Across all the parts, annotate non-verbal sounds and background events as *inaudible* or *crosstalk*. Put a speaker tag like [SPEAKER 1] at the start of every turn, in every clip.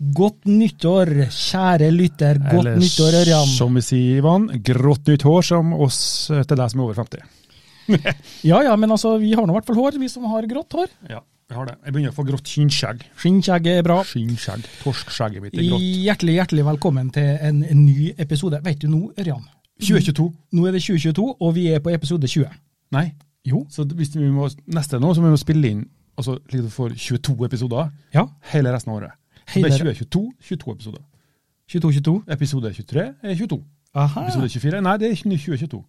[SPEAKER 1] Godt nyttår, kjære lytter. Godt
[SPEAKER 2] Eller
[SPEAKER 1] nyttår, Ørjan.
[SPEAKER 2] Som vi sier, Ivan, grått nytt hår som oss eh, til deg som er over 50.
[SPEAKER 1] Ja, ja, men altså, vi har nå i hvert fall hår, vi som har grått hår.
[SPEAKER 2] Ja, jeg har det. Jeg begynner å få grått kinnskjegg.
[SPEAKER 1] Skinnskjegget er bra.
[SPEAKER 2] Kinnskjegg. Torskskjegget mitt er grått.
[SPEAKER 1] Hjertelig, hjertelig velkommen til en ny episode. Vet du nå, Ørjan?
[SPEAKER 2] 2022.
[SPEAKER 1] Nå er det 2022, og vi er på episode 20.
[SPEAKER 2] Nei. Jo. Så hvis vi må, neste nå, så må vi spille inn altså, liksom for 22 episoder
[SPEAKER 1] Ja.
[SPEAKER 2] hele resten av året. Så
[SPEAKER 1] Hele-
[SPEAKER 2] det er 2022, 22 episoder.
[SPEAKER 1] 22-22.
[SPEAKER 2] Episode 23 er 22.
[SPEAKER 1] Aha.
[SPEAKER 2] Episode 24 Nei, det er ikke 2022.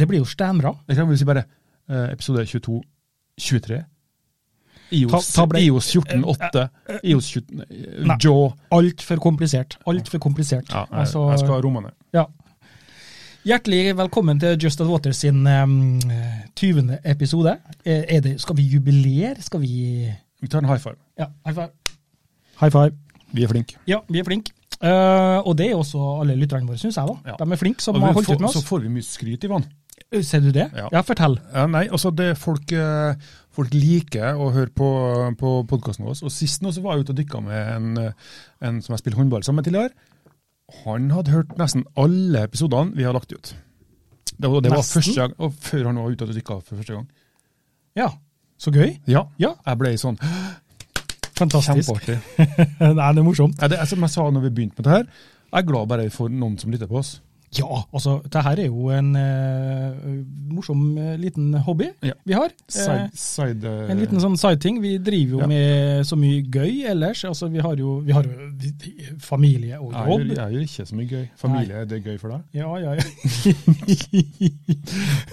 [SPEAKER 1] Det blir jo steinbra.
[SPEAKER 2] Jeg kan vel si bare eh, episode 22, 23. IOS,
[SPEAKER 1] Ta- ta ble- Eh,
[SPEAKER 2] IOS 14, 8, IOS 14,
[SPEAKER 1] Nei.
[SPEAKER 2] eh, Jaw.
[SPEAKER 1] Altfor komplisert. Altfor komplisert.
[SPEAKER 2] Ja, jeg,
[SPEAKER 1] Altså-
[SPEAKER 2] jeg skal ha rommene.
[SPEAKER 1] Ja. Hjertelig velkommen til Just At Water sin em, 20. episode. Eh, Er det, skal vi jubilere? Skal vi
[SPEAKER 2] Vi tar en high five.
[SPEAKER 1] Ja, high five. High five.
[SPEAKER 2] Vi er flinke.
[SPEAKER 1] Ja, vi er flinke. Eh, og det er også alle lytterne våre, syns jeg. da.
[SPEAKER 2] Ja.
[SPEAKER 1] De er flinke som
[SPEAKER 2] Og vi
[SPEAKER 1] har holdt
[SPEAKER 2] får,
[SPEAKER 1] ut med
[SPEAKER 2] så
[SPEAKER 1] oss. Eh,
[SPEAKER 2] får vi mye skryt, Ivan.
[SPEAKER 1] Ser du det?
[SPEAKER 2] Ja.
[SPEAKER 1] Ja, fortell.
[SPEAKER 2] Ja, nei, altså det er folk, eh, folk liker å høre på, på podkasten vår. Og sist nå så var jeg ute og dykka med en, eh, en som jeg spilte håndball sammen med tidligere. Han hadde hørt nesten alle episodene vi har lagt ut. Det var, det var
[SPEAKER 1] Nesten?
[SPEAKER 2] første gang, og før han var ute og dykka for første gang.
[SPEAKER 1] Ja. Så gøy.
[SPEAKER 2] Ja,
[SPEAKER 1] Ja.
[SPEAKER 2] jeg ble sånn
[SPEAKER 1] Fantastisk.
[SPEAKER 2] kjempeartig.
[SPEAKER 1] *laughs* Nei, det er morsomt.
[SPEAKER 2] Ja, det er som jeg sa når vi begynte med det her, jeg er glad bare for noen som lytter på oss.
[SPEAKER 1] Ja, altså, det her er jo en eh, morsom eh, liten hobby
[SPEAKER 2] Ja.
[SPEAKER 1] vi har. Eh,
[SPEAKER 2] Side, side,
[SPEAKER 1] En liten sånn sideting. Vi driver jo
[SPEAKER 2] Ja.
[SPEAKER 1] med så mye gøy ellers. Altså, vi har jo, vi har jo de- de- familie og
[SPEAKER 2] jeg gjør,
[SPEAKER 1] jobb.
[SPEAKER 2] jeg gjør ikke så mye gøy. Familie, er det gøy for deg?
[SPEAKER 1] Ja, ja, ja.
[SPEAKER 2] *laughs*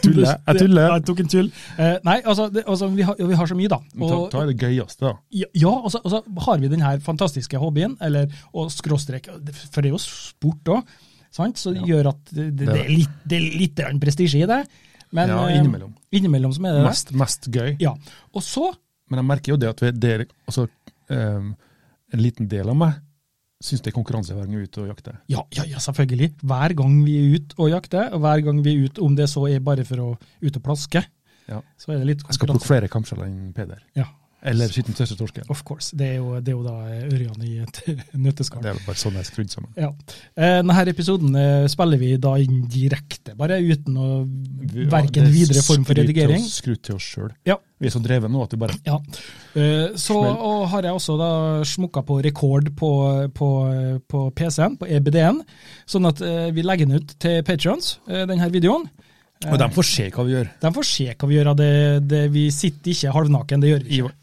[SPEAKER 2] Tuller. Jeg tuller.
[SPEAKER 1] Jeg tok en tull. Eh, nei, altså, det, altså vi, har, vi har så mye, da.
[SPEAKER 2] Ta,
[SPEAKER 1] Og,
[SPEAKER 2] ta det gøyeste, da.
[SPEAKER 1] ja, ja, og så og så har vi den her fantastiske hobbyen, eller, og skråstrek, for det er jo sport òg, så det gjør at det, det, det er litt, det er litt grann prestisje i det. Men,
[SPEAKER 2] Ja,
[SPEAKER 1] eh,
[SPEAKER 2] innimellom.
[SPEAKER 1] Innimellom som er det.
[SPEAKER 2] Mest, mest gøy.
[SPEAKER 1] Ja. Og så
[SPEAKER 2] Men jeg merker jo det at vi, det er altså, ehm, en liten del av meg syns det er konkurranse hver gang jeg er ute og jakter.
[SPEAKER 1] Ja, ja, ja, selvfølgelig. Hver gang vi er ute og jakter, og hver gang vi er ute, om det så er bare for å ut og plaske,
[SPEAKER 2] Ja.
[SPEAKER 1] så er det litt
[SPEAKER 2] Jeg skal plukke
[SPEAKER 1] konkurranse.
[SPEAKER 2] flere kamskjeller enn Peder.
[SPEAKER 1] Ja,
[SPEAKER 2] Eller skitten største torsken.
[SPEAKER 1] of course. Det er jo, det er jo da Ørjan i et *laughs* nøtteskall.
[SPEAKER 2] Det er bare sånn jeg er skrudd sammen.
[SPEAKER 1] Ja. Eh, Denne episoden eh, spiller vi da inn direkte, bare uten å
[SPEAKER 2] Vi-
[SPEAKER 1] verken
[SPEAKER 2] det er
[SPEAKER 1] videre form for
[SPEAKER 2] skryt til
[SPEAKER 1] redigering.
[SPEAKER 2] oss- Skryt til oss sjøl.
[SPEAKER 1] Ja.
[SPEAKER 2] Vi er så dreven nå at vi bare
[SPEAKER 1] Ja. Eh, Så
[SPEAKER 2] Smell.
[SPEAKER 1] og har jeg også da smukka på rekord på, på, på PC-en, på EBD-en, sånn at eh, vi legger den ut til patrons, denne videoen.
[SPEAKER 2] Og de får se hva vi gjør.
[SPEAKER 1] De får se hva vi gjør av det, det vi sitter ikke halvnaken, det gjør vi ikke.
[SPEAKER 2] Ivan,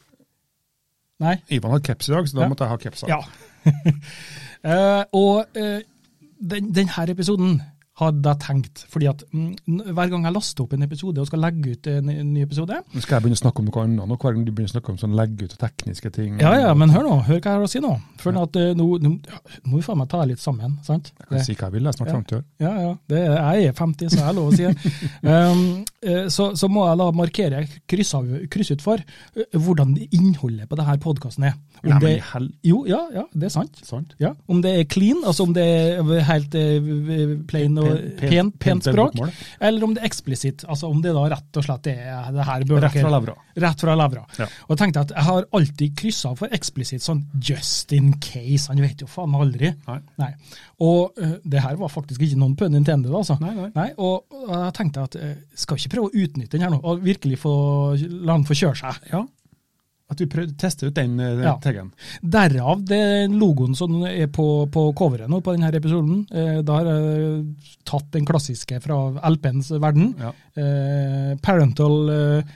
[SPEAKER 1] Nei.
[SPEAKER 2] Ivan har caps i dag, så da
[SPEAKER 1] Ja.
[SPEAKER 2] måtte jeg ha caps. av.
[SPEAKER 1] Ja. *laughs* Eh, og eh, den, denne episoden hadde jeg tenkt, fordi at mm, n- hver gang jeg laster opp en episode og skal legge ut en, en ny episode
[SPEAKER 2] Nå skal jeg begynne å snakke om noe annet. nå, Hver gang du begynner å snakke om sånn legge ut og tekniske ting.
[SPEAKER 1] Ja, ja, men hør nå, hør hva jeg har å si nå. For at, eh, nå, nå ja, nå må vi faen meg ta det litt sammen, sant?
[SPEAKER 2] Jeg kan si hva jeg vil, jeg er snart
[SPEAKER 1] Ja.
[SPEAKER 2] 50 år.
[SPEAKER 1] Ja, ja. Det, jeg er 50, så jeg har lov å si det.
[SPEAKER 2] *laughs*
[SPEAKER 1] um, eh, så, så må jeg da markere, kryss, av, kryss ut for, eh, hvordan innholdet på denne podkasten er. Om
[SPEAKER 2] Nei, men
[SPEAKER 1] det-
[SPEAKER 2] i hel...
[SPEAKER 1] Jo, ja, ja, det er sant.
[SPEAKER 2] Sant?
[SPEAKER 1] Ja, Om det er clean, altså om det er helt eh, plain og
[SPEAKER 2] Pen- pen-
[SPEAKER 1] pent,
[SPEAKER 2] pent
[SPEAKER 1] pent språk,
[SPEAKER 2] bokmål.
[SPEAKER 1] eller om det er eksplisitt, altså om det da rett og slett er det her bør
[SPEAKER 2] Rett
[SPEAKER 1] dere-
[SPEAKER 2] fra levra.
[SPEAKER 1] Rett fra levra.
[SPEAKER 2] Ja.
[SPEAKER 1] Og jeg tenkte at jeg har alltid kryssa for eksplisitt, sånn just in case, han vet jo faen aldri.
[SPEAKER 2] Nei.
[SPEAKER 1] Og eh, det her var faktisk ikke noen pønn intended, altså.
[SPEAKER 2] Nei, nei.
[SPEAKER 1] og, og jeg tenkte at eh, skal vi ikke prøve å utnytte den her nå, og virkelig få, la den få kjøre seg?
[SPEAKER 2] Ja. At vi prøvde å teste ut den, eh, den
[SPEAKER 1] Ja.
[SPEAKER 2] taggen.
[SPEAKER 1] Derav det logoen som er på, på coveret nå på denne episoden. Eh, da har jeg tatt den klassiske fra LP-ens verden.
[SPEAKER 2] Ja.
[SPEAKER 1] Eh, parental eh,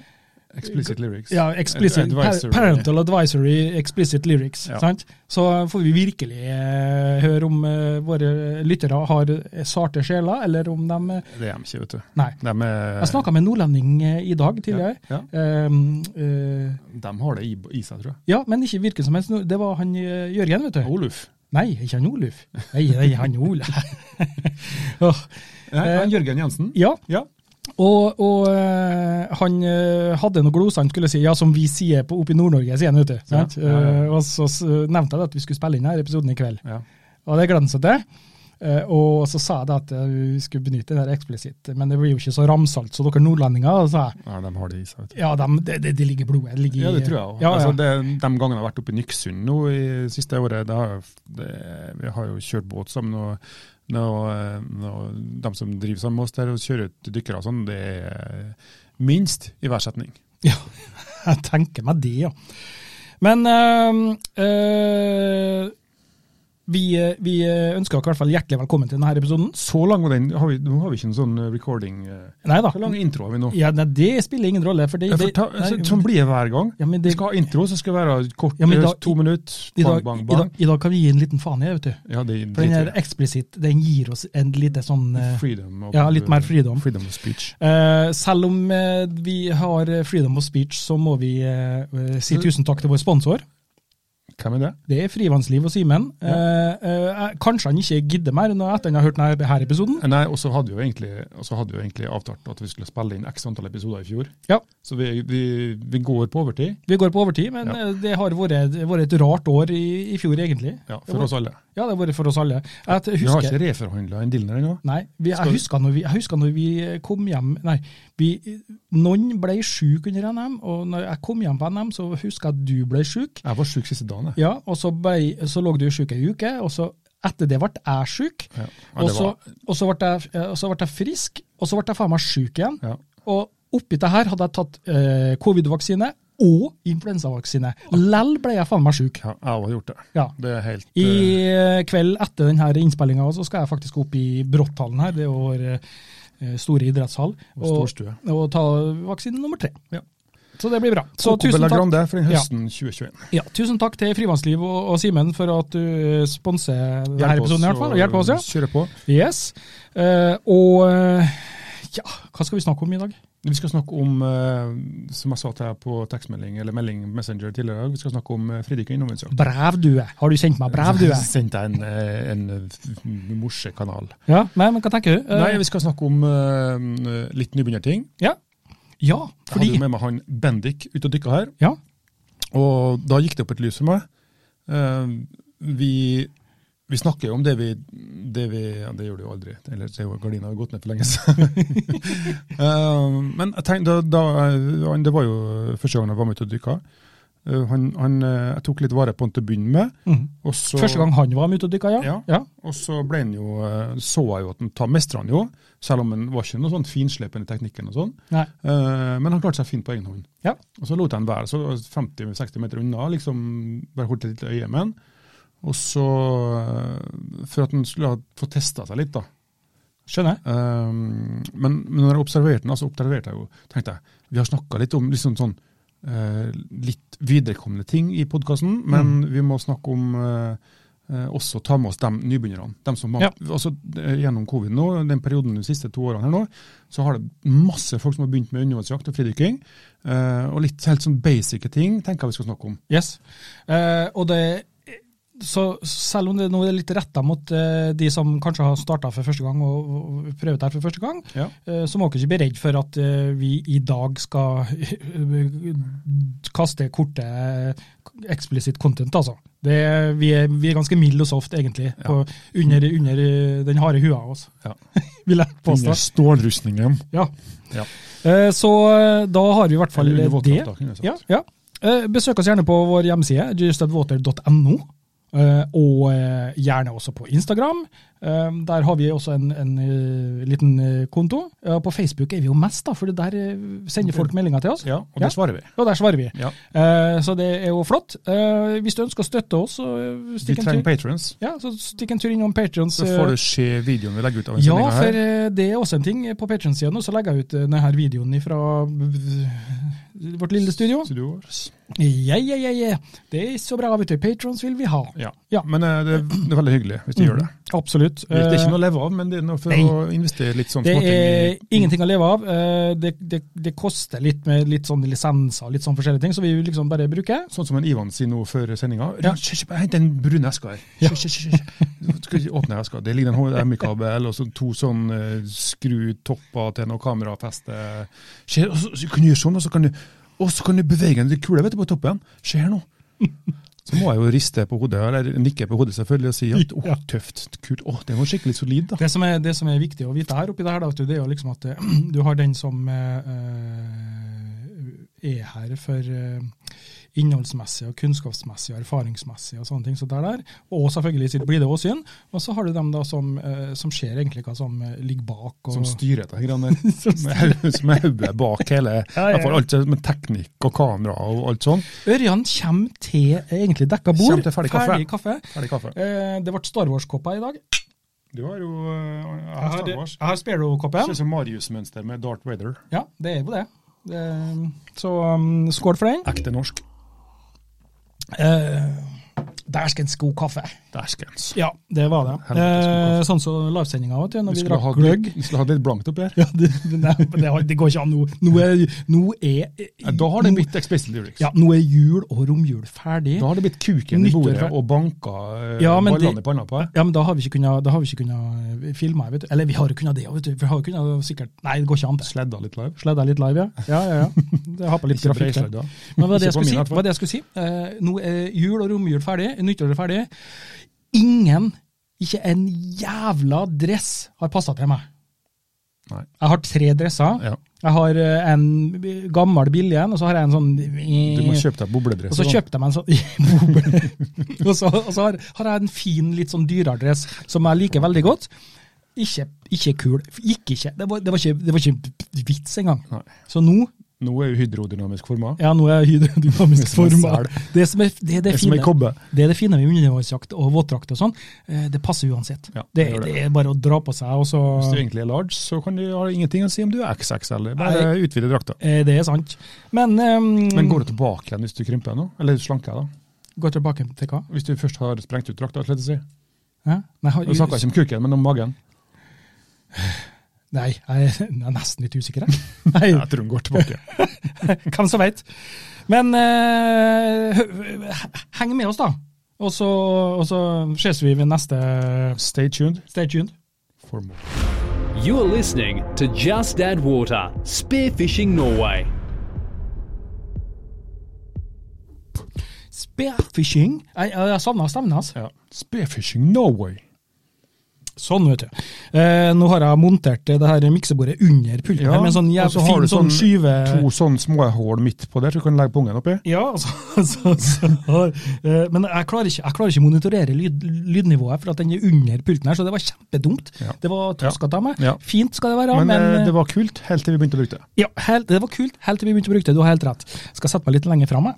[SPEAKER 2] Explicit lyrics.
[SPEAKER 1] ja, explicit,
[SPEAKER 2] Ad- advisory.
[SPEAKER 1] par parental advisory explicit lyrics.
[SPEAKER 2] Ja.
[SPEAKER 1] Sant? Så får vi virkelig eh, høre om eh, våre lyttere har eh, sarte sjeler, eller om de eh,
[SPEAKER 2] Det er de ikke, vet du.
[SPEAKER 1] Nei.
[SPEAKER 2] De, er,
[SPEAKER 1] Jeg snakka med en nordlending eh, i dag tidligere.
[SPEAKER 2] Ja,
[SPEAKER 1] Um, eh,
[SPEAKER 2] de har det i, i seg, tror jeg.
[SPEAKER 1] ja, men ikke hvilken som helst. nord- Det var han eh, Jørgen, vet du.
[SPEAKER 2] Oluf.
[SPEAKER 1] Nei, ikke han Oluf. Nei, nei, han Oluf. *laughs* Åh.
[SPEAKER 2] Nei,
[SPEAKER 1] Eh,
[SPEAKER 2] han Jørgen Jensen.
[SPEAKER 1] Ja,
[SPEAKER 2] Ja.
[SPEAKER 1] og, og eh, han eh, hadde noen gloser han skulle si, ja, som vi sier på, oppe i Nord-Norge, sier han, vet du. sant?
[SPEAKER 2] Ja, ja, ja.
[SPEAKER 1] Eh, og så s- nevnte jeg det at vi skulle spille inn denne episoden i kveld,
[SPEAKER 2] ja.
[SPEAKER 1] og det gledet jeg til. Eh, og så sa jeg det at eh, vi skulle benytte det der eksplisitt, men det blir jo ikke så ramsalt, så dere nordlendinger, sa jeg.
[SPEAKER 2] Ja, de har det i seg. vet du.
[SPEAKER 1] Ja, dem- det det- det ligger i blodet. Det ligger i-
[SPEAKER 2] Ja, det tror jeg òg.
[SPEAKER 1] Ja, ja.
[SPEAKER 2] altså, det- de gangene jeg har vært oppe i Nyksund nå i siste året, det har, jo- det, vi har jo kjørt båt sammen. og nå, eh, nå, de som driver sammen med oss der og kjører ut dykkere og sånn, det er minst i hver setning.
[SPEAKER 1] Ja, jeg tenker meg det, ja. Men eh, eh, vi, eh, vi eh, ønsker dere i hvert fall hjertelig velkommen til denne episoden.
[SPEAKER 2] Så lang var den. Har vi, nå har vi ikke en sånn recording eh,
[SPEAKER 1] Nei da.
[SPEAKER 2] Hvor lang intro har vi nå?
[SPEAKER 1] Ja, nei, det spiller ingen rolle. For det,
[SPEAKER 2] Ja, for
[SPEAKER 1] det,
[SPEAKER 2] ta, så,
[SPEAKER 1] nei,
[SPEAKER 2] sånn blir det hver gang.
[SPEAKER 1] ja, men
[SPEAKER 2] Vi
[SPEAKER 1] det,
[SPEAKER 2] skal ha intro, så skal det være kort,
[SPEAKER 1] Ja, men
[SPEAKER 2] eh,
[SPEAKER 1] da-
[SPEAKER 2] to minutter.
[SPEAKER 1] i,
[SPEAKER 2] Bang,
[SPEAKER 1] dag,
[SPEAKER 2] bang,
[SPEAKER 1] I,
[SPEAKER 2] bang.
[SPEAKER 1] dag, I dag kan vi gi en liten faen i, vet du.
[SPEAKER 2] Ja, det
[SPEAKER 1] For den her
[SPEAKER 2] driter jeg.
[SPEAKER 1] eksplisitt, den gir oss en lite sånn eh,
[SPEAKER 2] Freedom of,
[SPEAKER 1] ja, litt mer freedom.
[SPEAKER 2] Freedom of speech.
[SPEAKER 1] eh, selv om eh, vi har eh, freedom of speech, så må vi eh, eh, si tusen takk til vår sponsor.
[SPEAKER 2] Hvem er det?
[SPEAKER 1] Det er Frivannsliv og Simen. Eh, eh, jeg- kanskje han ikke gidder mer nå etter han har hørt denne her episoden.
[SPEAKER 2] Nei, og så hadde vi jo egentlig, og så hadde vi jo egentlig avtalt at vi skulle spille inn x antall episoder i fjor.
[SPEAKER 1] Ja,
[SPEAKER 2] Så vi, vi, vi går på overtid.
[SPEAKER 1] Vi går på overtid, men
[SPEAKER 2] Ja.
[SPEAKER 1] eh, det har vært, det har vært et rart år i, i fjor, egentlig.
[SPEAKER 2] Ja,
[SPEAKER 1] Det
[SPEAKER 2] for
[SPEAKER 1] var-
[SPEAKER 2] oss alle.
[SPEAKER 1] Ja, det har vært for oss alle. Jeg
[SPEAKER 2] Vi har
[SPEAKER 1] husker,
[SPEAKER 2] ikke reforhandla en dealer ennå.
[SPEAKER 1] Nei, vi,
[SPEAKER 2] Skal
[SPEAKER 1] jeg,
[SPEAKER 2] vi-
[SPEAKER 1] husker når vi, jeg husker når vi eh, kom hjem Nei, vi, noen ble syk under NM, og når jeg kom hjem på NM, så husker jeg at du ble syk.
[SPEAKER 2] Jeg var syk siste dagen, jeg.
[SPEAKER 1] Ja, og så, ble, så lå du syk ei uke, og så etter det ble jeg syk.
[SPEAKER 2] Ja. Ja,
[SPEAKER 1] Og
[SPEAKER 2] det
[SPEAKER 1] så,
[SPEAKER 2] var,
[SPEAKER 1] og, så ble jeg, eh, og så ble jeg frisk, og så ble jeg faen meg syk igjen.
[SPEAKER 2] ja.
[SPEAKER 1] Og oppi det her hadde jeg tatt eh, covid-vaksine og influensavaksine. Lell ble jeg faen meg syk.
[SPEAKER 2] ja, jeg har gjort det.
[SPEAKER 1] Ja.
[SPEAKER 2] Det er helt
[SPEAKER 1] I
[SPEAKER 2] eh,
[SPEAKER 1] eh, kveld etter denne innspillinga så skal jeg faktisk opp i Bråtthallen her, det er vår eh, store idrettshall,
[SPEAKER 2] Og
[SPEAKER 1] og,
[SPEAKER 2] storstue.
[SPEAKER 1] og ta vaksine nummer tre.
[SPEAKER 2] Ja.
[SPEAKER 1] Så det blir bra. Så
[SPEAKER 2] Så
[SPEAKER 1] tusen takk,
[SPEAKER 2] Grande for den
[SPEAKER 1] Ja.
[SPEAKER 2] høsten 2021.
[SPEAKER 1] ja, tusen takk til Frivannsliv og, og Simen for at du eh, sponser denne
[SPEAKER 2] Hjelp oss
[SPEAKER 1] episoden. i hvert fall,
[SPEAKER 2] å
[SPEAKER 1] og hjelper oss, ja.
[SPEAKER 2] Kjøre på.
[SPEAKER 1] Yes. Eh, og eh, ja, hva skal vi snakke om i dag?
[SPEAKER 2] Vi skal snakke om, eh, som jeg sa til deg på tekstmelding eller melding Messenger tidligere i dag, vi skal snakke om eh, Fridtjof Innhovensak.
[SPEAKER 1] Brevdue. Har du sendt meg brevdue?
[SPEAKER 2] *laughs* Sendte jeg en, eh, en f- morsekanal.
[SPEAKER 1] Ja, nei, men hva tenker du? Eh,
[SPEAKER 2] Nei, vi skal snakke om eh, litt nybegynnerting.
[SPEAKER 1] ja. ja,
[SPEAKER 2] Jeg hadde
[SPEAKER 1] fordi
[SPEAKER 2] jo med meg han Bendik ut og dykka her,
[SPEAKER 1] ja.
[SPEAKER 2] og da gikk det opp et lys for meg. Eh, vi, vi snakker jo om det vi, det vi ja, Det gjør det jo aldri, eller det er jo- gardina har gått ned for lenge siden. *laughs* Eh, men jeg tenkte, da, da, eh, han- det var jo første gang jeg var med ut og dykka. Eh, han, han, eh, jeg tok litt vare på han til å begynne med.
[SPEAKER 1] Mhm.
[SPEAKER 2] Og så,
[SPEAKER 1] Første gang han var med ute og dykka, ja.
[SPEAKER 2] Ja. Og så ble han jo, eh, så jeg jo at han tar mestra han jo, selv om han var ikke noe sånn finslepen i teknikken og sånn.
[SPEAKER 1] Nei.
[SPEAKER 2] Eh, Men han klarte seg fint på egen hånd.
[SPEAKER 1] Ja.
[SPEAKER 2] Og så lot jeg han være så 50-60 meter unna, liksom bare holdt et lite øye med han. Og så, eh, for at han skulle ha få testa seg litt, da.
[SPEAKER 1] Skjønner.
[SPEAKER 2] Eh, Men, men når jeg observerte han, altså observerte jeg jo, tenkte jeg, vi har snakka litt om liksom sånn eh, litt viderekomne ting i podkasten, men
[SPEAKER 1] Mm.
[SPEAKER 2] vi må snakke om eh, eh, også ta med oss de nybegynnerne. Dem som har,
[SPEAKER 1] Ja.
[SPEAKER 2] altså, eh, gjennom covid nå, den perioden de siste to årene her nå, så har det masse folk som har begynt med undervannsjakt og fridykking. eh, og litt helt sånn basic ting tenker jeg vi skal snakke om.
[SPEAKER 1] Yes. Eh, og det så selv om det nå er litt retta mot eh, de som kanskje har starta for første gang og, og prøvd det her for første gang,
[SPEAKER 2] Ja.
[SPEAKER 1] eh, så må dere ikke bli redd for at eh, vi i dag skal *laughs* kaste korte eh, explicit content, altså. Det, vi, er, vi er ganske milde og soft, egentlig, på, under, under eh, den harde hua av oss,
[SPEAKER 2] Ja.
[SPEAKER 1] *laughs* vil jeg påstå.
[SPEAKER 2] stålrustningen.
[SPEAKER 1] Ja.
[SPEAKER 2] Ja.
[SPEAKER 1] Eh, så eh, da har vi i hvert fall
[SPEAKER 2] Eller under
[SPEAKER 1] det.
[SPEAKER 2] våtdrakta, kunne jeg sagt.
[SPEAKER 1] Ja, ja. Eh, Besøk oss gjerne på vår hjemmeside, justatwater.no. eh, Og eh, gjerne også på Instagram. Eh, Der har vi også en, en eh, liten eh, konto. Eh, På Facebook er vi jo mest, da, for det der eh, sender folk meldinger til oss.
[SPEAKER 2] Ja, og
[SPEAKER 1] Ja.
[SPEAKER 2] det svarer vi.
[SPEAKER 1] Og der svarer vi.
[SPEAKER 2] Ja.
[SPEAKER 1] Eh, Så det er jo flott. Eh, Hvis du ønsker å støtte oss, så eh,
[SPEAKER 2] Vi
[SPEAKER 1] stikk en
[SPEAKER 2] trenger
[SPEAKER 1] tur.
[SPEAKER 2] patrons.
[SPEAKER 1] Ja, så stikk en tur innom Patrions.
[SPEAKER 2] Så får du se videoen vi legger ut av den
[SPEAKER 1] Ja,
[SPEAKER 2] sendingen
[SPEAKER 1] for
[SPEAKER 2] her.
[SPEAKER 1] eh, det er også en ting. På Patrion-sida nå så legger jeg ut eh, denne videoen fra vårt lille studio.
[SPEAKER 2] Studio vårt.
[SPEAKER 1] Ja, ja, ja, ja. Det er så bra, vet du. Patrons vil vi ha.
[SPEAKER 2] Ja.
[SPEAKER 1] Ja.
[SPEAKER 2] Men eh, det, er- det er veldig hyggelig hvis de gjør det.
[SPEAKER 1] Absolutt.
[SPEAKER 2] Det er ikke noe å leve av, men det er noe for
[SPEAKER 1] Nei.
[SPEAKER 2] å investere litt sånn
[SPEAKER 1] Det
[SPEAKER 2] småting
[SPEAKER 1] er
[SPEAKER 2] i
[SPEAKER 1] ingenting å leve av. Eh, Det, det, det koster litt med litt sånn lisenser og litt sånn forskjellige ting, så vi vil liksom bare bruke.
[SPEAKER 2] Sånn som en Ivan sier nå før sendinga.
[SPEAKER 1] Ja.
[SPEAKER 2] Hent den brune eska her. Kjør, kjør, kjør, kjør. Skal ikke åpne eska. Det ligger en HDMI-kabel og så to sånn eh, skrutopper til noe kamerafeste. Se, og så, så kan du gjøre sånn, og så kan du, og så kan du bevege den kula vet du, på toppen. Se her nå. Så må jeg jo riste på hodet, eller nikke på hodet selvfølgelig, og si at å,
[SPEAKER 1] Ja.
[SPEAKER 2] tøft, kult. Å, det var skikkelig solid, da.
[SPEAKER 1] Det som, er, det som er viktig å vite her oppi det her, da, vet du, det er jo liksom at eh, *clears throat* du har den som eh, eh, er her for eh, innholdsmessig og kunnskapsmessig og erfaringsmessig og sånne ting. Så der, der. Og selvfølgelig sitt blide åsyn. Og så har du dem da som, eh, som ser egentlig hva som eh, ligger bak. Og,
[SPEAKER 2] Som styrer dette
[SPEAKER 1] *laughs*
[SPEAKER 2] greiene der. Med hau- Som er hodet bak hele,
[SPEAKER 1] Ja, ja,
[SPEAKER 2] i hvert fall
[SPEAKER 1] ja.
[SPEAKER 2] alt med teknikk og kamera og alt sånn.
[SPEAKER 1] Ørjan kommer til eh, egentlig dekka bord.
[SPEAKER 2] Kommer til ferdig kaffe.
[SPEAKER 1] kaffe.
[SPEAKER 2] Ferdig kaffe.
[SPEAKER 1] Eh, det ble Star Wars-kopper i dag.
[SPEAKER 2] Du har jo uh,
[SPEAKER 1] Jeg har, jeg har Sparrow-koppen.
[SPEAKER 2] Ser ut som Marius-mønster med Darth Vader.
[SPEAKER 1] Ja, det er jo det. det så um, skål for den.
[SPEAKER 2] Ekte norsk.
[SPEAKER 1] Eh, dæskens god kaffe.
[SPEAKER 2] Dæskens.
[SPEAKER 1] Ja, det var det.
[SPEAKER 2] Helvetes god
[SPEAKER 1] Eh,
[SPEAKER 2] kaffe.
[SPEAKER 1] sånn som livesendinga, vet du, når
[SPEAKER 2] Vi
[SPEAKER 1] vi
[SPEAKER 2] skulle
[SPEAKER 1] drakk
[SPEAKER 2] ha
[SPEAKER 1] gløgg.
[SPEAKER 2] litt- vi skulle ha litt blankt oppi her.
[SPEAKER 1] Ja, det, nei, men det, har- det går ikke an nå. Nå er, nå er
[SPEAKER 2] Ja, Da har det blitt Explicit Lyrics.
[SPEAKER 1] ja, nå er jul og romjul ferdig.
[SPEAKER 2] Da har det blitt kuken i
[SPEAKER 1] Nyttår
[SPEAKER 2] bordet
[SPEAKER 1] for-
[SPEAKER 2] og banka eh,
[SPEAKER 1] Ja, men
[SPEAKER 2] ballene
[SPEAKER 1] det-
[SPEAKER 2] i panna på deg.
[SPEAKER 1] Ja, men da har vi ikke kunnet, da har vi ikke kunnet eh, filme, vet du. Eller vi har jo kunnet det, vet du. Vi har jo kunnet sikkert Nei, det går ikke an. det.
[SPEAKER 2] Sledda litt live.
[SPEAKER 1] Sledda litt live, ja. Ja, ja, ja. Det har på litt
[SPEAKER 2] Ikke
[SPEAKER 1] grafikk. der.
[SPEAKER 2] breisledda.
[SPEAKER 1] Men hva var det jeg
[SPEAKER 2] Ikke på
[SPEAKER 1] skulle
[SPEAKER 2] min,
[SPEAKER 1] si?
[SPEAKER 2] i hvert fall.
[SPEAKER 1] Hva var det jeg skulle si? Eh, nå er jul og romjul ferdig, nyttår er ferdig. Ingen, ikke en jævla dress har passa til meg.
[SPEAKER 2] Nei.
[SPEAKER 1] Jeg har tre dresser.
[SPEAKER 2] Ja.
[SPEAKER 1] Jeg har eh, en gammel billig en, og så har jeg en sånn
[SPEAKER 2] Du må kjøpe deg bobledress.
[SPEAKER 1] Og så
[SPEAKER 2] da.
[SPEAKER 1] kjøpte jeg meg en sånn *laughs* boble. og så, og så har, har jeg en fin, litt sånn dyreadress som jeg liker veldig godt. Ikke, ikke kul. Gikk ikke. Det var, det var ikke. det var ikke vits engang.
[SPEAKER 2] Nei.
[SPEAKER 1] Så nå
[SPEAKER 2] Nå er jo hydrodynamisk forma.
[SPEAKER 1] ja, nå er jeg hydrodynamisk
[SPEAKER 2] Det er som en
[SPEAKER 1] forma. Det som er det, er det,
[SPEAKER 2] Det er som
[SPEAKER 1] fine,
[SPEAKER 2] ei kobbe.
[SPEAKER 1] det er det fine med undervannsjakt og våtdrakt og sånn, eh, det passer uansett.
[SPEAKER 2] Ja,
[SPEAKER 1] det,
[SPEAKER 2] det gjør
[SPEAKER 1] det.
[SPEAKER 2] det.
[SPEAKER 1] er bare å dra på seg, og så
[SPEAKER 2] Hvis du egentlig er large, så kan du ha ingenting å si om du er XXL. Bare utvide drakta.
[SPEAKER 1] eh, Det er sant. Men, ehm,
[SPEAKER 2] Men går du tilbake igjen hvis du krymper nå? Eller slanker deg, da?
[SPEAKER 1] går tilbake til hva?
[SPEAKER 2] Hvis du først har sprengt ut drakta, slett å si.
[SPEAKER 1] Hæ? Nei, har-
[SPEAKER 2] Nå snakker jeg ikke om kuken, men om magen.
[SPEAKER 1] nei, jeg er jeg er nesten litt usikker, jeg. *laughs* Nei,
[SPEAKER 2] Jeg tror hun går tilbake.
[SPEAKER 1] hvem som veit. Men eh, hø- heng med oss, da. Og så, og så ses vi ved neste
[SPEAKER 2] Stay tuned
[SPEAKER 1] Stay tuned.
[SPEAKER 2] for more.
[SPEAKER 3] You are listening to Just Add Water, Spearfishing Norway.
[SPEAKER 1] Spearfishing. Jeg, jeg, jeg savna stemmen hans.
[SPEAKER 2] Ja. Spearfishing Norway.
[SPEAKER 1] Sånn, vet du. Eh, nå har jeg montert det her miksebordet under pulten her, med en sånn
[SPEAKER 2] og så
[SPEAKER 1] jævlig
[SPEAKER 2] har
[SPEAKER 1] fin
[SPEAKER 2] du
[SPEAKER 1] sånn, skyve...
[SPEAKER 2] To sånne små hål midt på der, så du kan legge pungen oppi.
[SPEAKER 1] Ja, *laughs* så, så, så, har- eh, men jeg klarer ikke, jeg klarer ikke monitorere lyd, lydnivået, for at den er under pulten her, så det var kjempedumt.
[SPEAKER 2] Ja.
[SPEAKER 1] Det var toskete av meg.
[SPEAKER 2] Ja.
[SPEAKER 1] Fint skal det være,
[SPEAKER 2] Men,
[SPEAKER 1] men,
[SPEAKER 2] eh,
[SPEAKER 1] eh,
[SPEAKER 2] det var kult helt til vi begynte å lukte.
[SPEAKER 1] ja, helt, det var kult helt til vi begynte å bruke det. Du har helt rett. Skal sette meg litt lenger fram.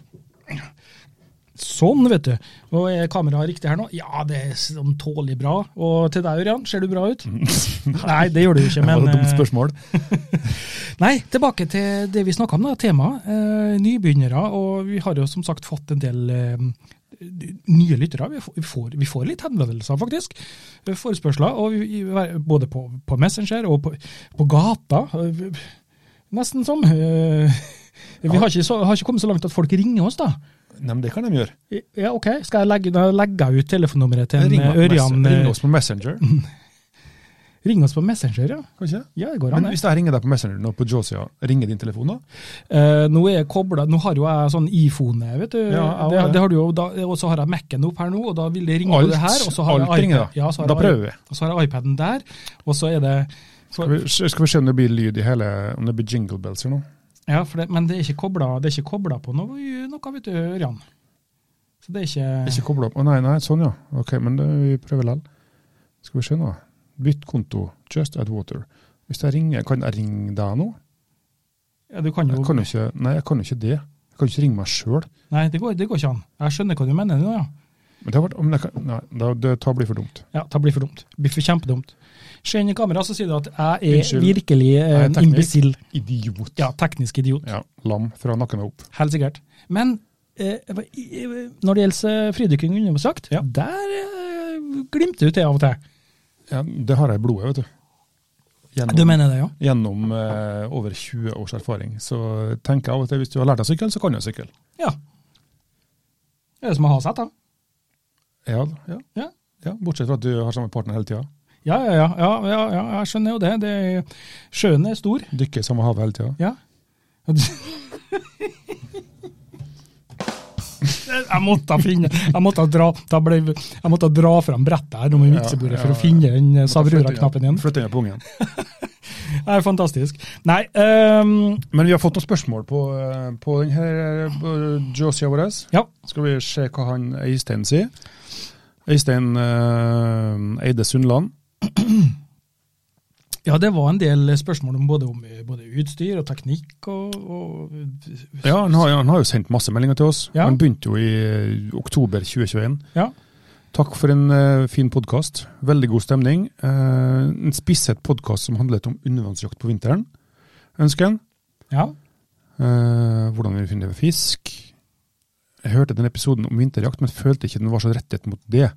[SPEAKER 1] Sånn, vet du. Og Er kameraet riktig her nå? Ja, det er sånn tålelig bra. Og til deg, Ørjan, ser du bra
[SPEAKER 2] *laughs*
[SPEAKER 1] ut? Nei, det gjør du jo ikke,
[SPEAKER 2] Det var
[SPEAKER 1] men
[SPEAKER 2] et dumt
[SPEAKER 1] eh,
[SPEAKER 2] spørsmål.
[SPEAKER 1] Nei, tilbake til det vi snakka om, da, temaet. Eh, nybegynnere. Og vi har jo som sagt fått en del eh, nye lyttere. Vi får, vi får, vi får litt henvendelser, faktisk. Eh, Forespørsler. Og vi, vi- både på, på Messenger og på, på gata. Eh, Nesten som. eh, vi har ikke, så, har ikke kommet så langt at folk ringer oss, da.
[SPEAKER 2] Nei, men det kan de gjøre.
[SPEAKER 1] Ja, OK. Skal jeg legge, da legger jeg ut telefonnummeret til en,
[SPEAKER 2] Ring
[SPEAKER 1] eh,
[SPEAKER 2] oss på
[SPEAKER 1] Ørjan?
[SPEAKER 2] Messenger.
[SPEAKER 1] eh,
[SPEAKER 2] Ring oss på
[SPEAKER 1] *laughs*
[SPEAKER 2] Messenger.
[SPEAKER 1] Ring oss på Messenger, ja.
[SPEAKER 2] Kanskje?
[SPEAKER 1] Ja, det går an.
[SPEAKER 2] Men
[SPEAKER 1] det.
[SPEAKER 2] hvis jeg ringer deg på Messenger nå, på Josia, ringer din telefon da?
[SPEAKER 1] Eh, nå er jeg koblet, nå har jo jeg sånn iPhone, vet du.
[SPEAKER 2] Ja, jeg
[SPEAKER 1] det,
[SPEAKER 2] har det.
[SPEAKER 1] det har du jo, da, og så har jeg Mac-en opp her nå, og da vil det ringe
[SPEAKER 2] Alt-
[SPEAKER 1] på det her. Og så har
[SPEAKER 2] alt
[SPEAKER 1] jeg
[SPEAKER 2] ringer da.
[SPEAKER 1] Ja, så har
[SPEAKER 2] Da
[SPEAKER 1] jeg-
[SPEAKER 2] prøver vi.
[SPEAKER 1] Og så har jeg iPaden der, og så er det
[SPEAKER 2] Skal vi, skal vi se om det blir lyd i hele Om det blir jingle bells eller noe?
[SPEAKER 1] ja, for det, Men det er ikke koblet det er ikke koblet på noe, noe, vet du, Ørjan. Så det er
[SPEAKER 2] Det er
[SPEAKER 1] ikke
[SPEAKER 2] Ikke kobla opp. Å nei, nei, sånn ja. Ok, men det, vi prøver likevel. Skal vi se nå. Bytt konto. Just add water. Hvis jeg ringer, kan jeg ringe deg nå?
[SPEAKER 1] ja, Du kan jo
[SPEAKER 2] Jeg kan jo ikke, nei, jeg kan jo ikke det. Jeg kan jo ikke ringe meg sjøl.
[SPEAKER 1] Nei, det går, det går ikke an. Jeg skjønner hva du mener nå, ja.
[SPEAKER 2] Men det har vært, men jeg kan, nei, da, det tar blir for dumt.
[SPEAKER 1] Ja, Det blir for dumt. Det blir for kjempedumt. Se inn i kamera, så sier du at jeg er
[SPEAKER 2] Unnskyld.
[SPEAKER 1] virkelig eh,
[SPEAKER 2] Jeg er
[SPEAKER 1] en
[SPEAKER 2] teknikk.
[SPEAKER 1] imbesill.
[SPEAKER 2] Idiot.
[SPEAKER 1] Ja, teknisk idiot.
[SPEAKER 2] Ja, lam fra nakken og opp.
[SPEAKER 1] Helt sikkert. Men eh, jeg var i- eh, når det gjelder eh, fridykking og undervannsjakt,
[SPEAKER 2] Ja.
[SPEAKER 1] der eh, glimter du til av og til.
[SPEAKER 2] Ja, det har jeg i blodet, vet du. Gjennom,
[SPEAKER 1] Du mener det, ja?
[SPEAKER 2] gjennom eh, over 20 års erfaring. Så tenker jeg av og til hvis du har lært deg å sykle, så kan du sykle.
[SPEAKER 1] Ja. Det er det som å ha sett, da.
[SPEAKER 2] Ja, ja,
[SPEAKER 1] Ja.
[SPEAKER 2] ja, bortsett fra at du har samme partner hele tida.
[SPEAKER 1] Ja, ja, ja, ja, ja, ja, jeg skjønner jo det. det sjøen er stor.
[SPEAKER 2] Dykker i samme havet hele tida.
[SPEAKER 1] Ja. *laughs* Jeg måtte finne Jeg måtte dra, da ble, jeg måtte dra fram brettet her nå med
[SPEAKER 2] Ja,
[SPEAKER 1] miksebordet for
[SPEAKER 2] ja,
[SPEAKER 1] å finne den
[SPEAKER 2] Flytter
[SPEAKER 1] savrura-knappen
[SPEAKER 2] igjen-
[SPEAKER 1] igjen.
[SPEAKER 2] Flytter igjen på ungen.
[SPEAKER 1] Det er fantastisk. Nei ehm,
[SPEAKER 2] Men vi har fått noen spørsmål på, eh, på denne Josia vår.
[SPEAKER 1] Ja.
[SPEAKER 2] Skal vi se hva han Øystein sier. Øystein eh, Eide Sundland.
[SPEAKER 1] ja, det var en del spørsmål om både, om eh, både utstyr og teknikk og, og
[SPEAKER 2] Ja, han har, han har jo sendt masse meldinger til oss.
[SPEAKER 1] Ja.
[SPEAKER 2] Han begynte jo i eh, oktober 2021.
[SPEAKER 1] Ja.
[SPEAKER 2] Takk for en eh, fin podkast. Veldig god stemning. Eh, en spisshet podkast som handlet om undervannsjakt på vinteren, ønsker han.
[SPEAKER 1] ja.
[SPEAKER 2] Eh, hvordan vi finner fisk. Jeg hørte den episoden om vinterjakt, men følte ikke den var så rettet mot det.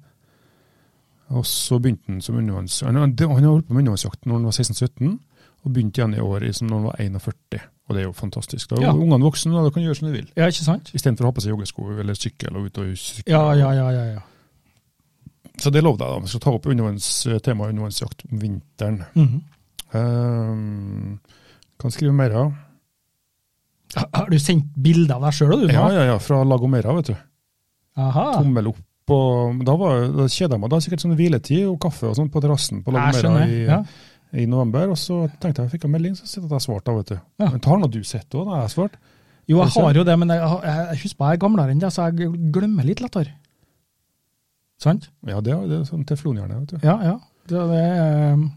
[SPEAKER 2] Og så begynte han som undervanns... Han han- han har holdt på med undervannsjakt når han var 16-17, og begynte igjen i år i- som når han var 41. Og det er jo fantastisk. Da er
[SPEAKER 1] Ja.
[SPEAKER 2] jo ungene voksne, og da kan du gjøre som du vil.
[SPEAKER 1] ja, ikke sant?
[SPEAKER 2] Istedenfor å ha på seg joggesko eller sykkel og ut og sykle.
[SPEAKER 1] Ja, ja, ja. ja, ja.
[SPEAKER 2] Så det lovde jeg, da. Vi skal ta opp undervanns- temaet undervannsjakt om vinteren.
[SPEAKER 1] Mhm.
[SPEAKER 2] Um, kan skrive mer av.
[SPEAKER 1] Har- Har du sendt bilder av deg sjøl, du? nå?
[SPEAKER 2] Ja, ja, ja. Fra Lagomera, vet du.
[SPEAKER 1] Aha.
[SPEAKER 2] Tommel opp. Og da var da kjeda jeg meg. Da var det sikkert sånn hviletid og kaffe og sånn på terrassen på
[SPEAKER 1] Jeg
[SPEAKER 2] Lagomera
[SPEAKER 1] skjønner.
[SPEAKER 2] i,
[SPEAKER 1] Ja.
[SPEAKER 2] i november. Og så tenkte jeg, jeg fikk en melding, så sitter jeg at jeg svarte da, vet du.
[SPEAKER 1] Ja.
[SPEAKER 2] Men har nå du sett òg, da jeg svarte?
[SPEAKER 1] Jo, jeg
[SPEAKER 2] Ikke
[SPEAKER 1] har jo det, men jeg, har- jeg, jeg husker jeg er gamlere enn deg, så jeg glemmer litt lettere. Sant?
[SPEAKER 2] Ja, det, er- det er sånn teflonhjerne, vet du.
[SPEAKER 1] Ja, ja. Det, det, er, eh,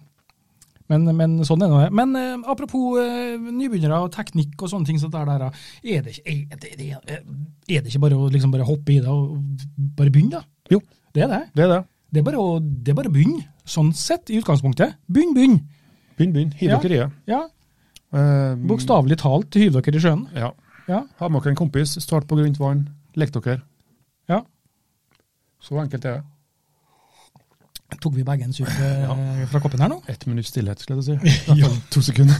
[SPEAKER 1] men, men sånn er nå det. Men eh, apropos eh, nybegynnere og teknikk og sånne ting, så der, der, eh, er, det ikke, er, det, er, det, er det ikke bare å liksom bare hoppe i det og bare begynne, da?
[SPEAKER 2] Jo.
[SPEAKER 1] Det er det.
[SPEAKER 2] Det er det.
[SPEAKER 1] Det er bare å det er bare å begynne, sånn sett, i utgangspunktet. Begynn, begynn.
[SPEAKER 2] Begynn, begynn. Hiv
[SPEAKER 1] Ja.
[SPEAKER 2] dere i det.
[SPEAKER 1] Ja,
[SPEAKER 2] Eh,
[SPEAKER 1] Bokstavelig talt hyv dere i sjøen.
[SPEAKER 2] Ja.
[SPEAKER 1] Ja.
[SPEAKER 2] Ha med dere en kompis, start på grunt vann, lek dere.
[SPEAKER 1] ja.
[SPEAKER 2] Så enkelt er det.
[SPEAKER 1] Tok vi begge en sup eh, fra koppen her nå?
[SPEAKER 2] Ett minutts stillhet, skulle jeg
[SPEAKER 1] *laughs*
[SPEAKER 2] til å si. I hvert fall to sekunder.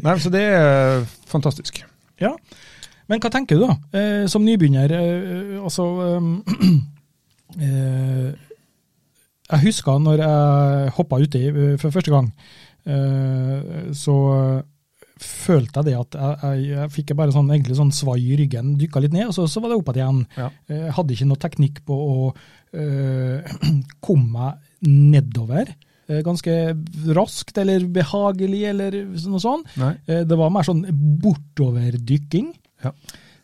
[SPEAKER 2] Nei, så det er fantastisk.
[SPEAKER 1] Ja. Men hva tenker du, da? Eh, som nybegynner, eh, altså eh, *clears throat* eh, Jeg husker når jeg hoppa uti eh, for første gang, eh, så følte jeg det at jeg, jeg, jeg fikk bare sånn, egentlig sånn svai i ryggen, dykka litt ned, og så, så var det opp igjen.
[SPEAKER 2] Ja.
[SPEAKER 1] Eh, hadde ikke noe teknikk på å eh, *clears throat* komme meg nedover eh, ganske raskt eller behagelig eller noe sånt.
[SPEAKER 2] Nei.
[SPEAKER 1] Eh, Det var mer sånn bortoverdykking.
[SPEAKER 2] Ja.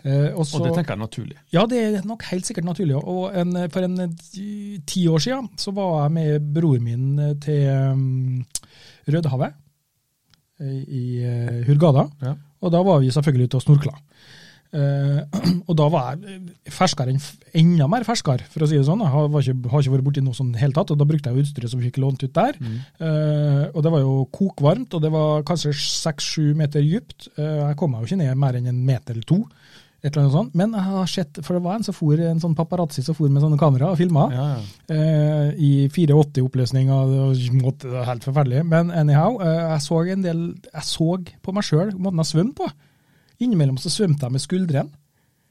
[SPEAKER 1] Eh, og så,
[SPEAKER 2] Og det tenker jeg er naturlig.
[SPEAKER 1] ja, det er nok helt sikkert naturlig. Og en, for en eh, ti ti år siden så var jeg med broren min eh, til um, Rødehavet eh, i eh, Hurgada.
[SPEAKER 2] Ja.
[SPEAKER 1] Og da var vi selvfølgelig ute og snorkla. Eh, *clears throat* og da var jeg eh, ferskere enn enda mer ferskere, for å si det sånn. Jeg har, var ikke, har ikke vært borti noe sånn i det hele tatt, og da brukte jeg jo utstyret som vi fikk lånt ut der. Eh, og det var jo kokvarmt, og det var kanskje seks-sju meter dypt. Eh, jeg kom meg jo ikke ned mer enn en meter eller to. Et eller annet sånt. Men jeg har sett, for det var en som for, en sånn paparazzi som for med sånne kamera og filma.
[SPEAKER 2] Ja, ja.
[SPEAKER 1] Eh, I 480-oppløsning, og det var måtte- det var helt forferdelig. Men anyhow, eh, jeg så en del Jeg så på meg sjøl måten jeg svømte på. Innimellom så svømte jeg med skuldrene.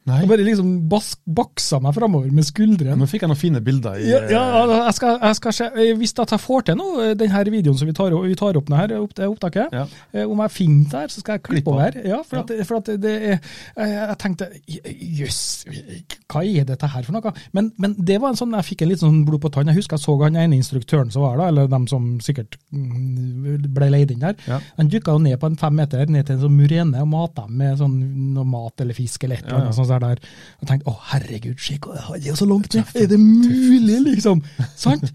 [SPEAKER 2] Nei.
[SPEAKER 1] Jeg bare liksom bas- baksa meg framover med skuldrene.
[SPEAKER 2] Nå fikk jeg noen fine bilder. I,
[SPEAKER 1] Ja, ja, altså, jeg skal, jeg skal se, eh, hvis at jeg får til nå, eh, den her videoen som vi tar, vi tar opp nå her, opp, det opptaket,
[SPEAKER 2] Ja.
[SPEAKER 1] eh, om jeg finner det her, så skal jeg
[SPEAKER 2] Klipp
[SPEAKER 1] klippe
[SPEAKER 2] av.
[SPEAKER 1] over. Ja, for, At, for at det er, jeg, jeg tenkte, jøss, hva er dette her for noe? Men, men det var en sånn, jeg fikk en litt sånn blod på tann. Jeg husker jeg så han ene instruktøren som var da, eller dem som sikkert mm, ble leid inn der.
[SPEAKER 2] Ja.
[SPEAKER 1] Han dykket jo ned på en fem meter, ned til en sånn murene, og matet dem med sånn noe mat eller fisk eller et eller annet
[SPEAKER 2] Ja,
[SPEAKER 1] sånt der. der. Jeg tenkte, å herregud, se hva jeg har jo så langt ned, er det mulig liksom? Sant?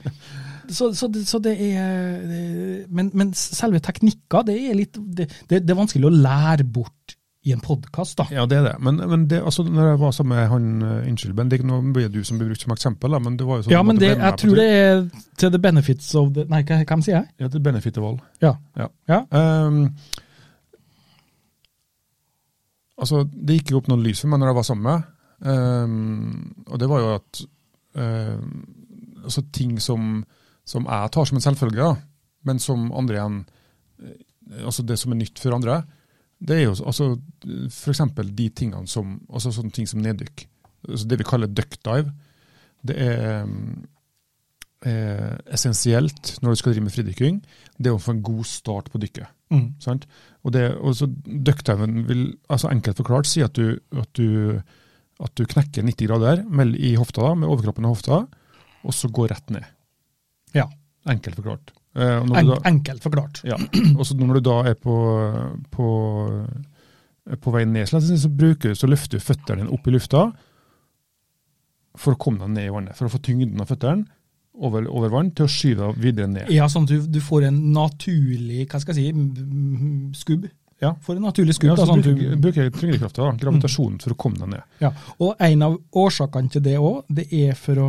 [SPEAKER 1] Så, så, det- så det er det- Men, men selve teknikker, det er litt det, det, det er vanskelig å lære bort i en podkast, da.
[SPEAKER 2] Ja, det er det. Men, men det, altså, når jeg var sammen med han eh, Unnskyld, men det er ikke noe blir du som blir brukt som eksempel, da, men det var jo sånn
[SPEAKER 1] Ja, men
[SPEAKER 2] at
[SPEAKER 1] det,
[SPEAKER 2] ble med
[SPEAKER 1] jeg tror det er til the benefits of the Nei, hva, hvem sier jeg?
[SPEAKER 2] Ja, til benefit of all.
[SPEAKER 1] Ja.
[SPEAKER 2] Ja.
[SPEAKER 1] Ja.
[SPEAKER 2] Ehm, altså, det gikk jo opp noen lys for meg når jeg var sammen med Ehm, og det var jo at ehm, altså ting som, som jeg tar som en selvfølge, da, men som andre igjen eh, Altså det som er nytt for andre, det er jo altså, f.eks. de tingene som Altså sånne ting som neddykk. Altså det vi kaller duckdive. Det er ehm, eh, essensielt når du skal drive med fridykking, det er å få en god start på dykket.
[SPEAKER 1] Mm.
[SPEAKER 2] Sant? Og, det, og så duckdiven vil, altså enkelt forklart, si at du, at du, at du knekker 90 grader mell- i hofta, da, med overkroppen og hofta, og så går rett ned.
[SPEAKER 1] Ja.
[SPEAKER 2] Enkelt forklart. Eh, og når,
[SPEAKER 1] En,
[SPEAKER 2] du da,
[SPEAKER 1] enkelt forklart.
[SPEAKER 2] ja, og så når du da er på, på, på vei ned, så, så, bruker, du- så løfter du føttene dine opp i lufta for å komme deg ned i vannet. For å få tyngden av føttene over, over vann til å skyve deg videre ned.
[SPEAKER 1] Ja, sånn at du, du får en naturlig hva skal jeg si, mm, skubb.
[SPEAKER 2] Ja.
[SPEAKER 1] Får en naturlig skubb.
[SPEAKER 2] Ja,
[SPEAKER 1] da,
[SPEAKER 2] så
[SPEAKER 1] sånn at
[SPEAKER 2] bruker,
[SPEAKER 1] du,
[SPEAKER 2] bruker tyngdekrafta, da, gravitasjonen, for å komme deg ned.
[SPEAKER 1] ja. Og en av årsakene til det òg, det er for å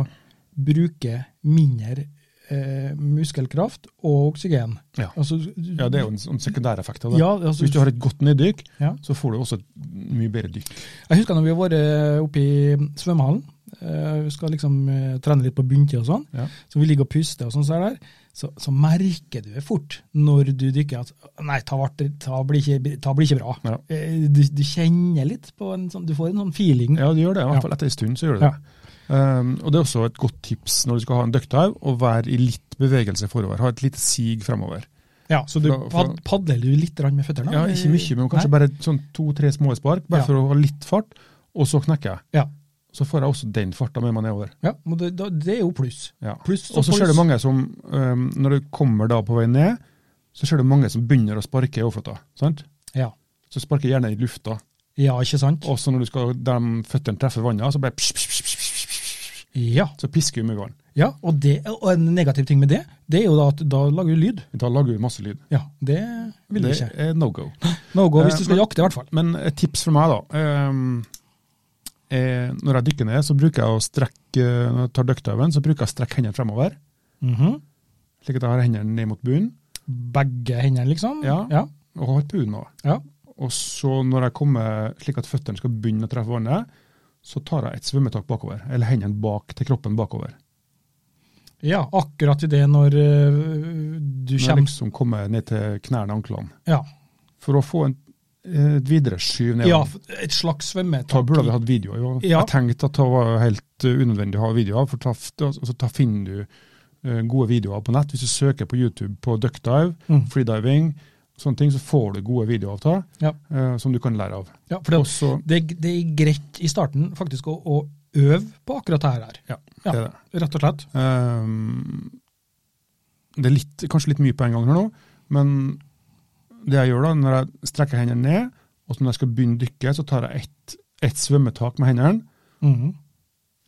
[SPEAKER 1] bruke mindre eh, muskelkraft og oksygen.
[SPEAKER 2] Ja.
[SPEAKER 1] Altså,
[SPEAKER 2] Ja, Det er jo en, en sekundæreffekt av det.
[SPEAKER 1] Ja, altså,
[SPEAKER 2] Hvis du har et godt neddykk,
[SPEAKER 1] ja.
[SPEAKER 2] så får du også et mye bedre dykk.
[SPEAKER 1] Jeg husker når vi har vært eh, oppe i svømmehallen. eh, Vi skal liksom eh, trene litt på bunntid og sånn.
[SPEAKER 2] Ja.
[SPEAKER 1] Så vi ligger og puster og sånn, så, er det der, så, så merker du det fort når du dykker at nei, ta, vart, ta, blir, ikke, ta blir ikke bra.
[SPEAKER 2] Ja.
[SPEAKER 1] Eh, Du, du kjenner litt på en sånn, du får en sånn feeling.
[SPEAKER 2] Ja, det gjør det. I
[SPEAKER 1] Ja.
[SPEAKER 2] hvert fall etter en stund så gjør det det. Um, og det er også et godt tips når du skal ha en duckdive, å være i litt bevegelse forover. Ha et lite sig fremover.
[SPEAKER 1] Ja, så du
[SPEAKER 2] For da- for-
[SPEAKER 1] pad- padler du litt grann med føttene?
[SPEAKER 2] Ja, ikke mye, men kanskje
[SPEAKER 1] Nei?
[SPEAKER 2] bare sånn to-tre små spark, bare
[SPEAKER 1] Ja.
[SPEAKER 2] for å ha litt fart, og så knekker jeg.
[SPEAKER 1] Ja.
[SPEAKER 2] Så får jeg også den farta med meg nedover.
[SPEAKER 1] ja men det, da- det er jo pluss.
[SPEAKER 2] Ja.
[SPEAKER 1] Pluss og
[SPEAKER 2] Og så
[SPEAKER 1] pluss.
[SPEAKER 2] ser du mange som, um, når du kommer da på vei ned, så ser du mange som begynner å sparke i overflata. sant?
[SPEAKER 1] Ja.
[SPEAKER 2] Så sparker jeg gjerne i lufta.
[SPEAKER 1] ja, ikke sant?
[SPEAKER 2] Også når du skal, de føttene treffer vannet, så bare psh, psh, psh, psh, psh, psh,
[SPEAKER 1] Ja,
[SPEAKER 2] så pisker vi med vann.
[SPEAKER 1] ja og, det, og en negativ ting med det, det er jo da at da lager du lyd.
[SPEAKER 2] Da lager vi masse lyd.
[SPEAKER 1] Ja, det vil du
[SPEAKER 2] det
[SPEAKER 1] ikke.
[SPEAKER 2] er no go.
[SPEAKER 1] No go hvis
[SPEAKER 2] Eh,
[SPEAKER 1] du skal
[SPEAKER 2] men-
[SPEAKER 1] jakte, i hvert fall.
[SPEAKER 2] Men et tips for meg, da. ehm, eh, når jeg dykker ned, så bruker jeg å strekke når jeg tar duckdiven, så bruker jeg å strekke hendene fremover. Mhm. Slik at jeg har hendene ned mot bunnen,
[SPEAKER 1] Begge hendene, liksom?
[SPEAKER 2] Ja.
[SPEAKER 1] ja.
[SPEAKER 2] og har bunnen òg.
[SPEAKER 1] ja.
[SPEAKER 2] Og så når jeg kommer slik at føttene skal begynne å treffe vannet, så tar jeg et svømmetak bakover. Eller hendene bak til kroppen bakover.
[SPEAKER 1] Ja, akkurat i det når øh, du
[SPEAKER 2] Når jeg
[SPEAKER 1] kommer
[SPEAKER 2] liksom kommer ned til knærne og anklene.
[SPEAKER 1] ja.
[SPEAKER 2] For å få en, eh, et videre skyv nedover.
[SPEAKER 1] ja, et slags svømmetak.
[SPEAKER 2] Da burde vi hatt video. Jo.
[SPEAKER 1] Ja.
[SPEAKER 2] Jeg tenkte at det var helt uh, unødvendig å ha video av, for ta, altså, ta finner du uh, gode videoer på nett. Hvis du søker på YouTube på duckdive,
[SPEAKER 1] Mm.
[SPEAKER 2] freediving, sånne ting, så får du gode videoer av det,
[SPEAKER 1] Ja.
[SPEAKER 2] uh, som du kan lære av.
[SPEAKER 1] Ja, for det,
[SPEAKER 2] Også,
[SPEAKER 1] det, det er greit i starten faktisk å, å øve på akkurat det her.
[SPEAKER 2] ja,
[SPEAKER 1] Ja.
[SPEAKER 2] det er det.
[SPEAKER 1] Rett og slett.
[SPEAKER 2] Um, det er litt, kanskje litt mye på en gang her nå, men det jeg gjør da, når jeg strekker hendene ned, og så når jeg skal begynne å dykke, så tar jeg ett et svømmetak med hendene,
[SPEAKER 1] Mhm.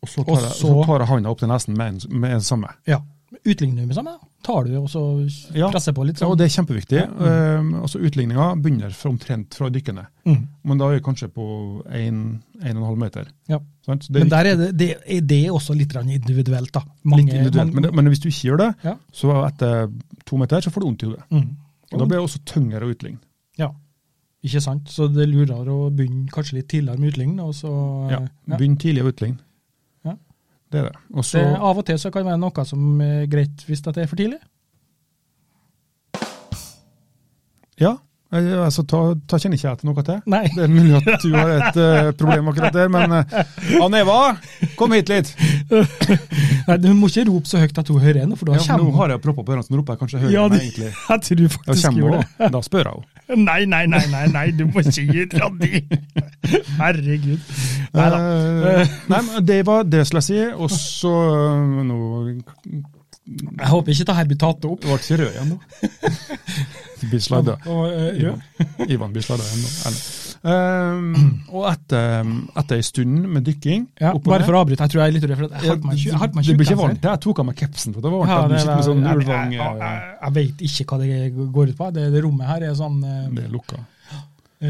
[SPEAKER 2] og så
[SPEAKER 1] Og
[SPEAKER 2] tar, jeg,
[SPEAKER 1] så-
[SPEAKER 2] så tar jeg handa opp til nesen med en, med en samme.
[SPEAKER 1] Ja. Utligner du med samme? da? Tar du det og så
[SPEAKER 2] Ja.
[SPEAKER 1] presser på litt?
[SPEAKER 2] Ja,
[SPEAKER 1] Sånn?
[SPEAKER 2] og det er kjempeviktig.
[SPEAKER 1] Ja, mm.
[SPEAKER 2] Um, altså Utligninga begynner fra omtrent fra dykkene,
[SPEAKER 1] Mhm.
[SPEAKER 2] men da er vi kanskje på 1-1,5 meter.
[SPEAKER 1] Ja.
[SPEAKER 2] Sant? Så
[SPEAKER 1] Men
[SPEAKER 2] litt-
[SPEAKER 1] der er det, det, er det er også litt grann individuelt, da.
[SPEAKER 2] litt individuelt. men, det- men hvis du ikke gjør det,
[SPEAKER 1] Ja.
[SPEAKER 2] så etter to meter så får du vondt i hodet.
[SPEAKER 1] Mhm.
[SPEAKER 2] Og Da blir det også tyngre å utligne.
[SPEAKER 1] Ja, ikke sant? Så det er lurere å begynne kanskje litt tidligere med utligning, og så
[SPEAKER 2] Ja.
[SPEAKER 1] Eh, ja.
[SPEAKER 2] Begynn tidlig å utligne.
[SPEAKER 1] Ja.
[SPEAKER 2] Det er det. Og
[SPEAKER 1] Det,
[SPEAKER 2] så
[SPEAKER 1] av og til så kan det være noe som er greit hvis at det er for
[SPEAKER 2] *laughs*
[SPEAKER 1] tidlig.
[SPEAKER 2] Ja, eh, altså, ta, ta kjenner ikke jeg til noe til.
[SPEAKER 1] Nei.
[SPEAKER 2] Det er mulig at du har et eh, problem akkurat der, men eh, Ann Eva, kom hit litt!
[SPEAKER 1] *laughs* Nei, Du må ikke rope så høyt at hun hører henne, for da
[SPEAKER 2] Ja, for nå
[SPEAKER 1] kommer
[SPEAKER 2] har jeg proppa på ørene, så nå roper jeg kanskje høyere
[SPEAKER 1] Ja,
[SPEAKER 2] enn
[SPEAKER 1] det- *laughs*
[SPEAKER 2] jeg egentlig
[SPEAKER 1] Jeg tror
[SPEAKER 2] Da
[SPEAKER 1] faktisk
[SPEAKER 2] kommer
[SPEAKER 1] gjorde
[SPEAKER 2] hun,
[SPEAKER 1] det.
[SPEAKER 2] og da spør jeg henne.
[SPEAKER 1] *laughs* Nei, nei, nei, nei, nei, du må ikke gi ut radi! *laughs* Herregud. Nei da.
[SPEAKER 2] Eh, nei, men det var det skulle jeg si. Og så eh, Nå
[SPEAKER 1] Jeg håper ikke det her blir tatt opp.
[SPEAKER 2] Du ble ikke rød igjen nå.
[SPEAKER 1] *laughs*
[SPEAKER 2] Du blir sladda.
[SPEAKER 1] Og, eh, ja.
[SPEAKER 2] Ivan blir sladda igjen nå. Eller. Eh, *clears throat* og etter, etter ei stund med dykking
[SPEAKER 1] Ehm, Ja,
[SPEAKER 2] opp og
[SPEAKER 1] bare
[SPEAKER 2] ned-
[SPEAKER 1] for å avbryte, jeg tror jeg er litt redd for at jeg har på meg tju- jeg har på meg altså.
[SPEAKER 2] Du blir ikke
[SPEAKER 1] tjukkaser.
[SPEAKER 2] vant til det. Jeg tok av meg kapsen. for det var
[SPEAKER 1] Ja,
[SPEAKER 2] varmt.
[SPEAKER 1] det,
[SPEAKER 2] Jeg
[SPEAKER 1] er-
[SPEAKER 2] sitter med sånn
[SPEAKER 1] jeg,
[SPEAKER 2] ulvang...
[SPEAKER 1] jeg,
[SPEAKER 2] eh,
[SPEAKER 1] jeg, jeg vet ikke hva det går ut på. Det, det rommet her er sånn eh,
[SPEAKER 2] Det er lukka.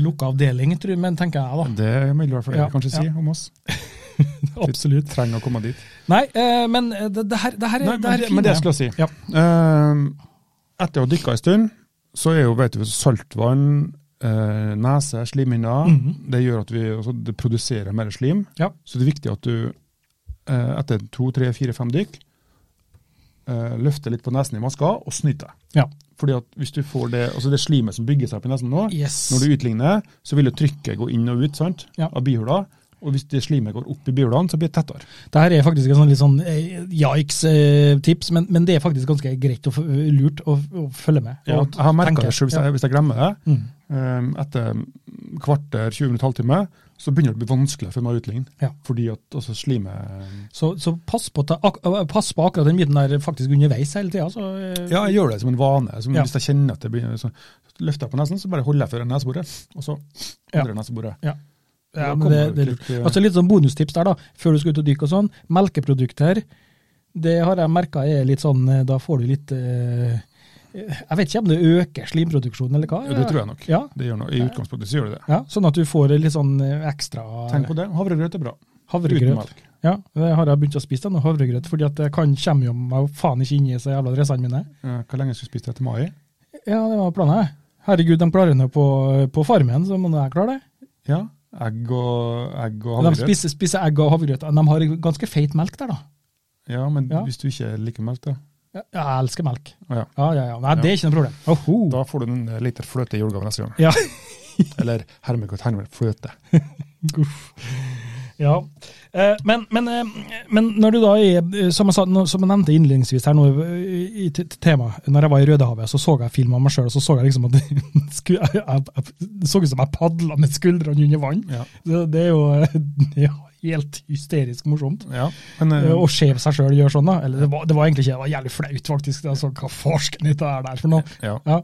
[SPEAKER 1] Lukka avdeling, tror jeg, men tenker jeg,
[SPEAKER 2] Det vil i hvert fall
[SPEAKER 1] Ja,
[SPEAKER 2] jeg kanskje si om
[SPEAKER 1] *laughs*
[SPEAKER 2] oss.
[SPEAKER 1] da. Absolutt.
[SPEAKER 2] Trenger å komme dit.
[SPEAKER 1] Nei, eh, men det, det, her, det her er,
[SPEAKER 2] Nei,
[SPEAKER 1] det her
[SPEAKER 2] men,
[SPEAKER 1] er
[SPEAKER 2] det, men det skulle jeg si.
[SPEAKER 1] Ja.
[SPEAKER 2] Ehm, etter å ha dykka en stund, så er jo vet du, saltvann eh, nese, slimhinner.
[SPEAKER 1] Mhm.
[SPEAKER 2] Det gjør at vi altså, det produserer mer slim.
[SPEAKER 1] Ja.
[SPEAKER 2] Så det er viktig at du eh, etter to, tre, fire, fem dykk eh, løfter litt på nesen i maska og snyter deg.
[SPEAKER 1] Ja.
[SPEAKER 2] Fordi at hvis du får det, altså det slimet som bygger seg opp i nesen nå,
[SPEAKER 1] Yes.
[SPEAKER 2] når du utligner, så vil jo trykket gå inn og ut sant?
[SPEAKER 1] Ja.
[SPEAKER 2] av bihula. Og hvis det slimet går opp i bihulene, så blir det tettere.
[SPEAKER 1] Det her er faktisk en sånn litt sånn eh, yikes-tips, men, men det er faktisk ganske greit og f- lurt å, å følge med.
[SPEAKER 2] Ja,
[SPEAKER 1] og
[SPEAKER 2] jeg har merka
[SPEAKER 1] tenke.
[SPEAKER 2] det sjøl, hvis,
[SPEAKER 1] Ja.
[SPEAKER 2] jeg- hvis jeg glemmer det.
[SPEAKER 1] Mm.
[SPEAKER 2] Um, etter kvarter, 20 minutter, halvtime, så begynner det å bli vanskeligere for meg å utligne.
[SPEAKER 1] Ja.
[SPEAKER 2] Fordi at altså, slimet
[SPEAKER 1] Så, så pass, på, å ta ak øh, pass på akkurat den biten der faktisk underveis hele tida. Så, eh,
[SPEAKER 2] Ja, jeg gjør det som en vane. Som
[SPEAKER 1] Ja.
[SPEAKER 2] Hvis jeg kjenner at det begynner så Løfter jeg på nesen, så bare holder jeg for neseboret, og så endrer jeg neseboret.
[SPEAKER 1] ja,
[SPEAKER 2] da
[SPEAKER 1] men det,
[SPEAKER 2] kommer
[SPEAKER 1] det er
[SPEAKER 2] det
[SPEAKER 1] lurt.
[SPEAKER 2] litt, eh,
[SPEAKER 1] Altså Litt sånn bonustips der, da. Før du skal ut og dykke og sånn. Melkeprodukter. Det har jeg merka er litt sånn eh, Da får du litt eh, Jeg vet ikke om det øker slimproduksjonen eller hva.
[SPEAKER 2] Ja, det tror jeg nok.
[SPEAKER 1] Ja,
[SPEAKER 2] Det gjør noe. I utgangspunktet så gjør det det.
[SPEAKER 1] ja, Sånn at du får litt sånn eh, ekstra
[SPEAKER 2] Tenk på det. Havregrøt er bra. Uten
[SPEAKER 1] havregrøt.
[SPEAKER 2] melk.
[SPEAKER 1] Ja, det har jeg begynt å spise, den havregrøt, fordi at det kan, kommer jo meg faen ikke inn i så jævla dressene mine.
[SPEAKER 2] Eh, Hvor lenge skal jeg spise det til mai?
[SPEAKER 1] Ja, det var planen, jeg. Herregud, de klarer det på, på farmen, så må jeg klare det.
[SPEAKER 2] Ja, egg og, egg og
[SPEAKER 1] De
[SPEAKER 2] havregrøt.
[SPEAKER 1] spiser, spiser egg og havregrøt. De har ganske feit melk der, da.
[SPEAKER 2] Ja, men
[SPEAKER 1] Ja.
[SPEAKER 2] hvis du ikke liker melk, da,
[SPEAKER 1] Ja, Jeg elsker melk.
[SPEAKER 2] Å ja.
[SPEAKER 1] Ja, ja, ja. Nei, det er ikke noe problem. Oho.
[SPEAKER 2] da får du en eh, liter fløte i julegave neste gang.
[SPEAKER 1] Ja. *laughs*
[SPEAKER 2] Eller hermekott, hermekott, fløte.
[SPEAKER 1] ja. Eh, Men, men, eh, men når du da er, eh, som jeg, sa, nå- som jeg nevnte innledningsvis her nå eh, i t- t- temaet, når jeg var i Rødehavet, så så jeg film av meg sjøl, og så så jeg liksom at *laughs* det sku- jeg, jeg, jeg så ut som jeg padla med skuldrene under vann.
[SPEAKER 2] Ja.
[SPEAKER 1] Det, det er jo *laughs* det er jo helt hysterisk morsomt.
[SPEAKER 2] Ja, men eh,
[SPEAKER 1] Eh, Å se seg sjøl gjøre sånn, da. Eller det var, det var egentlig ikke det, var jævlig flaut, faktisk. Jeg så, hva farsken dette er der for noe?
[SPEAKER 2] ja.
[SPEAKER 1] Ja.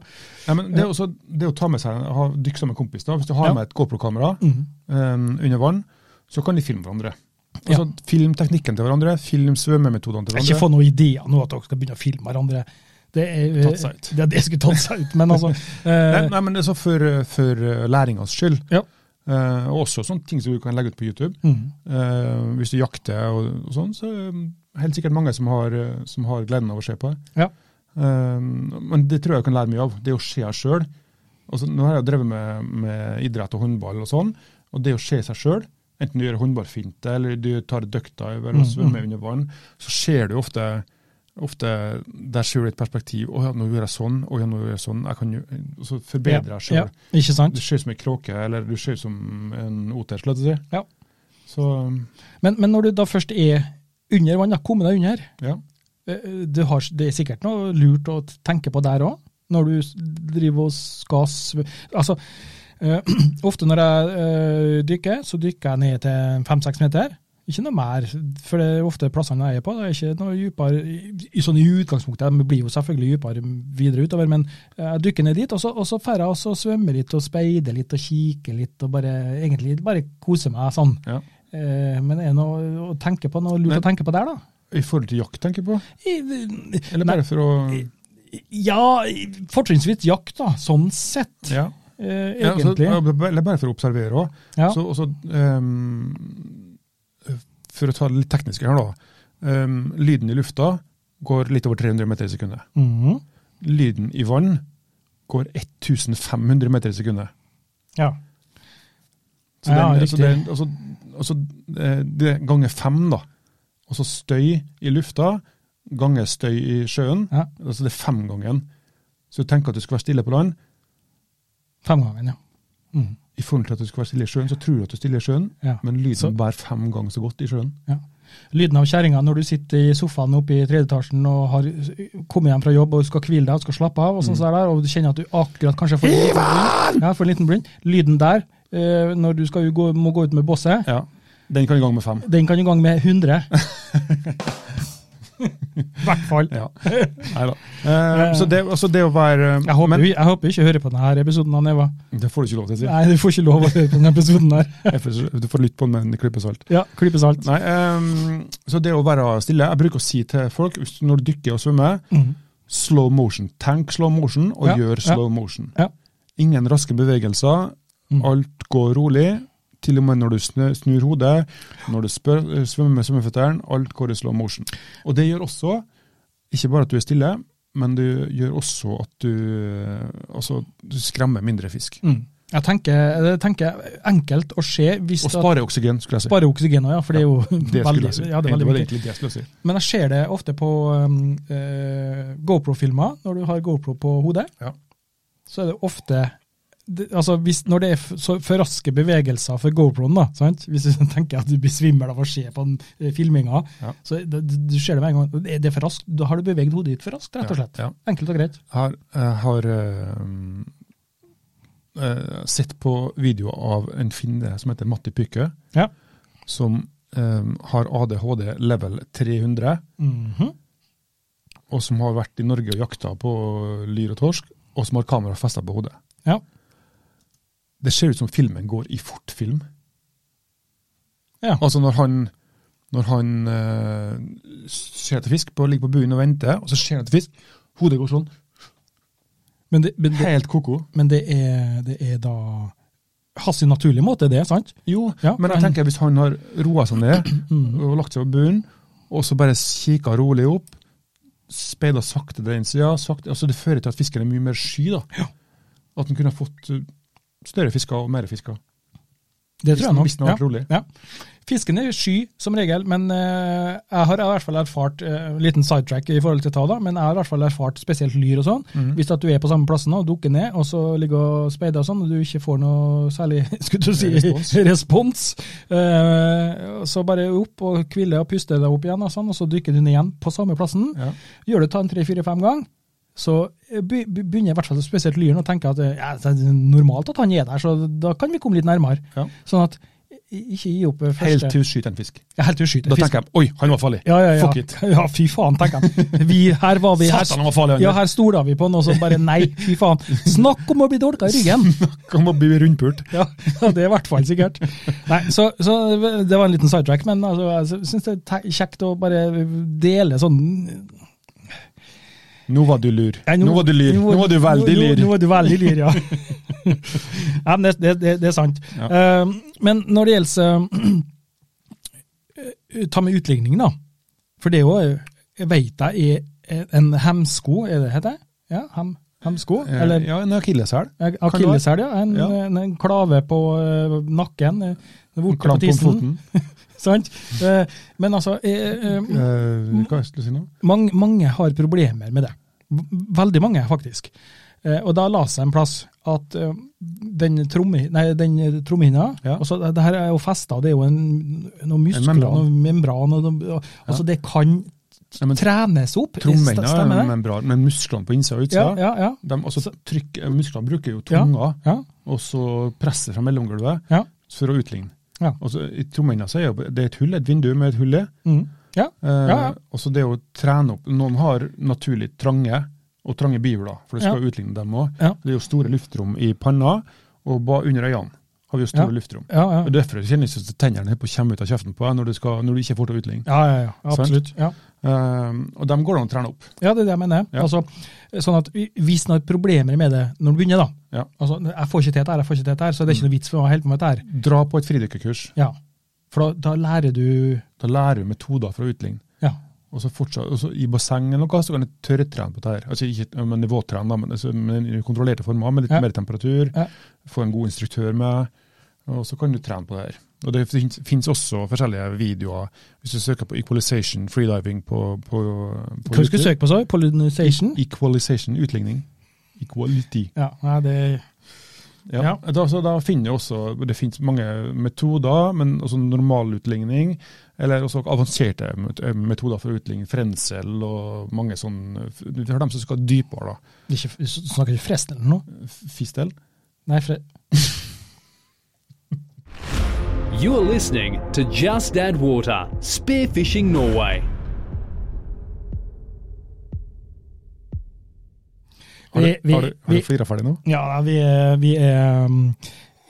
[SPEAKER 2] Nei, men det, er også, det å ta med seg, ha dykk sammen med kompis, da, hvis du har
[SPEAKER 1] Ja.
[SPEAKER 2] med et GoPro-kamera
[SPEAKER 1] Mm.
[SPEAKER 2] eh, under vann, så kan de filme hverandre.
[SPEAKER 1] Ja.
[SPEAKER 2] Altså, Film teknikken til hverandre, film svømmemetodene til
[SPEAKER 1] Ikke
[SPEAKER 2] hverandre.
[SPEAKER 1] få noen ideer nå at dere skal begynne å filme hverandre. Det er eh,
[SPEAKER 2] Tatt
[SPEAKER 1] *laughs*
[SPEAKER 2] seg ut.
[SPEAKER 1] Det, er det jeg skulle tatt seg ut, men
[SPEAKER 2] *laughs*
[SPEAKER 1] altså
[SPEAKER 2] Nei,
[SPEAKER 1] eh,
[SPEAKER 2] nei, men det er så for, eh, for eh, læringas skyld.
[SPEAKER 1] Ja.
[SPEAKER 2] Eh, og også sånne ting som du kan legge ut på YouTube.
[SPEAKER 1] mm,
[SPEAKER 2] Eh, hvis du jakter og, og sånn, så er det helt sikkert mange som har, eh, som har gleden av å se på det.
[SPEAKER 1] Ja.
[SPEAKER 2] Eh, men det tror jeg jeg kan lære mye av. Det å se seg sjøl. Altså, nå har jeg drevet med, med idrett og håndball og sånn, og det å se seg sjøl, enten du gjør håndballfinte eller du tar duckdive eller
[SPEAKER 1] Mm, mm.
[SPEAKER 2] svømmer under vann, så ser du ofte, ofte der ser du et perspektiv. 'Å ja, nå gjør jeg sånn, å ja, nå gjør jeg sånn.' Jeg kan jo, og så forbedrer jeg sjøl.
[SPEAKER 1] ja, ikke
[SPEAKER 2] Du
[SPEAKER 1] sant?
[SPEAKER 2] ser ut som ei kråke, eller du ser ut som en oter, skulle jeg til å si.
[SPEAKER 1] Ja.
[SPEAKER 2] Så
[SPEAKER 1] Men, men når du da først er under vann, da, komme deg under.
[SPEAKER 2] ja.
[SPEAKER 1] eh, Du har, det er sikkert noe lurt å tenke på der òg, når du s- driver og skal svø- Altså, eh, *clears throat* ofte når jeg eh, dykker, så dykker jeg ned til fem-seks meter. Ikke noe mer, for det er ofte plassene jeg er på. Det er ikke noe dypere, i- i- sånn i utgangspunktet, de blir jo selvfølgelig dypere videre utover, men eh, jeg dykker ned dit, og så, og så drar jeg og så svømmer litt og speider litt og kikker litt og bare, egentlig bare koser meg sånn.
[SPEAKER 2] ja.
[SPEAKER 1] Eh, Men er det noe å tenke på, noe lurt å tenke på der, da?
[SPEAKER 2] I forhold til jakt, tenker jeg på.
[SPEAKER 1] I-
[SPEAKER 2] Eller
[SPEAKER 1] Nei.
[SPEAKER 2] bare for å
[SPEAKER 1] Ja, fortrinnsvis jakt, da. Sånn sett,
[SPEAKER 2] ja.
[SPEAKER 1] eh,
[SPEAKER 2] Ja, altså,
[SPEAKER 1] egentlig. Ja,
[SPEAKER 2] eller bare for å observere òg.
[SPEAKER 1] ja.
[SPEAKER 2] ehm, for å ta det litt tekniske her, da. Ehm, lyden i lufta går litt over 300 meter i sekundet.
[SPEAKER 1] Mhm.
[SPEAKER 2] Lyden i vann går 1500 meter i sekundet.
[SPEAKER 1] ja.
[SPEAKER 2] Så
[SPEAKER 1] Ja, riktig.
[SPEAKER 2] den, altså, den, altså, altså, eh, det er ganger fem, da. Altså støy i lufta ganger støy i sjøen.
[SPEAKER 1] Ja.
[SPEAKER 2] Altså det er femgangen. Så du tenker at du skal være stille på land.
[SPEAKER 1] Femgangen, ja. Mhm.
[SPEAKER 2] I forhold til at du skal være stille i sjøen, så tror du at du er stille i sjøen,
[SPEAKER 1] Ja.
[SPEAKER 2] men lyden
[SPEAKER 1] Så-
[SPEAKER 2] bærer fem ganger så godt i sjøen.
[SPEAKER 1] ja. Lyden av kjerringa når du sitter i sofaen oppe i tredje etasjen og har kommet hjem fra jobb og skal hvile deg og skal slappe av, og
[SPEAKER 2] Mm.
[SPEAKER 1] sånn der, og du kjenner at du akkurat kanskje får en liten blind. Ja, får en liten blind. Lyden der, eh, når du skal jo gå, må gå ut med bosset,
[SPEAKER 2] Ja. Den kan i gang med fem.
[SPEAKER 1] den kan i gang med
[SPEAKER 2] *laughs*
[SPEAKER 1] 100. I hvert fall. *laughs*
[SPEAKER 2] Ja. Nei da. Eh, så det, altså det å være
[SPEAKER 1] Jeg håper,
[SPEAKER 2] men,
[SPEAKER 1] du- jeg håper ikke du hører på denne episoden, av Neva.
[SPEAKER 2] Det får du ikke lov til å si.
[SPEAKER 1] Nei, du får ikke lov å høre på denne episoden her.
[SPEAKER 2] Jeg får- Du får lytte på den med en klype salt.
[SPEAKER 1] Ja, klippes alt.
[SPEAKER 2] Nei, eh, så det å være stille Jeg bruker å si til folk hvis du- når du dykker og svømmer,
[SPEAKER 1] Mhm.
[SPEAKER 2] slow motion. Tenk slow motion, og
[SPEAKER 1] Ja,
[SPEAKER 2] gjør
[SPEAKER 1] ja.
[SPEAKER 2] slow motion.
[SPEAKER 1] Ja.
[SPEAKER 2] Ingen raske bevegelser.
[SPEAKER 1] Mm.
[SPEAKER 2] Alt går rolig. Til og med når du snur, snur hodet, når du spør, eh, svømmer med svømmeføttene. Alt går i slow motion. Og det gjør også, ikke bare at du er stille, eh, men det gjør også at du, altså, du skremmer mindre fisk.
[SPEAKER 1] Mm. Jeg tenker, jeg tenker enkelt å se hvis
[SPEAKER 2] Og spare oksygen, skulle jeg si.
[SPEAKER 1] Spare oksygen også, ja, for det er jo
[SPEAKER 2] Det skulle
[SPEAKER 1] veldig,
[SPEAKER 2] jeg si.
[SPEAKER 1] ja, det er
[SPEAKER 2] Det
[SPEAKER 1] veldig
[SPEAKER 2] var
[SPEAKER 1] viktig.
[SPEAKER 2] egentlig det jeg skulle si.
[SPEAKER 1] Men jeg ser det ofte på um, eh, GoPro-filmer, når du har GoPro på hodet.
[SPEAKER 2] Ja.
[SPEAKER 1] Så er det ofte det, altså hvis, Når det er f- så for raske bevegelser for GoPro-en, da, sant? hvis du tenker at du blir svimmel av å se på den eh, filminga,
[SPEAKER 2] Ja.
[SPEAKER 1] så det, du ser det med en gang. Det, det er for raskt. Da har du beveget hodet ditt for raskt, rett og
[SPEAKER 2] Ja,
[SPEAKER 1] slett.
[SPEAKER 2] ja.
[SPEAKER 1] Enkelt og greit.
[SPEAKER 2] Jeg har, jeg har eh, eh, sett på videoer av en finne som heter Matti Pykke,
[SPEAKER 1] Ja.
[SPEAKER 2] som eh, har ADHD level 300,
[SPEAKER 1] Mhm.
[SPEAKER 2] og som har vært i Norge og jakta på lyr og torsk, og som har kamera festa på hodet.
[SPEAKER 1] ja.
[SPEAKER 2] Det ser ut som filmen går i fortfilm.
[SPEAKER 1] Ja.
[SPEAKER 2] Altså når han, når han eh, ser etter fisk, på, ligger på buen og venter, og så ser han etter fisk, hodet går sånn,
[SPEAKER 1] Men, det, men, det,
[SPEAKER 2] helt koko.
[SPEAKER 1] men det, er, det er da Hans naturlige måte, det, sant?
[SPEAKER 2] Jo,
[SPEAKER 1] Ja,
[SPEAKER 2] men jeg
[SPEAKER 1] men-
[SPEAKER 2] tenker hvis han har roa seg ned
[SPEAKER 1] Mhm.
[SPEAKER 2] og lagt seg på bunnen, og så bare kikka rolig opp, speida sakte den sida altså Det fører til at fisken er mye mer sky. da. At den kunne ha fått uh, større fisker og mer fisker.
[SPEAKER 1] Det
[SPEAKER 2] Hvis
[SPEAKER 1] tror jeg
[SPEAKER 2] den-
[SPEAKER 1] nok.
[SPEAKER 2] hvis den har vært rolig.
[SPEAKER 1] Ja. Fisken er sky som regel, men eh, jeg har i hvert fall erfart uh, liten sidetrack i forhold til ta da, men jeg har i hvert fall erfart spesielt lyr og sånn.
[SPEAKER 2] Mhm.
[SPEAKER 1] Hvis at du er på samme plassen og dukker ned, og så ligger og speider og sånn, og du ikke får noe særlig *laughs* skulle du si, *laughs* respons,
[SPEAKER 2] Respons.
[SPEAKER 1] eh, så bare opp og hvile og puste deg opp igjen, og sånn, og så dykker du ned igjen på samme plassen.
[SPEAKER 2] Ja.
[SPEAKER 1] Gjør du det ta en tre-fire-fem gang, så eh, be- be- begynner i hvert fall spesielt lyren å tenke at eh, ja, det er normalt at han er der, så da kan vi komme litt nærmere.
[SPEAKER 2] Ja.
[SPEAKER 1] Sånn at i- ikke gi opp eh,
[SPEAKER 2] Helt
[SPEAKER 1] første
[SPEAKER 2] til hun skyter en fisk.
[SPEAKER 1] Ja, Helt til du skyter
[SPEAKER 2] Da
[SPEAKER 1] fisk.
[SPEAKER 2] tenker jeg oi, han var farlig.
[SPEAKER 1] ja, ja, ja.
[SPEAKER 2] Fuck it.
[SPEAKER 1] *laughs* Ja, fy faen, tenker jeg. Vi, her var vi her,
[SPEAKER 2] Satan, han var farlig. han
[SPEAKER 1] Ja,
[SPEAKER 2] der.
[SPEAKER 1] her stola vi på han, og så bare nei, fy faen. Snakk om å bli dolka i ryggen!
[SPEAKER 2] Han må bli rundpult.
[SPEAKER 1] Ja, det er i hvert fall sikkert. Nei, så, så det var en liten sidetrack, men altså, jeg syns det er te- kjekt å bare dele sånn
[SPEAKER 2] Nå var du lur.
[SPEAKER 1] Nei,
[SPEAKER 2] nå, var du lyr. Nå, var du veldig
[SPEAKER 1] nå-
[SPEAKER 2] lyr.
[SPEAKER 1] Nå, nå var du veldig lyr, ja. *laughs* ja men det, det, det, det er sant.
[SPEAKER 2] Ja.
[SPEAKER 1] Eh, men når det gjelder eh, Ta med utligning, da. For det er jo, jeg vet jeg, er eh, en hemsko, er det det heter? Ja, hem, hemsko?
[SPEAKER 2] Eh,
[SPEAKER 1] Eller
[SPEAKER 2] Ja, en akilleshæl.
[SPEAKER 1] akilleshæl, ja. En,
[SPEAKER 2] Ja.
[SPEAKER 1] en, en klave på eh, nakken. eh, Vorte på
[SPEAKER 2] Klamp om
[SPEAKER 1] tissen.
[SPEAKER 2] foten.
[SPEAKER 1] *laughs* Sant? Eh, men altså eh, eh,
[SPEAKER 2] Eh, hva skulle jeg si nå?
[SPEAKER 1] mange, mange har problemer med det. V- Veldig mange, faktisk. Eh, og da la seg en plass at eh, den, tromme, nei, den trommehinna
[SPEAKER 2] Ja.
[SPEAKER 1] altså, det- Det her er jo festa, det er jo en, noen muskler,
[SPEAKER 2] membran.
[SPEAKER 1] noen membran og, noe- og, altså, Det kan
[SPEAKER 2] Nei, men
[SPEAKER 1] trenes opp. Eh,
[SPEAKER 2] Trommehinna er
[SPEAKER 1] Stemmer
[SPEAKER 2] jo
[SPEAKER 1] det?
[SPEAKER 2] membran, men musklene på innsida og utsida
[SPEAKER 1] Ja, ja, ja.
[SPEAKER 2] De, altså, trykk, musklene bruker jo tunga,
[SPEAKER 1] ja,
[SPEAKER 2] og så presser fra mellomgulvet
[SPEAKER 1] ja,
[SPEAKER 2] for å utligne.
[SPEAKER 1] Ja.
[SPEAKER 2] Og så I trommehinna så er jo, det er et hull, et vindu med et hull i.
[SPEAKER 1] mm, ja.
[SPEAKER 2] Eh,
[SPEAKER 1] Ja, ja.
[SPEAKER 2] Og så det å trene opp Noen har naturlig trange og trange bihula, for det skal
[SPEAKER 1] Ja.
[SPEAKER 2] jo utligne dem òg.
[SPEAKER 1] Ja.
[SPEAKER 2] Det er jo store luftrom i panna, og ba under øynene har vi jo store
[SPEAKER 1] Ja.
[SPEAKER 2] luftrom.
[SPEAKER 1] Ja, ja.
[SPEAKER 2] Og Derfor kjennes det ut som tennene holder på å komme ut av kjeften på deg når du, skal, når du ikke får til å utligne.
[SPEAKER 1] ja, ja, ja, absolutt. Ja.
[SPEAKER 2] Eh, og dem går det an å trene opp.
[SPEAKER 1] Ja, det er det jeg mener.
[SPEAKER 2] Ja.
[SPEAKER 1] Altså, sånn at Hvis du har problemer med det når du begynner, da
[SPEAKER 2] Ja. Mm.
[SPEAKER 1] altså, Jeg får ikke til dette, her, jeg får ikke til dette, her, så det er ikke noe vits for meg å holde på med dette. her.
[SPEAKER 2] Dra på et fridykkerkurs.
[SPEAKER 1] Ja, for da, da lærer du
[SPEAKER 2] Da lærer du metoder for å utligne.
[SPEAKER 1] Ja,
[SPEAKER 2] Og så fortsatt, og så I basseng eller noe, så kan du tørrtrene på det her. Altså ikke men nivåtrene, da, men, altså, men i kontrollerte former, med litt
[SPEAKER 1] Ja.
[SPEAKER 2] mer temperatur.
[SPEAKER 1] Ja.
[SPEAKER 2] Få en god instruktør med, og så kan du trene på det her. Og Det finnes, finnes også forskjellige videoer. Hvis du søker på equalization, freediving på, på, på
[SPEAKER 1] Hva skal du søke på, så? Pollinization?
[SPEAKER 2] Equalization, utligning. Equality.
[SPEAKER 1] Ja, nei, det
[SPEAKER 2] Ja.
[SPEAKER 1] Ja.
[SPEAKER 2] Da, så da finner jeg også, Det finnes mange metoder, men også normalutligning. Eller også avanserte met- eh, metoder for å utligne frensel og mange sånn Du har dem som skal dypere, da.
[SPEAKER 1] det er ikke, du Snakker ikke Fresnel eller noe?
[SPEAKER 2] Fistel.
[SPEAKER 1] Nei, fre,
[SPEAKER 3] You're listening to Just Add Water Spearfishing Norway.
[SPEAKER 2] Har du,
[SPEAKER 1] Vi- vi-
[SPEAKER 2] har du, har
[SPEAKER 1] vi-
[SPEAKER 2] du flira ferdig nå?
[SPEAKER 1] ja, nei, vi er, vi er um,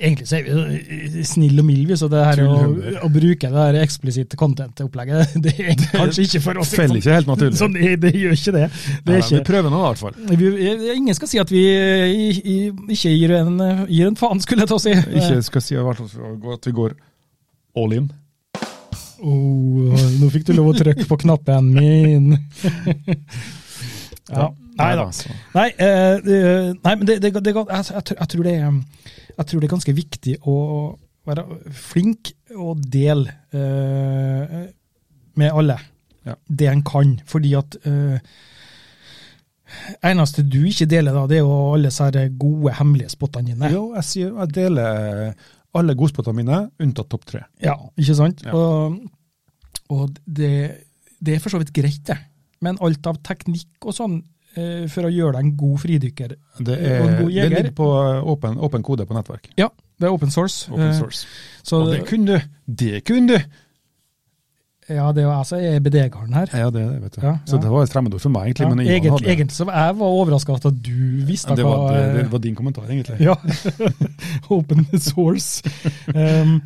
[SPEAKER 1] Egentlig så er vi snille og milde, vi, så det her å,
[SPEAKER 2] Tullhumør.
[SPEAKER 1] å bruke det her eksplisitte content-opplegget, *laughs* det er kanskje ikke for oss.
[SPEAKER 2] Feller ikke helt naturlig.
[SPEAKER 1] Sånn, det, det gjør ikke det. Det
[SPEAKER 2] Nei,
[SPEAKER 1] er
[SPEAKER 2] Vi
[SPEAKER 1] ikke
[SPEAKER 2] prøver nå, i hvert fall.
[SPEAKER 1] vi, Ingen skal si at vi eh, i, i, ikke gir en, gir en faen, skulle jeg ta og si.
[SPEAKER 2] Ikke skal si i hvert fall at vi går all in.
[SPEAKER 1] Oh, nå fikk du lov å trykke på knappen min. ja. Nei da.
[SPEAKER 2] altså.
[SPEAKER 4] så-
[SPEAKER 1] Nei, eh, eh, nei men det, det, det, jeg, jeg, tror- jeg, tror det er, jeg tror det er ganske viktig å være flink og dele eh, med alle
[SPEAKER 2] Ja.
[SPEAKER 1] det en kan. Fordi at eh, eneste du ikke deler, da, det er jo alle disse her gode, hemmelige spottene dine.
[SPEAKER 2] Jo, jeg, sier, jeg deler eh, alle godspotene mine, unntatt topp tre.
[SPEAKER 1] Ja, ikke sant?
[SPEAKER 2] Ja.
[SPEAKER 1] Og, og det, det er for så vidt greit, det. Men alt av teknikk og sånn eh, for å gjøre deg en god fridykker Og
[SPEAKER 2] Det, er,
[SPEAKER 1] en god
[SPEAKER 2] det
[SPEAKER 1] jeger.
[SPEAKER 2] ligger på eh, åpen, åpen kode på nettverk.
[SPEAKER 1] Ja, det er open source.
[SPEAKER 2] Open
[SPEAKER 1] Eh,
[SPEAKER 2] source.
[SPEAKER 1] Så,
[SPEAKER 2] og det kunne du! Det kunne du!
[SPEAKER 1] ja, det er jo jeg som er bedegaren her.
[SPEAKER 2] Ja, det er det, vet du.
[SPEAKER 1] Ja,
[SPEAKER 2] Så
[SPEAKER 1] ja.
[SPEAKER 2] det var et fremmedord for meg, egentlig. men
[SPEAKER 1] Ja,
[SPEAKER 2] Ivan
[SPEAKER 1] egentlig,
[SPEAKER 2] hadde det.
[SPEAKER 1] egentlig så var jeg var overraska at du visste
[SPEAKER 2] Ja, det, var, det, det
[SPEAKER 1] hva
[SPEAKER 2] var din kommentar, egentlig.
[SPEAKER 1] ja, *laughs* open source. Um,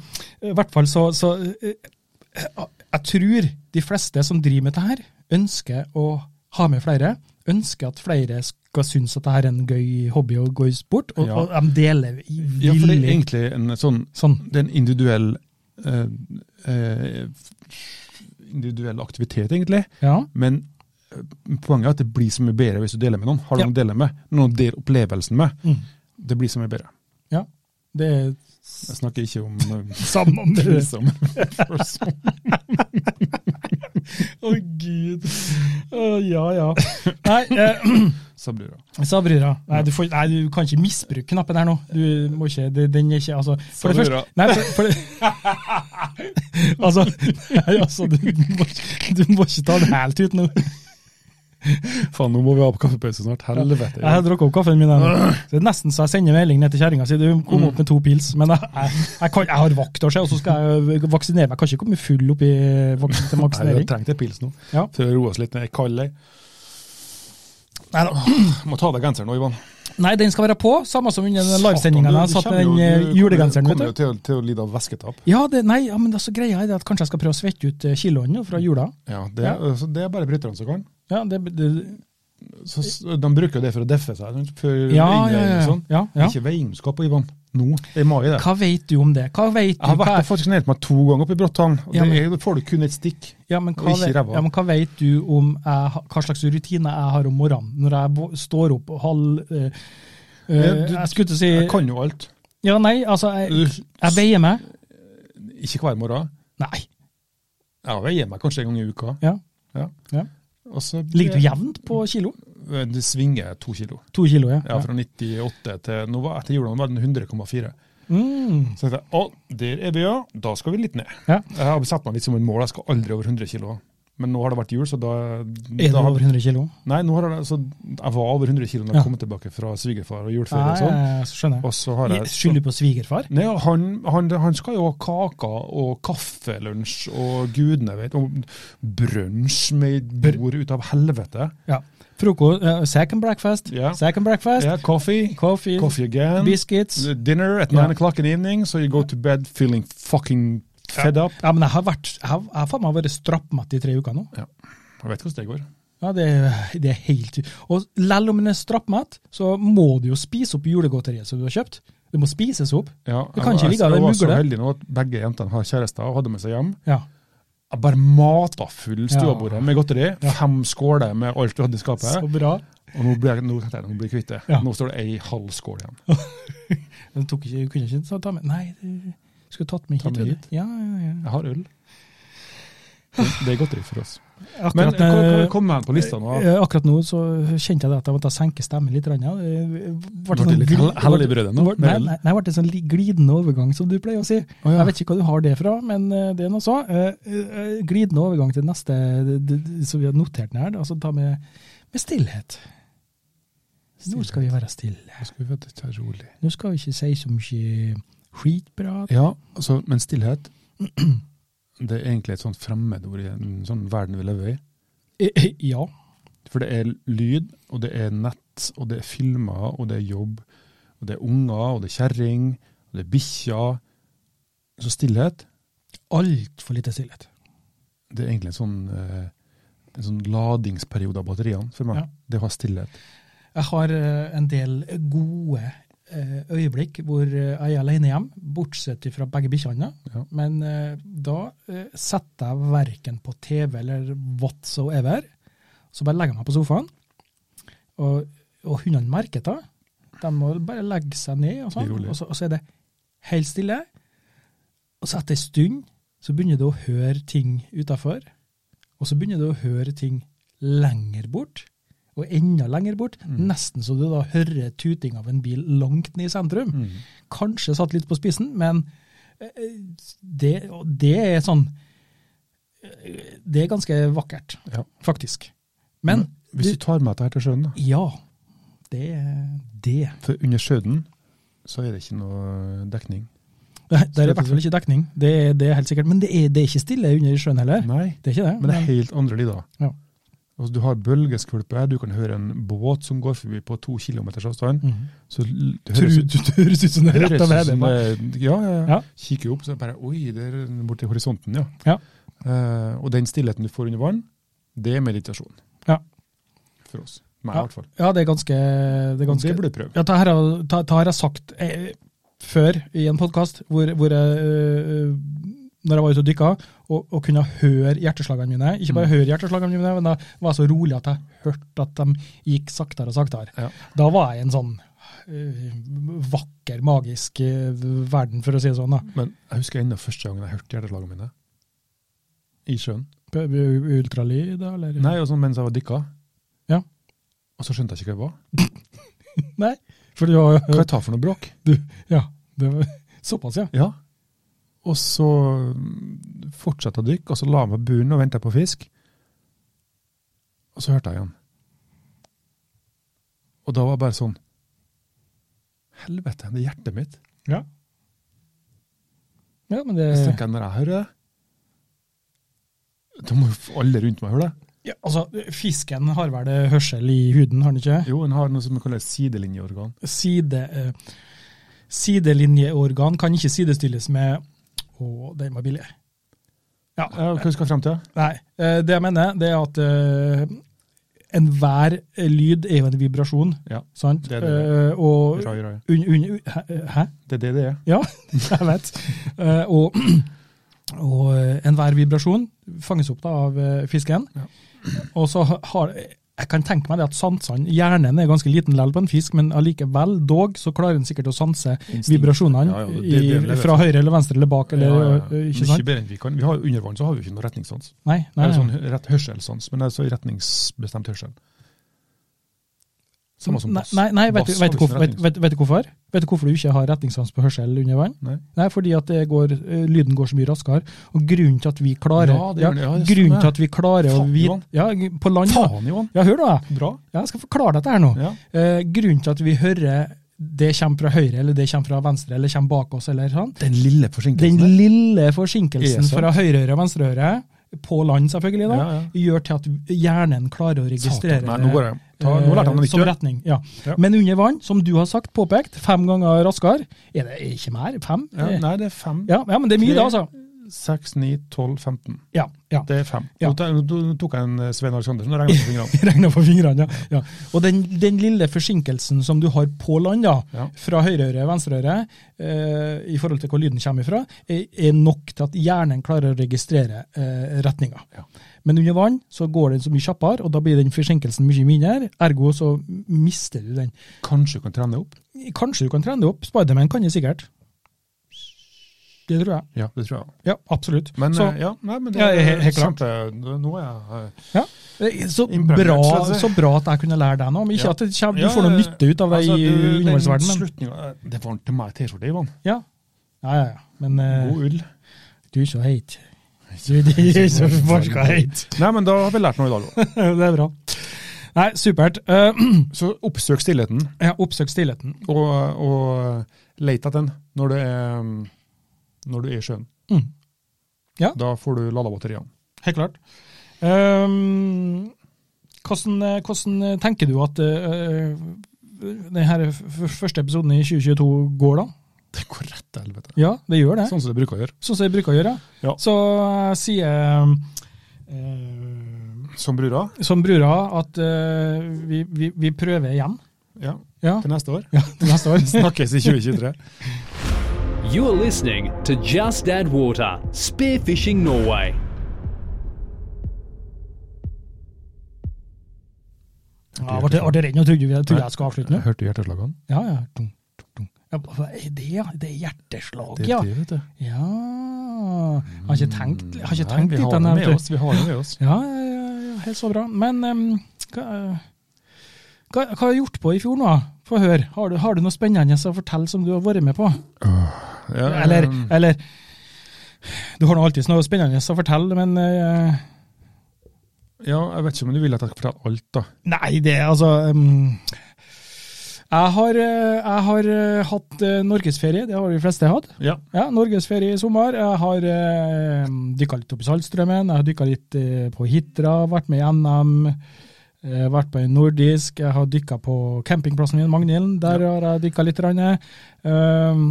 [SPEAKER 1] I hvert fall så, så eh, Jeg tror de fleste som driver med dette, her, ønsker å ha med flere. Ønsker at flere skal synes at dette er en gøy hobby og gøy sport, og,
[SPEAKER 2] Ja.
[SPEAKER 1] og de deler i-
[SPEAKER 2] Ja, for det er
[SPEAKER 1] villig.
[SPEAKER 2] egentlig en sånn
[SPEAKER 1] sånn.
[SPEAKER 2] Det er en individuell eh, eh, individuell aktivitet, egentlig.
[SPEAKER 1] Ja.
[SPEAKER 2] Men eh, poenget er at det blir så mye bedre hvis du deler med noen. Har du
[SPEAKER 1] Ja.
[SPEAKER 2] noen å dele med, noen å dele opplevelsen med,
[SPEAKER 1] Mm.
[SPEAKER 2] det blir så mye bedre.
[SPEAKER 1] ja. Det er
[SPEAKER 2] Jeg snakker ikke om eh,
[SPEAKER 1] samme om *laughs*
[SPEAKER 2] *laughs*
[SPEAKER 1] det er
[SPEAKER 2] som
[SPEAKER 1] Å, gud. Å, ja, ja. Nei, eh,
[SPEAKER 2] Sabrura.
[SPEAKER 1] Sabrura. Nei, du får, nei, du kan ikke misbruke knappen her nå. Du må ikke, det- Den er ikke altså, For det
[SPEAKER 2] Sabrura.
[SPEAKER 1] første Nei, for, for det *laughs* Altså, nei, altså du, må, ikke- du må ikke ta det helt ut nå.
[SPEAKER 2] Faen, nå må vi ha på kaffepause snart. Helvete.
[SPEAKER 1] Jeg har drukket opp kaffen min. her. Så Det er nesten så jeg sender melding ned til kjerringa si. Du kom opp med to pils. Men jeg, jeg, jeg, kan, jeg har vakt å se, og så skal jeg vaksinere meg. Jeg kan ikke komme full opp i vaks- til
[SPEAKER 2] Nei, jeg
[SPEAKER 1] vaksinering.
[SPEAKER 2] trengte en pils nå,
[SPEAKER 1] Ja.
[SPEAKER 2] for å roe oss litt ned. Jeg er kald, jeg.
[SPEAKER 1] Nei, da.
[SPEAKER 2] *clears throat* Må ta av deg genseren nå, Ivan.
[SPEAKER 1] Nei, den skal være på, samme som under den
[SPEAKER 2] Satan,
[SPEAKER 1] livesendinga.
[SPEAKER 2] du-
[SPEAKER 1] Jeg
[SPEAKER 2] du
[SPEAKER 1] satt
[SPEAKER 2] kommer
[SPEAKER 1] med
[SPEAKER 2] jo-
[SPEAKER 1] den eh,
[SPEAKER 2] du
[SPEAKER 1] julegenseren. vet
[SPEAKER 2] Kommer jo
[SPEAKER 1] du.
[SPEAKER 2] til, å- til å lide av væsketap.
[SPEAKER 1] Ja, det, nei, ja, men det er så greia er det at kanskje jeg skal prøve å svette ut eh, kiloene nå fra jula.
[SPEAKER 2] Ja, det,
[SPEAKER 1] Ja.
[SPEAKER 2] Så det er bare bryterne som kan.
[SPEAKER 1] Ja, det, det,
[SPEAKER 2] Så, s- de bruker jo det for å deffe seg. sant, For
[SPEAKER 1] ja, ja,
[SPEAKER 2] innveiing og
[SPEAKER 1] ja,
[SPEAKER 2] sånn.
[SPEAKER 1] ja, ja.
[SPEAKER 2] Ikke veiingskap, Ivan. Nå, det er i mai, det.
[SPEAKER 1] Hva vet du om det? Hva vet
[SPEAKER 2] Jeg har
[SPEAKER 1] du?
[SPEAKER 2] vært
[SPEAKER 1] Hva,
[SPEAKER 2] og fascinert meg to ganger oppe i Bråttan. og
[SPEAKER 1] Ja,
[SPEAKER 2] Det
[SPEAKER 1] men-
[SPEAKER 2] er, da får du kun et stikk.
[SPEAKER 1] ja, men
[SPEAKER 2] og
[SPEAKER 1] hva,
[SPEAKER 2] ikke
[SPEAKER 1] vet-
[SPEAKER 2] ræva.
[SPEAKER 1] ja, men hva vet du om jeg, ha- hva slags rutiner jeg har om morgenen, når jeg vå- står opp og halv eh, eh,
[SPEAKER 2] Ja, du-
[SPEAKER 1] Jeg skulle til å si
[SPEAKER 2] Jeg kan jo alt.
[SPEAKER 1] Ja, nei, altså, jeg,
[SPEAKER 2] Du-
[SPEAKER 1] jeg veier meg.
[SPEAKER 2] Ikke hver morgen.
[SPEAKER 1] Nei.
[SPEAKER 2] Jeg veier meg kanskje en gang i uka.
[SPEAKER 1] Ja.
[SPEAKER 2] Ja.
[SPEAKER 1] Ja.
[SPEAKER 2] Og så Eh,
[SPEAKER 1] Ligger du jevnt på kilo?
[SPEAKER 2] Det svinger to kilo.
[SPEAKER 1] To kilo, ja.
[SPEAKER 2] Ja, fra 98 til nå var etter jula var den 100,4.
[SPEAKER 1] Mm.
[SPEAKER 2] Så tenkte jeg å, der er vi, ja. Da skal vi litt ned.
[SPEAKER 1] Ja.
[SPEAKER 2] Jeg har satt meg litt som et mål, jeg skal aldri over 100 kilo. Men nå har det vært jul, så da,
[SPEAKER 1] Er
[SPEAKER 2] da
[SPEAKER 1] du over 100 kilo?
[SPEAKER 2] Nei, nå har det, så jeg var over 100 kilo da jeg
[SPEAKER 1] Ja. Ah,
[SPEAKER 2] kom tilbake fra svigerfar og
[SPEAKER 1] Ja,
[SPEAKER 2] juleferie og
[SPEAKER 1] ja,
[SPEAKER 2] sånn.
[SPEAKER 1] ja, så skjønner jeg.
[SPEAKER 2] Og så har jeg
[SPEAKER 1] Skylder på svigerfar?
[SPEAKER 2] Nei, han, han, han skal jo ha kaker og kaffelunsj og gudene vet, og brunsj med bord ut av helvete.
[SPEAKER 1] Ja. Froko, eh, second breakfast,
[SPEAKER 2] Ja.
[SPEAKER 1] second breakfast,
[SPEAKER 2] Yeah, coffee,
[SPEAKER 1] coffee,
[SPEAKER 2] coffee again,
[SPEAKER 1] biscuits.
[SPEAKER 2] dinner at
[SPEAKER 1] Ja.
[SPEAKER 2] 9 o'clock in the evening, so you go to bed feeling fucking fed up.
[SPEAKER 1] Ja, men jeg har vært, jeg har, jeg har faen meg vært strappmatt i tre uker nå.
[SPEAKER 2] Jeg vet hvordan det går.
[SPEAKER 1] Ja, det, er- det er helt Og lell om en er strappmatt, så må du jo spise opp julegodteriet som du har kjøpt. Det må spises opp.
[SPEAKER 2] Ja,
[SPEAKER 1] Du kan
[SPEAKER 2] jeg-
[SPEAKER 1] ikke ligge av
[SPEAKER 2] Jeg
[SPEAKER 1] deg
[SPEAKER 2] var så
[SPEAKER 1] mugle.
[SPEAKER 2] heldig nå at begge jentene har kjærester og hadde med seg hjem.
[SPEAKER 1] Ja.
[SPEAKER 2] Jeg bare mata full
[SPEAKER 1] Ja.
[SPEAKER 2] stuebordet med godteri. Fem skåler med alt du hadde i skapet.
[SPEAKER 1] Så bra.
[SPEAKER 2] Og nå blir jeg, nå, tenkte jeg, nå blir jeg kvitt det.
[SPEAKER 1] Ja.
[SPEAKER 2] Nå står det ei halv skål igjen.
[SPEAKER 1] Den tok ikke, kunne ikke så ta med Nei, du skulle tatt med
[SPEAKER 2] Ta
[SPEAKER 1] hit.
[SPEAKER 2] med
[SPEAKER 1] vet du. Ja, ja, ja.
[SPEAKER 2] Jeg har øl. Det er godteri for oss. Men
[SPEAKER 1] Akkurat,
[SPEAKER 2] hva
[SPEAKER 1] eh,
[SPEAKER 2] kom med på lista nå?
[SPEAKER 1] eh, akkurat nå så kjente jeg det at jeg måtte senke stemmen litt. grann, Ja. Eh, ble
[SPEAKER 2] Ble det litt hell- hell i brødet nå?
[SPEAKER 1] Vår- Nei, nei, nei, det ble en sånn li- glidende overgang, som du pleier å si.
[SPEAKER 2] Å, ja.
[SPEAKER 1] Jeg vet ikke hva du har det fra, men eh, det er noe så. Eh, eh, glidende overgang til neste, d- d- d- som vi har notert den her, da, altså ta med, med stillhet. Nå skal vi være stille.
[SPEAKER 2] Nå skal vi vente, ta det rolig.
[SPEAKER 1] Nå skal vi ikke si så mye skitprat.
[SPEAKER 2] Ja, altså, men stillhet *clears throat* Det er egentlig et sånt fremmedord i en sånn verden vi lever i.
[SPEAKER 1] Eh, eh, Ja.
[SPEAKER 2] For det er lyd, og det er nett, og det er filmer, og det er jobb, og det er unger, og det er kjerring, og det er bikkjer. Så stillhet,
[SPEAKER 1] Altfor lite stillhet.
[SPEAKER 2] det er egentlig en sånn, eh, en sånn ladingsperiode av batteriene for meg.
[SPEAKER 1] Ja.
[SPEAKER 2] Det å ha stillhet.
[SPEAKER 1] Jeg har eh, en del gode eh, øyeblikk hvor eh, jeg er alene hjem, bortsett fra begge bikkjene.
[SPEAKER 2] Ja.
[SPEAKER 1] Men eh, da eh, setter jeg verken på TV eller whatsoever. Så bare legger jeg meg på sofaen, Og, og hundene merker det. De må bare legge seg ned, og, sånn.
[SPEAKER 2] Bli rolig.
[SPEAKER 1] og, så, og så er det helt stille. Og så etter en stund så begynner du å høre ting utafor. Og så begynner du å høre ting lenger bort, og enda lenger bort.
[SPEAKER 2] Mm.
[SPEAKER 1] Nesten så du da hører tuting av en bil langt ned i sentrum.
[SPEAKER 2] Mm.
[SPEAKER 1] Kanskje satt litt på spissen, men eh, det, og det er sånn eh, Det er ganske vakkert,
[SPEAKER 2] Ja.
[SPEAKER 1] faktisk. Men
[SPEAKER 2] Hvis
[SPEAKER 1] du-
[SPEAKER 2] du tar med deg her til sjøen, da.
[SPEAKER 1] ja. Det er
[SPEAKER 2] *laughs*
[SPEAKER 1] det.
[SPEAKER 2] For under sjøen så er det ikke noe dekning.
[SPEAKER 1] Det er- det er i hvert fall ikke dekning, det er, det er helt sikkert. Men det er, det er ikke stille under sjøen heller.
[SPEAKER 2] Nei,
[SPEAKER 1] Det er ikke det.
[SPEAKER 2] men det er helt andre lyder.
[SPEAKER 1] Ja.
[SPEAKER 2] Altså, du har bølgeskvulper, du kan høre en båt som går forbi på to kilometers avstand.
[SPEAKER 1] Mhm.
[SPEAKER 2] Så l- det
[SPEAKER 1] Tror
[SPEAKER 2] høres ut
[SPEAKER 1] du *laughs* det høres ut som det er
[SPEAKER 2] høres
[SPEAKER 1] rett
[SPEAKER 2] ut
[SPEAKER 1] over
[SPEAKER 2] som
[SPEAKER 1] hodet?
[SPEAKER 2] det- Ja, ja, ja.
[SPEAKER 1] Ja.
[SPEAKER 2] Kikker opp, så er det bare Oi, der borti horisonten, ja.
[SPEAKER 1] Ja.
[SPEAKER 2] Eh, og den stillheten du får under vann, det er meditasjon.
[SPEAKER 1] Ja.
[SPEAKER 2] For oss. Meg, i
[SPEAKER 1] Ja.
[SPEAKER 2] hvert fall.
[SPEAKER 1] Ja, det er ganske, det er ganske
[SPEAKER 2] Det burde du prøve.
[SPEAKER 1] Ja, det her, har- det det her har jeg sagt eh, før i en podkast, hvor, hvor jeg eh, når jeg var ute og dykka, og, og kunne høre hjerteslagene mine. Ikke bare
[SPEAKER 2] Mm.
[SPEAKER 1] høre hjerteslagene mine, men da var jeg så rolig at jeg hørte at de gikk saktere og saktere.
[SPEAKER 2] Ja.
[SPEAKER 1] Da var jeg i en sånn eh, vakker, magisk eh, verden, for å si det sånn. da.
[SPEAKER 2] Men jeg husker ennå første gangen jeg hørte hjerteslagene mine. I sjøen.
[SPEAKER 1] P- u- Ultralyd, da, eller?
[SPEAKER 2] Nei, og sånn mens jeg var dykka.
[SPEAKER 1] Ja.
[SPEAKER 2] Og så skjønte jeg ikke hva det var.
[SPEAKER 1] Nei, for det var
[SPEAKER 2] Hva jeg tar for noe bråk?
[SPEAKER 1] Ja, det var *laughs* såpass, ja.
[SPEAKER 2] Ja. Og så mm, fortsatte jeg å dykke, og så la jeg meg på bunnen og venta på fisk. Og så hørte jeg igjen. Og da var jeg bare sånn Helvete, det er hjertet mitt.
[SPEAKER 1] Ja, ja men det
[SPEAKER 2] Så tenker jeg når jeg hører det Da må jo f- alle rundt meg høre det.
[SPEAKER 1] Ja, altså, fisken har vel det hørsel i huden, har den ikke?
[SPEAKER 2] Jo, en har noe som kalles sidelinjeorgan.
[SPEAKER 1] Side, eh, sidelinjeorgan kan ikke sidestilles med Å, den var billig. Ja,
[SPEAKER 2] Ja, hva skal vi frem til?
[SPEAKER 1] nei. Eh, det jeg mener, det er at eh, enhver lyd er jo en vibrasjon,
[SPEAKER 2] Ja,
[SPEAKER 1] sant?
[SPEAKER 2] Det er det det er.
[SPEAKER 1] Eh, og
[SPEAKER 2] Rai, rai.
[SPEAKER 1] un, un, hæ? hæ?
[SPEAKER 2] Det er det det er.
[SPEAKER 1] Ja, *laughs* jeg vet. Eh, og, *clears throat* og eh, enhver vibrasjon fanges opp da av eh, fisken.
[SPEAKER 2] Ja.
[SPEAKER 1] Og så har Jeg kan tenke meg det at sansene Hjernen er ganske liten lell på en fisk, men allikevel, dog, så klarer den sikkert å sanse
[SPEAKER 2] Instinkt.
[SPEAKER 1] vibrasjonene
[SPEAKER 2] Ja, ja, det- det lever
[SPEAKER 1] i,
[SPEAKER 2] det.
[SPEAKER 1] fra høyre eller venstre eller bak, eller eh, ikke sant?
[SPEAKER 2] Mye bedre enn vi kan. Vi har, jo under vann så har vi jo ikke noe retningssans.
[SPEAKER 1] Nei, nei,
[SPEAKER 2] Eller
[SPEAKER 1] nei.
[SPEAKER 2] sånn rett hørselssans, men det er så retningsbestemt hørsel. Samme som bass.
[SPEAKER 1] Nei, nei vet, du,
[SPEAKER 2] Bass
[SPEAKER 1] vet, du
[SPEAKER 2] har
[SPEAKER 1] hvorfor,
[SPEAKER 2] vi ikke
[SPEAKER 1] vet, vet, vet du hvorfor? Vet du hvorfor du ikke har retningssans på hørsel under vann?
[SPEAKER 2] Nei.
[SPEAKER 1] Nei, fordi at det går, eh, lyden går så mye raskere. Og grunnen til at vi klarer
[SPEAKER 2] Ja, det gjør den. Ja, det stemmer.
[SPEAKER 1] grunnen til at vi klarer å
[SPEAKER 2] Faen,
[SPEAKER 1] vite
[SPEAKER 2] Johan.
[SPEAKER 1] ja, g- På land da.
[SPEAKER 2] Faen, Johan!
[SPEAKER 1] Ja, hør nå, jeg.
[SPEAKER 2] Bra.
[SPEAKER 1] Ja, jeg skal forklare dette her nå.
[SPEAKER 2] Ja.
[SPEAKER 1] Eh, grunnen til at vi hører det kommer fra høyre, eller det kommer fra venstre, eller kommer bak oss, eller sånn.
[SPEAKER 2] Den lille
[SPEAKER 1] Den
[SPEAKER 2] forsinkelsen.
[SPEAKER 1] lille forsinkelsen
[SPEAKER 2] Er sant.
[SPEAKER 1] fra høyreøre og venstreøre, på land selvfølgelig, da,
[SPEAKER 2] Ja, ja.
[SPEAKER 1] gjør til at hjernen klarer å registrere
[SPEAKER 2] Satan, nei, nå går jeg. Ta,
[SPEAKER 1] eh,
[SPEAKER 2] nå lærte jeg noe
[SPEAKER 1] som
[SPEAKER 2] nytt.
[SPEAKER 1] retning. Ja.
[SPEAKER 2] Ja.
[SPEAKER 1] Men under vann, som du har sagt, påpekt, fem ganger raskere. Er det ikke mer? Fem? Eh,
[SPEAKER 2] Ja, nei, det er fem,
[SPEAKER 1] Ja, ja, men det er mye,
[SPEAKER 2] Tre.
[SPEAKER 1] det, altså.
[SPEAKER 2] seks, ni, tolv, femten.
[SPEAKER 1] Ja, ja.
[SPEAKER 2] Det er fem.
[SPEAKER 1] Ja.
[SPEAKER 2] Nå tar- Nå tok jeg en eh, Svein Aleksandersen og regnet på
[SPEAKER 1] *laughs*
[SPEAKER 2] fingrene.
[SPEAKER 1] Regna på fingrene, ja. ja. Og den, den lille forsinkelsen som du har på land, da,
[SPEAKER 2] Ja.
[SPEAKER 1] fra høyreøre, venstreøre, eh, i forhold til hvor lyden kommer ifra, er, er nok til at hjernen klarer å registrere eh, retninga.
[SPEAKER 2] Ja.
[SPEAKER 1] Men under vann så går den så mye kjappere, og da blir den forsinkelsen mye mindre, ergo så mister du den.
[SPEAKER 2] Kanskje du kan trene opp?
[SPEAKER 1] Kanskje du kan trene det opp, Spiderman kan det sikkert. Det tror jeg.
[SPEAKER 2] Ja, det tror jeg.
[SPEAKER 1] Ja, absolutt.
[SPEAKER 2] Men,
[SPEAKER 1] så,
[SPEAKER 2] eh, ja, nei, men det
[SPEAKER 1] Ja,
[SPEAKER 2] er
[SPEAKER 1] helt- helt klart.
[SPEAKER 2] kjempe- Nå er jeg eh,
[SPEAKER 1] Eh, Så
[SPEAKER 2] Imponert,
[SPEAKER 1] bra,
[SPEAKER 2] skal jeg si.
[SPEAKER 1] så bra at jeg kunne lære deg noe. Men ikke
[SPEAKER 2] Ja.
[SPEAKER 1] at det kommer,
[SPEAKER 2] Ja,
[SPEAKER 1] du får noe
[SPEAKER 2] ja, ja.
[SPEAKER 1] nytte ut av det
[SPEAKER 2] Altså,
[SPEAKER 1] i
[SPEAKER 2] du, den
[SPEAKER 1] undervannsverdenen. men-
[SPEAKER 2] slutningen- eh, Det var til meg T-skjorte, Ivan.
[SPEAKER 1] Ja. ja, ja, ja. Men eh,
[SPEAKER 2] God ull.
[SPEAKER 1] du er så heit. Du, du er
[SPEAKER 2] *laughs*
[SPEAKER 1] så forska heit.
[SPEAKER 2] Nei, men da har vi lært noe i dag
[SPEAKER 1] *laughs*
[SPEAKER 2] òg.
[SPEAKER 1] det er bra. Nei, supert. Eh, *clears throat*
[SPEAKER 2] Så oppsøk stillheten,
[SPEAKER 1] jeg har oppsøkt stillheten.
[SPEAKER 2] og, og let etter den når du er, når du er i sjøen.
[SPEAKER 1] Mm. Ja.
[SPEAKER 2] Da får du lada batteriene.
[SPEAKER 1] Helt klart. Ehm, hvordan, eh, hvordan tenker du at eh, denne første episoden i 2022 går, da?
[SPEAKER 2] Det går rett til helvete.
[SPEAKER 1] Ja, det gjør det.
[SPEAKER 2] Sånn som det bruker å gjøre.
[SPEAKER 1] Sånn som jeg bruker å gjøre.
[SPEAKER 2] Ja.
[SPEAKER 1] Så jeg sier eh,
[SPEAKER 2] Som brura.
[SPEAKER 1] som brura at eh, vi, vi, vi prøver igjen.
[SPEAKER 2] Ja.
[SPEAKER 1] Ja,
[SPEAKER 2] Til neste år.
[SPEAKER 1] til
[SPEAKER 2] *laughs*
[SPEAKER 1] neste år.
[SPEAKER 2] Snakkes i 2023.
[SPEAKER 3] You're listening to Just Add Water Spearfishing Norway.
[SPEAKER 1] Ja, ble ble redd nå, trodde vi- trodde jeg skulle avslutte nå.
[SPEAKER 2] *laughs* Hørte du hjerteslagene?
[SPEAKER 1] Ja, ja. Dunk, dunk, dunk. ja hva er det, ja? Det er hjerteslaget,
[SPEAKER 2] Det
[SPEAKER 1] ja.
[SPEAKER 2] er det, vet du.
[SPEAKER 1] Ja Har ikke tenkt, har ikke
[SPEAKER 2] Mm. Nei,
[SPEAKER 1] tenkt
[SPEAKER 2] vi
[SPEAKER 1] litt
[SPEAKER 2] har
[SPEAKER 1] den
[SPEAKER 2] det
[SPEAKER 1] her,
[SPEAKER 2] med
[SPEAKER 1] vet du.
[SPEAKER 2] oss. Vi har det med oss.
[SPEAKER 1] Ja, ja, ja, ja, helt så bra. Men em, hva, eh, hva, hva har du gjort på i fjor nå? Få høre. Har du, har du noe spennende å fortelle som du har vært med på?
[SPEAKER 2] Ja,
[SPEAKER 1] Eller,
[SPEAKER 2] um,
[SPEAKER 1] eller Du har nå alltid noe spennende å fortelle, men eh,
[SPEAKER 2] ja, jeg vet ikke om du vil at jeg skal fortelle alt, da.
[SPEAKER 1] Nei, det er altså em, jeg har, eh, jeg har eh, hatt eh, norgesferie, det har de fleste hatt.
[SPEAKER 2] Ja.
[SPEAKER 1] Ja, Norgesferie i sommer. Jeg har eh, dykka litt opp i Saltstrømmen, jeg har dykka litt eh, på Hitra, vært med i NM, eh, vært på en nordisk, jeg har dykka på campingplassen min, Magnhilden, der har jeg dykka litt. Rann, eh,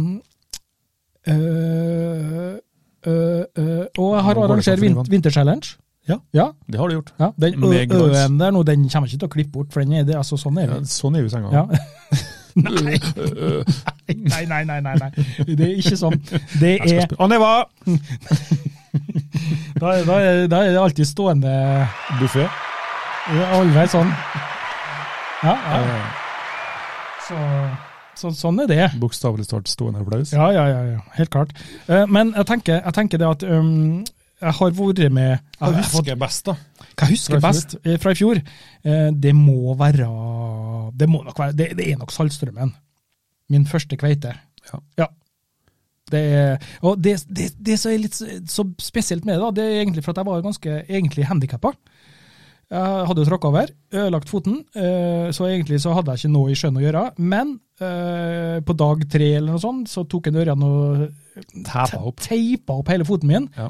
[SPEAKER 1] eh, eh, eh, og jeg har
[SPEAKER 2] Nå går det
[SPEAKER 1] arrangert
[SPEAKER 2] for
[SPEAKER 1] vin
[SPEAKER 2] Ivan.
[SPEAKER 1] vinterchallenge.
[SPEAKER 2] Ja.
[SPEAKER 1] ja.
[SPEAKER 2] Det har du gjort.
[SPEAKER 1] ja. Den ø-
[SPEAKER 2] Meg glans.
[SPEAKER 1] ø-en der nå, den kommer jeg ikke til å klippe bort, for den er det, altså sånn er
[SPEAKER 2] Ja,
[SPEAKER 1] det.
[SPEAKER 2] sånn er vi i senga.
[SPEAKER 1] Ja. *laughs*
[SPEAKER 2] *laughs*
[SPEAKER 1] nei, nei, nei, nei, nei, nei. Det er ikke sånn. Det
[SPEAKER 2] Jeg skal
[SPEAKER 1] er
[SPEAKER 2] spille- Anneva!
[SPEAKER 1] Da, er- da, er- da er det alltid stående
[SPEAKER 2] Buffé.
[SPEAKER 1] det er Allveg sånn. Ja, ja.
[SPEAKER 2] Eh,
[SPEAKER 1] Så, så, sånn er det.
[SPEAKER 2] Bokstavelig talt stående applaus.
[SPEAKER 1] Ja, ja, ja, ja. helt klart. Eh, Men jeg tenker, jeg tenker det at um, jeg har vært med jeg, har
[SPEAKER 2] Jeg
[SPEAKER 1] fått-
[SPEAKER 2] husker jeg best, da.
[SPEAKER 1] Hva jeg husker
[SPEAKER 2] Fra i fjor?
[SPEAKER 1] best eh, fra i fjor, eh, det må være Det, må nok være, det, det er nok Saltstrømmen. Min første kveite.
[SPEAKER 2] Ja.
[SPEAKER 1] Det er, og det, det, det som er litt så- så spesielt med det, da, det er egentlig for at jeg var ganske egentlig handikappa. Jeg hadde jo tråkka over, ødelagt foten, eh, så egentlig så hadde jeg ikke noe i sjøen å gjøre. Men eh, på dag tre eller noe sånt, så tok en ørjan og
[SPEAKER 2] Tæpa opp.
[SPEAKER 1] teipa opp hele foten min.
[SPEAKER 2] Ja.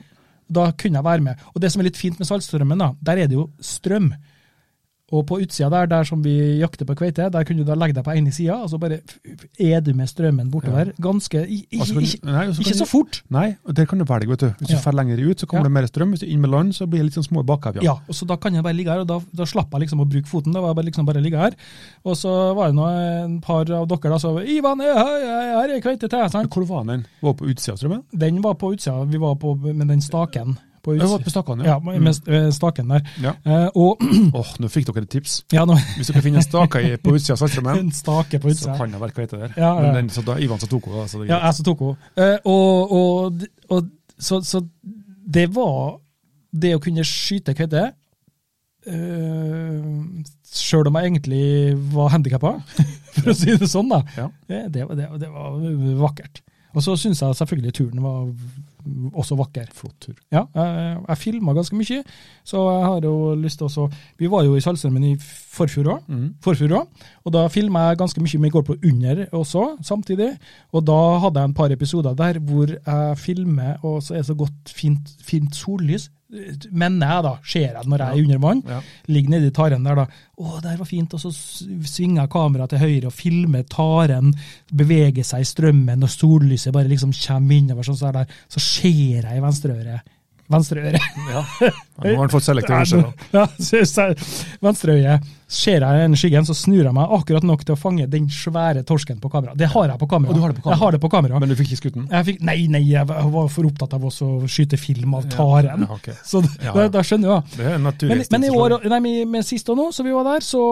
[SPEAKER 1] Da kunne jeg være med. Og det som er litt fint med Saltstrømmen, da, der er det jo strøm. Og på utsida der, der som vi jakter på kveite, der kunne du da legge deg på ene sida, og så bare f- f- er du med strømmen bortover. Ganske i, i,
[SPEAKER 2] Og så kan-
[SPEAKER 1] ikke,
[SPEAKER 2] Altså, nei, og så kan
[SPEAKER 1] ikke
[SPEAKER 2] du-
[SPEAKER 1] så fort.
[SPEAKER 2] Nei, og der kan du velge, vet du. Hvis du
[SPEAKER 1] Ja.
[SPEAKER 2] får lenger ut, så kommer
[SPEAKER 1] Ja.
[SPEAKER 2] det mer strøm. Hvis du er inn med land, så blir det litt sånn små bakkevjer.
[SPEAKER 1] Ja, og så da kan jeg bare ligge her, og da, da slapp jeg liksom å bruke foten. Da var jeg bare liksom bare ligge her. Og så var det nå en par av dere da som 'Ivan, jeg har- jeg har ei kveite til', sant?
[SPEAKER 2] Hvor var den? Var på utsida av strømmen?
[SPEAKER 1] Den var på utsida, vi var på med den staken. På
[SPEAKER 2] Jeg var
[SPEAKER 1] utsida.
[SPEAKER 2] på stakkene,
[SPEAKER 1] Ja, med med staken der.
[SPEAKER 2] Mm. Ja.
[SPEAKER 1] Eh, og *clears throat*
[SPEAKER 2] Åh, nå fikk dere et tips.
[SPEAKER 1] Ja, nå
[SPEAKER 2] Hvis dere finner en stake i- på utsida av Saltstraumen,
[SPEAKER 1] en stake *laughs* på
[SPEAKER 2] så
[SPEAKER 1] utsida.
[SPEAKER 2] kan det være kveite der.
[SPEAKER 1] Ja, ja.
[SPEAKER 2] Men den, så da, Ivan som tok henne, så det er
[SPEAKER 1] Ja,
[SPEAKER 2] greit.
[SPEAKER 1] jeg som tok henne. Eh, og, og, og så, så det var det å kunne skyte kveite uh, Sjøl om jeg egentlig var handikappa, *laughs* for å si det sånn, da.
[SPEAKER 2] Ja.
[SPEAKER 1] Det, det, var- det, var- det var vakkert. Og så syns jeg selvfølgelig turen var også vakker.
[SPEAKER 2] Flott tur.
[SPEAKER 1] Ja, jeg, jeg filma ganske mye, så jeg har jo lyst til å Vi var jo i Saltstraumen i forfjor òg
[SPEAKER 2] Mhm.
[SPEAKER 1] forfjor også. Og da filma jeg ganske mye med GoPro under også, samtidig. Og da hadde jeg en par episoder der hvor jeg filmer, og så er det så godt fint, fint sollys. Mener jeg, da. Ser jeg det når jeg er under vann.
[SPEAKER 2] Ja.
[SPEAKER 1] Ligger nedi taren der, da. Å, der var fint. Og så s- svinger kameraet til høyre og filmer taren beveger seg i strømmen, og sollyset bare liksom kommer innover. sånn så, der, så ser jeg i venstre øre. Venstre øre.
[SPEAKER 2] Ja. Nå har han fått selektor
[SPEAKER 1] Ja,
[SPEAKER 2] undersøkelse.
[SPEAKER 1] nå- *laughs* ja, synes jeg. Venstre øye. Ser jeg den skyggen, så snur jeg meg akkurat nok til å fange den svære torsken på kamera. Det har jeg på kamera.
[SPEAKER 2] Og du har det på kamera?
[SPEAKER 1] Jeg har det på kamera.
[SPEAKER 2] Men du fikk ikke skutt den?
[SPEAKER 1] jeg fikk, nei, nei, jeg var for opptatt av også å skyte film av taren.
[SPEAKER 2] Ja, ok.
[SPEAKER 1] Så
[SPEAKER 2] Ja,
[SPEAKER 1] da,
[SPEAKER 2] ja.
[SPEAKER 1] da skjønner jeg.
[SPEAKER 2] Det er en naturlig
[SPEAKER 1] Men, men i år, nei, men- men sist og nå, så vi var der, så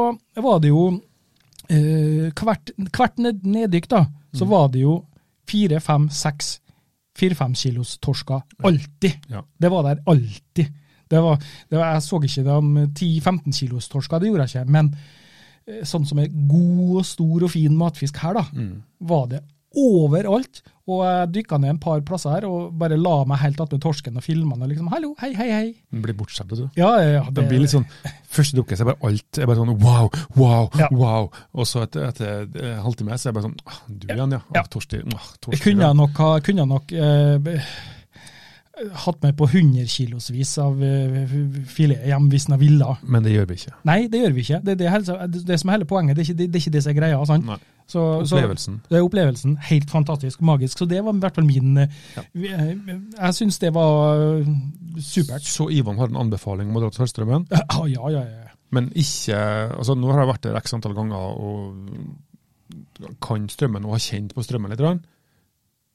[SPEAKER 1] var det jo eh, hvert, hvert ned, neddykk, da, så var det jo fire, fem, seks, fire-fem kilos torsker. Alltid!
[SPEAKER 2] Ja.
[SPEAKER 1] Det var der alltid. Det var, det var, jeg så ikke de 10-15 kilos torsker, det gjorde jeg ikke, men eh, sånn som er god og stor og fin matfisk her, da, var det overalt. Og jeg dykka ned en par plasser her og bare la meg helt attmed torsken og filma den. Og liksom, Hallo, hei, hei, hei.
[SPEAKER 2] Den blir bortskjemt, vet du.
[SPEAKER 1] Ja, ja, ja.
[SPEAKER 2] Den blir litt sånn, Første dukke så er bare alt er bare sånn wow, wow,
[SPEAKER 1] Ja.
[SPEAKER 2] wow. Og så etter, etter eh, halvtime så er jeg bare sånn ah, Du igjen, ja.
[SPEAKER 1] Ja.
[SPEAKER 2] Ah, Torstein. Ah,
[SPEAKER 1] Jeg
[SPEAKER 2] Torstein,
[SPEAKER 1] kunne
[SPEAKER 2] ja.
[SPEAKER 1] jeg nok, ha, kunne jeg nok eh, be- hatt meg på 100 kilosvis av eh, filet hjem hvis jeg ville.
[SPEAKER 2] Men det gjør vi ikke.
[SPEAKER 1] Nei, det gjør vi ikke. Det, er det, helse- det som er hele poenget, det er ikke det, det, er ikke det som er greia. Sant?
[SPEAKER 2] Nei.
[SPEAKER 1] Så, så-
[SPEAKER 2] Opplevelsen.
[SPEAKER 1] det er opplevelsen. Helt fantastisk, magisk. Så det var i hvert fall min eh, eh, Jeg syns det var eh, supert.
[SPEAKER 2] Så Ivan har en anbefaling om å dra til Sørstrømmen,
[SPEAKER 1] Ja, ja, ja. ja.
[SPEAKER 2] men ikke altså Nå har jeg vært der x antall ganger og kan strømmen og har kjent på strømmen litt. grann.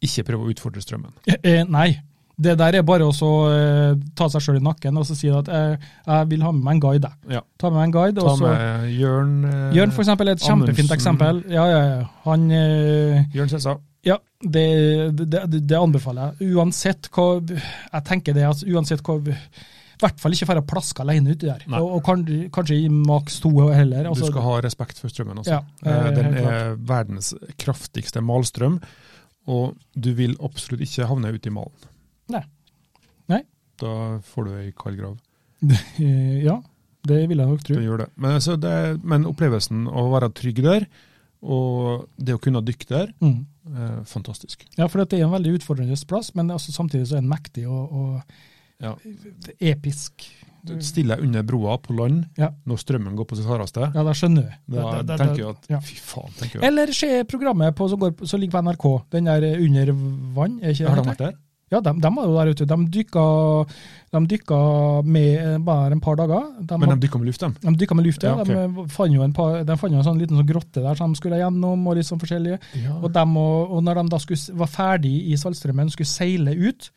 [SPEAKER 2] Ikke prøve å utfordre strømmen.
[SPEAKER 1] Eh, eh, nei. Det der er bare å så, eh, ta seg sjøl i nakken og så si at eh, jeg vil ha med meg en guide. jeg.
[SPEAKER 2] Ja.
[SPEAKER 1] Ta med meg en guide,
[SPEAKER 2] Ta
[SPEAKER 1] og så
[SPEAKER 2] med Jørn eh,
[SPEAKER 1] Jørn for eksempel, er et kjempefint
[SPEAKER 2] Amundsen.
[SPEAKER 1] eksempel. Ja, ja, ja. Han eh,
[SPEAKER 2] Jørn Selsa.
[SPEAKER 1] Ja, det, det, det- det anbefaler jeg. Uansett hva Jeg tenker det, altså, uansett hva I hvert fall ikke være plaska alene uti der.
[SPEAKER 2] Nei.
[SPEAKER 1] Og, og kan, kanskje i maks to heller.
[SPEAKER 2] Du
[SPEAKER 1] altså.
[SPEAKER 2] skal ha respekt for strømmen også.
[SPEAKER 1] Ja,
[SPEAKER 2] Eh,
[SPEAKER 1] eh,
[SPEAKER 2] Den
[SPEAKER 1] helt
[SPEAKER 2] er verdens kraftigste malstrøm, og du vil absolutt ikke havne ute i malen.
[SPEAKER 1] Nei. Nei.
[SPEAKER 2] Da får du ei kald grav.
[SPEAKER 1] Eh, Ja, det vil jeg nok tro.
[SPEAKER 2] Den gjør det. Men, altså, det, men opplevelsen av å være trygg der, og det å kunne dykke der,
[SPEAKER 1] Mm.
[SPEAKER 2] eh, fantastisk.
[SPEAKER 1] Ja, for det er en veldig utfordrende plass, men altså, samtidig så er den mektig og, og
[SPEAKER 2] Ja.
[SPEAKER 1] episk.
[SPEAKER 2] Du Stiller deg under broa på land
[SPEAKER 1] Ja.
[SPEAKER 2] når strømmen går på sitt hardeste.
[SPEAKER 1] Ja, da skjønner du.
[SPEAKER 2] Da
[SPEAKER 1] Det- det- det-
[SPEAKER 2] tenker jeg at
[SPEAKER 1] ja.
[SPEAKER 2] fy faen, tenker jeg.
[SPEAKER 1] Eller se programmet på, som, går, på- som ligger på NRK, den der eh, Under vann. Er ikke det
[SPEAKER 2] Har de
[SPEAKER 1] heter?
[SPEAKER 2] vært der?
[SPEAKER 1] Ja, de, de var jo der ute. De dykka, de dykka med eh, bare en par dager. De,
[SPEAKER 2] Men
[SPEAKER 1] had-
[SPEAKER 2] de dykker med luft, de.
[SPEAKER 1] de dykka med luft, ja.
[SPEAKER 2] Ja, ok.
[SPEAKER 1] de, eh, fant jo en par, de fant jo en sånn liten sånn grotte der som de skulle gjennom, og litt sånn forskjellige. Og, dem og, og når de da skulle, s- var ferdig i Saltstraumen og skulle seile ut,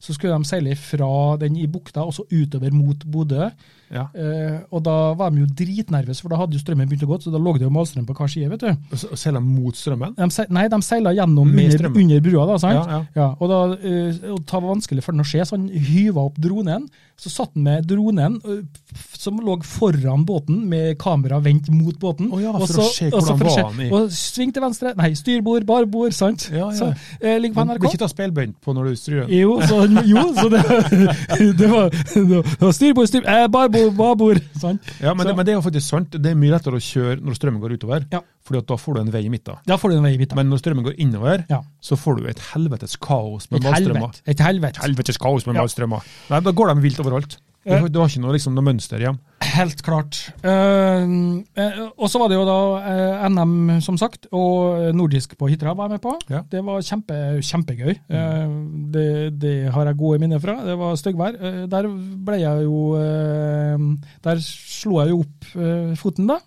[SPEAKER 1] så skulle de seile fra den i bukta og så utover mot Bodø.
[SPEAKER 2] Ja.
[SPEAKER 1] Eh, og da var de jo dritnervøse, for da hadde jo strømmen begynt å gå, så da lå det jo malstrøm på hver side, vet du.
[SPEAKER 2] Og så- og Seiler mot strømmen?
[SPEAKER 1] De, se- nei, de seila gjennom
[SPEAKER 2] Med
[SPEAKER 1] under,
[SPEAKER 2] strømmen.
[SPEAKER 1] under brua, da, sant?
[SPEAKER 2] Ja, ja.
[SPEAKER 1] Ja, og da, eh, og det var vanskelig for den å se, så han hyva opp dronen. Så satt han med dronen, eh, f- som lå foran båten, med kamera vendt mot båten.
[SPEAKER 2] Å ja,
[SPEAKER 1] Og
[SPEAKER 2] for å
[SPEAKER 1] så-
[SPEAKER 2] se
[SPEAKER 1] og så
[SPEAKER 2] hvordan
[SPEAKER 1] for å
[SPEAKER 2] var han i-
[SPEAKER 1] Og sving til venstre, nei, styrbord, barbord, sant?
[SPEAKER 2] Ja, ja.
[SPEAKER 1] Så, eh, ligger på
[SPEAKER 2] Men
[SPEAKER 1] NRK.
[SPEAKER 2] ikke ta speilbønt på når du stryr den.
[SPEAKER 1] Jo, så, jo, så det, det, *laughs* var, det var styrbord, styrbord, eh, barbord, babord, sant?
[SPEAKER 2] Ja, men,
[SPEAKER 1] Så-
[SPEAKER 2] det, men det er jo faktisk sant. Det er mye lettere å kjøre når strømmen går utover,
[SPEAKER 1] Ja.
[SPEAKER 2] fordi at da får du en vei i midten.
[SPEAKER 1] Da får du den vei i midten.
[SPEAKER 2] Men når strømmen går innover,
[SPEAKER 1] Ja.
[SPEAKER 2] så får du et helvetes kaos
[SPEAKER 1] Et
[SPEAKER 2] med malstrømmer.
[SPEAKER 1] helvete. Et helvete.
[SPEAKER 2] Helvetes kaos med
[SPEAKER 1] Ja.
[SPEAKER 2] malstrømmer. Nei, da går de vilt overalt. Du
[SPEAKER 1] Eh.
[SPEAKER 2] har, du har ikke noe, liksom, noe mønster igjen.
[SPEAKER 1] Helt klart. Eh, eh, og så var det jo da eh, NM, som sagt, og nordisk på Hitra var jeg med på.
[SPEAKER 2] Ja. Mm.
[SPEAKER 1] Det var kjempe, kjempegøy. Eh, det, det har jeg gode minner fra. Det var styggvær. Eh, der ble jeg jo eh, Der slo jeg jo opp eh, foten, da.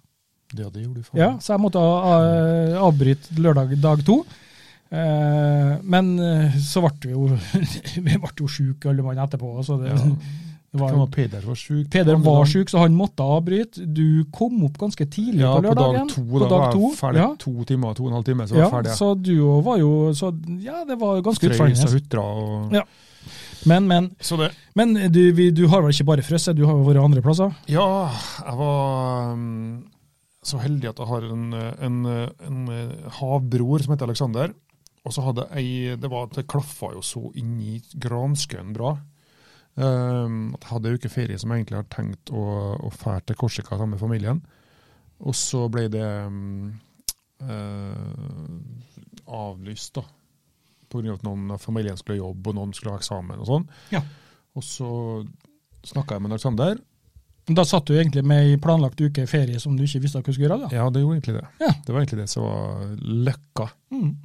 [SPEAKER 2] Ja, det gjorde du faen.
[SPEAKER 1] Ja, så jeg måtte eh, avbryte lørdag dag to. Eh, men eh, så ble vi jo *laughs* Vi ble jo sjuke alle mann etterpå. Så
[SPEAKER 2] *laughs*
[SPEAKER 1] det,
[SPEAKER 2] Ja.
[SPEAKER 1] det var
[SPEAKER 2] Kan være Peder var sjuk.
[SPEAKER 1] Peder var syk, så han måtte avbryte. Du kom opp ganske tidlig
[SPEAKER 2] Ja,
[SPEAKER 1] på
[SPEAKER 2] på dag
[SPEAKER 1] lørdagen.
[SPEAKER 2] to. Da var jeg ferdig
[SPEAKER 1] Ja.
[SPEAKER 2] to timer, to og en halv time, så var
[SPEAKER 1] Ja,
[SPEAKER 2] jeg ferdig.
[SPEAKER 1] så du òg var jo så, Ja, det var ganske
[SPEAKER 2] Strøys og
[SPEAKER 1] utfordrende.
[SPEAKER 2] hutra og
[SPEAKER 1] Ja. Men, men,
[SPEAKER 2] Så det.
[SPEAKER 1] men du, vi, du har vel ikke bare frosset, du har jo vært andre plasser?
[SPEAKER 2] Ja, jeg var mm, så heldig at jeg har en, en, en eh, havbror som heter Alexander. Og så hadde jeg Det var at det klaffa jo så inn i granskauen bra. ehm, at jeg hadde ei uke ferie som jeg egentlig har tenkt å, å fære til Korsika sammen med familien. Og så ble det mm, eh, avlyst, da. Pga. at noen av familien skulle jobbe, og noen skulle ha eksamen og sånn.
[SPEAKER 1] Ja.
[SPEAKER 2] Og så snakka jeg med Alexander,
[SPEAKER 1] Da satt du egentlig med ei planlagt uke ferie som du ikke visste hva du skulle gjøre? da.
[SPEAKER 2] Ja, det gjorde egentlig det.
[SPEAKER 1] Ja.
[SPEAKER 2] Det var egentlig det som var løkka.
[SPEAKER 1] Mm.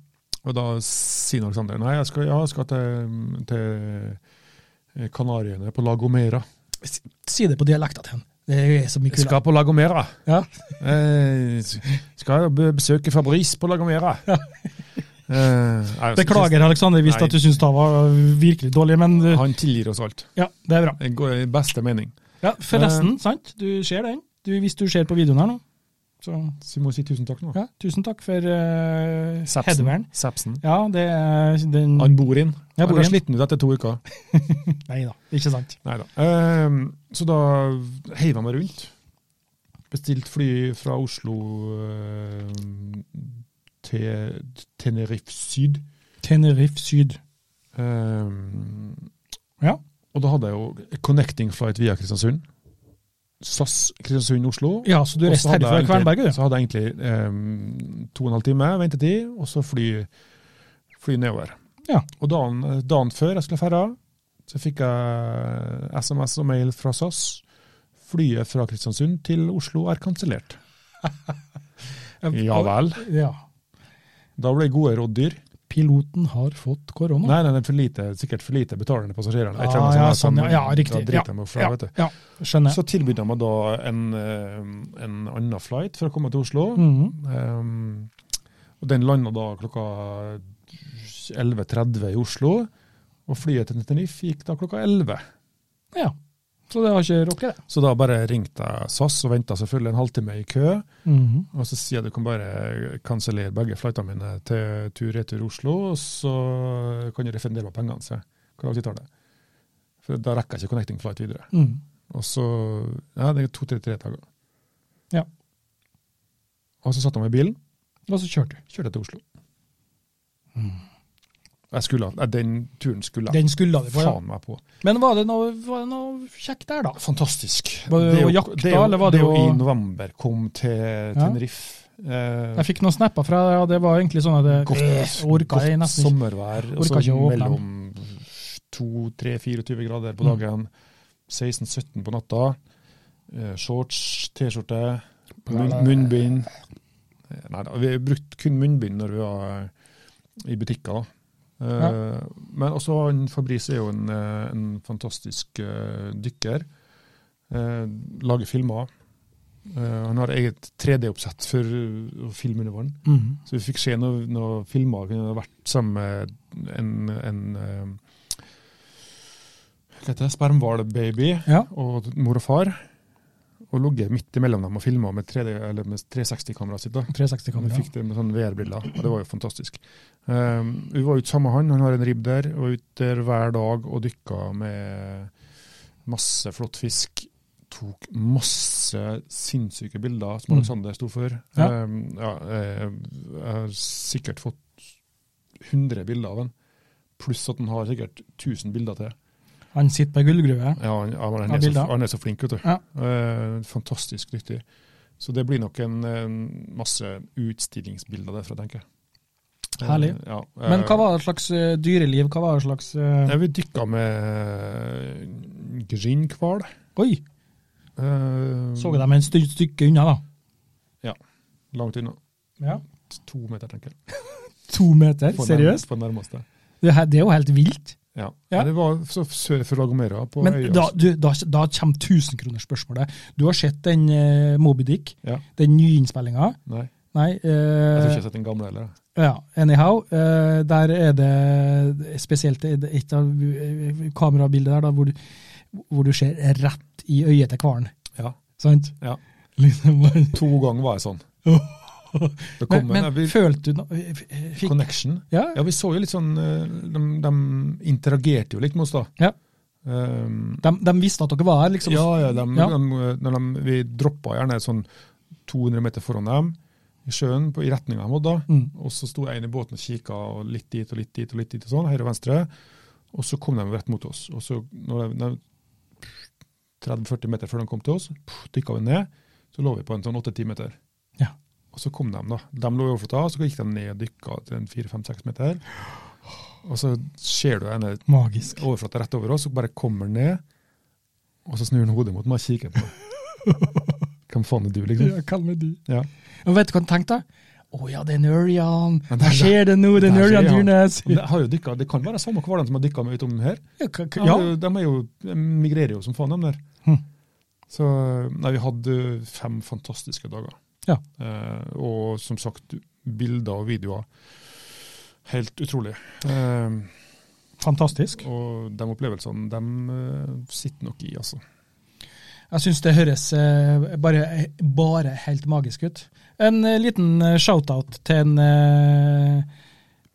[SPEAKER 2] Og da sier Alexander nei, jeg skal, ja, jeg skal til, til eh, Kanariøyene, på La Gomera.
[SPEAKER 1] Si- Si det på dialekta til han. Det er så mye kult.
[SPEAKER 2] Jeg skal på La Gomera!
[SPEAKER 1] Ja.
[SPEAKER 2] Eh, skal jeg be- besøke Fabrice på La Gomera. Eh, nei, altså,
[SPEAKER 1] Beklager, Aleksander, hvis
[SPEAKER 2] Nei.
[SPEAKER 1] at du syns det var virkelig dårlig, men uh,
[SPEAKER 2] Han tilgir oss alt.
[SPEAKER 1] ja, det er bra.
[SPEAKER 2] Det går i beste mening.
[SPEAKER 1] Ja,
[SPEAKER 2] Eh.
[SPEAKER 1] Forresten, sant, du ser den. Du, hvis du ser på videoen her nå, så
[SPEAKER 2] Så vi må si tusen takk nå.
[SPEAKER 1] Ja, tusen takk for uh, hedveren.
[SPEAKER 2] Sepsen.
[SPEAKER 1] Ja, det er den
[SPEAKER 2] Han bor inn.
[SPEAKER 1] Jeg bor
[SPEAKER 2] Han er
[SPEAKER 1] inn.
[SPEAKER 2] sliten ut etter to uker.
[SPEAKER 1] Nei da, ikke sant.
[SPEAKER 2] Neida. Ehm, så da heiv jeg meg rundt. Bestilt fly fra Oslo ehm, til Tenerife Syd.
[SPEAKER 1] Tenerife Syd.
[SPEAKER 2] Ehm,
[SPEAKER 1] Ja.
[SPEAKER 2] Og da hadde jeg jo connecting flight via Kristiansund. SAS Kristiansund-Oslo.
[SPEAKER 1] Ja, så du
[SPEAKER 2] Og
[SPEAKER 1] reiste
[SPEAKER 2] så hadde
[SPEAKER 1] herfra
[SPEAKER 2] jeg egentlig-
[SPEAKER 1] Kvernberget, du.
[SPEAKER 2] Så hadde jeg egentlig ehm, to og en halv time ventetid, og så fly, fly nedover.
[SPEAKER 1] Ja.
[SPEAKER 2] Og dagen, dagen før jeg skulle ferda, så fikk jeg SMS og mail fra SAS. Flyet fra Kristiansund til Oslo er kansellert. Ja vel.
[SPEAKER 1] Ja.
[SPEAKER 2] Da ble gode råd dyr.
[SPEAKER 1] Piloten har fått korona.
[SPEAKER 2] Nei, nei, det er for lite, sikkert for lite betalende passasjerer. Jeg
[SPEAKER 1] Ah,
[SPEAKER 2] trenger
[SPEAKER 1] ja, sånn,
[SPEAKER 2] sånn,
[SPEAKER 1] ja, ja,
[SPEAKER 2] da
[SPEAKER 1] riktig.
[SPEAKER 2] driter
[SPEAKER 1] Ja,
[SPEAKER 2] jeg meg fra,
[SPEAKER 1] ja,
[SPEAKER 2] vet du.
[SPEAKER 1] ja, skjønner.
[SPEAKER 2] Så tilbød de meg da en, eh, en annen flight for å komme til Oslo.
[SPEAKER 1] Mhm.
[SPEAKER 2] Um, og den landa da klokka 11.30 i Oslo, Og flyet til Tenerife gikk da klokka 11.
[SPEAKER 1] Ja. Så det har ikke rukket, det.
[SPEAKER 2] Så da bare ringte jeg SAS og venta selvfølgelig en halvtime i kø.
[SPEAKER 1] Mhm.
[SPEAKER 2] Og så sier jeg du kan bare kansellere begge flightene mine til tur-retur Oslo, og så kan du refundere meg pengene. Så jeg, hvor lang tid tar det? For da rekker jeg ikke connecting flight videre.
[SPEAKER 1] Mhm.
[SPEAKER 2] Og så Ja, det er to-tre-tre dager.
[SPEAKER 1] Ja.
[SPEAKER 2] Og så satte jeg meg i bilen,
[SPEAKER 1] Og så kjørte du.
[SPEAKER 2] kjørte jeg til Oslo. Jeg skulle, ha- nei, den turen skulle jeg
[SPEAKER 1] Mm. Den skulle du på, ja.
[SPEAKER 2] faen meg på.
[SPEAKER 1] Men var det noe, var det noe kjekt der, da?
[SPEAKER 2] Fantastisk.
[SPEAKER 1] Var det
[SPEAKER 2] er
[SPEAKER 1] å
[SPEAKER 2] jo-
[SPEAKER 1] jakte,
[SPEAKER 2] det er jo-
[SPEAKER 1] eller var det
[SPEAKER 2] jo
[SPEAKER 1] å-
[SPEAKER 2] i november kom til Tenerife. Eh,
[SPEAKER 1] Jeg fikk noen snapper fra deg, og det var egentlig sånn at jeg
[SPEAKER 2] godt,
[SPEAKER 1] Eh, orka jeg
[SPEAKER 2] godt
[SPEAKER 1] nesten ikke.
[SPEAKER 2] sommervær.
[SPEAKER 1] orka
[SPEAKER 2] Og
[SPEAKER 1] ikke
[SPEAKER 2] så
[SPEAKER 1] å åpne
[SPEAKER 2] mellom 2-3-24 grader på
[SPEAKER 1] Mm.
[SPEAKER 2] dagen. 16-17 på natta. Eh, Shorts, T-skjorte, munn,
[SPEAKER 1] Nei.
[SPEAKER 2] munnbind. Eh, Nei da, vi brukte kun munnbind når vi var i butikker. da. Eh, Men også han Fabrice er jo en, eh, en fantastisk eh, dykker. Eh, lager filmer. Eh, han har eget 3D-oppsett for eh, å filme under vann.
[SPEAKER 1] Mhm.
[SPEAKER 2] Så vi fikk se noen noe filmer. Vi kunne vært sammen med en, en eh, Hva heter det? Spermhvalbaby
[SPEAKER 1] Ja.
[SPEAKER 2] og mor og far. Og ligget midt imellom dem og filma med, 3D eller med 360-kameraet sitt. da.
[SPEAKER 1] 360-kamera.
[SPEAKER 2] Vi fikk det med sånne VR-briller, og det var jo fantastisk. Um, vi var ute sammen med han, han har en ribb der, og ut der hver dag og dykka med masse flott fisk. Tok masse sinnssyke bilder, som
[SPEAKER 1] Mm.
[SPEAKER 2] Alexander sto for.
[SPEAKER 1] Ja.
[SPEAKER 2] Um, ja, eh, jeg har sikkert fått 100 bilder av han, pluss at han har sikkert 1000 bilder til.
[SPEAKER 1] Han sitter på ei gullgruve.
[SPEAKER 2] Ja, han, ja, men
[SPEAKER 1] Ja,
[SPEAKER 2] han, er så,
[SPEAKER 1] bilder.
[SPEAKER 2] han er så flink, vet du.
[SPEAKER 1] Ja.
[SPEAKER 2] Eh, fantastisk dyktig. Så det blir nok en, en masse utstillingsbilder derfra, tenker jeg. Eh,
[SPEAKER 1] Herlig.
[SPEAKER 2] ja,
[SPEAKER 1] Men
[SPEAKER 2] eh,
[SPEAKER 1] hva var det slags eh, dyreliv? Hva var det slags eh,
[SPEAKER 2] Nei, vi dykka med eh, grindhval.
[SPEAKER 1] Oi!
[SPEAKER 2] eh,
[SPEAKER 1] Så jeg dem et stykke, stykke unna, da.
[SPEAKER 2] Langt unna.
[SPEAKER 1] Ja.
[SPEAKER 2] To meter, tenker jeg.
[SPEAKER 1] To meter?
[SPEAKER 2] På nærm-
[SPEAKER 1] Eh, Seriøst?
[SPEAKER 2] På nærmeste.
[SPEAKER 1] Det, her- det er jo helt vilt.
[SPEAKER 2] Ja.
[SPEAKER 1] Ja.
[SPEAKER 2] Men Det var så sør for Lagomera. På
[SPEAKER 1] Men
[SPEAKER 2] øya.
[SPEAKER 1] da, du, da, da kommer tusenkronersspørsmålet. Du har sett den eh, Moby Dick,
[SPEAKER 2] Ja.
[SPEAKER 1] den nyinnspillinga.
[SPEAKER 2] Nei,
[SPEAKER 1] Nei,
[SPEAKER 2] jeg tror ikke jeg
[SPEAKER 1] eh,
[SPEAKER 2] har sett den gamle heller.
[SPEAKER 1] ja, anyhow. Eh, der er det spesielt er det et av eh, kamerabildet der da, hvor, du- hvor du ser rett i øyet til hvalen.
[SPEAKER 2] Ja.
[SPEAKER 1] Sant?
[SPEAKER 2] Ja.
[SPEAKER 1] Liksom bare
[SPEAKER 2] To ganger var jeg sånn. Det kom
[SPEAKER 1] Men,
[SPEAKER 2] en
[SPEAKER 1] men
[SPEAKER 2] jeg- vi-
[SPEAKER 1] følte du no- fikk,
[SPEAKER 2] Connection.
[SPEAKER 1] ja,
[SPEAKER 2] Ja, vi så jo litt sånn eh, De, de interagerte jo litt med oss, da.
[SPEAKER 1] Ja.
[SPEAKER 2] Ehm,
[SPEAKER 1] de, de visste at dere var her, liksom.
[SPEAKER 2] ja, ja, de,
[SPEAKER 1] Ja.
[SPEAKER 2] de- når de, vi droppa gjerne sånn 200 meter foran dem i sjøen, på, i retninga de hadde.
[SPEAKER 1] Mm.
[SPEAKER 2] Og så sto jeg inne i båten og kikka og litt dit og litt dit og litt dit, og sånn, høyre og venstre. Og så kom de rett mot oss. Og så når de, de 30-40 meter før de kom til oss, dykka vi ned. Så lå vi på en sånn 8-10 meter.
[SPEAKER 1] Ja.
[SPEAKER 2] Og så kom de, da. De lå i overflata, og så gikk de ned og dykka til en 4-5-6 meter. Og så ser du henne
[SPEAKER 1] Magisk.
[SPEAKER 2] overflata rett over oss, og bare kommer ned, og så snur han hodet mot meg og kikker på meg.
[SPEAKER 1] *laughs*
[SPEAKER 2] Hvem faen er du, liksom?
[SPEAKER 1] Ja, kall meg du.
[SPEAKER 2] Ja.
[SPEAKER 1] Og vet du hva han tenkte? Å ja, det er en ørjan.
[SPEAKER 2] Men
[SPEAKER 1] Der
[SPEAKER 2] der-
[SPEAKER 1] skjer det noe, det er en
[SPEAKER 2] der skjer
[SPEAKER 1] ørjan
[SPEAKER 2] han.
[SPEAKER 1] Dyrnes.
[SPEAKER 2] Men Det, har jo dykket, det kan være samme hvalen som har dykka med utom her.
[SPEAKER 1] Ja, k- k-
[SPEAKER 2] De,
[SPEAKER 1] ja.
[SPEAKER 2] er jo, de, er jo, de migrerer jo som faen, de der.
[SPEAKER 1] Hm.
[SPEAKER 2] Så nei, vi hadde fem fantastiske dager.
[SPEAKER 1] Ja.
[SPEAKER 2] Eh, og som sagt, bilder og videoer. Helt utrolig. Eh,
[SPEAKER 1] Fantastisk.
[SPEAKER 2] og de opplevelsene, de eh, sitter nok i, altså.
[SPEAKER 1] Jeg syns det høres eh, bare, bare helt magisk ut. En eh, liten eh, shout-out til en eh,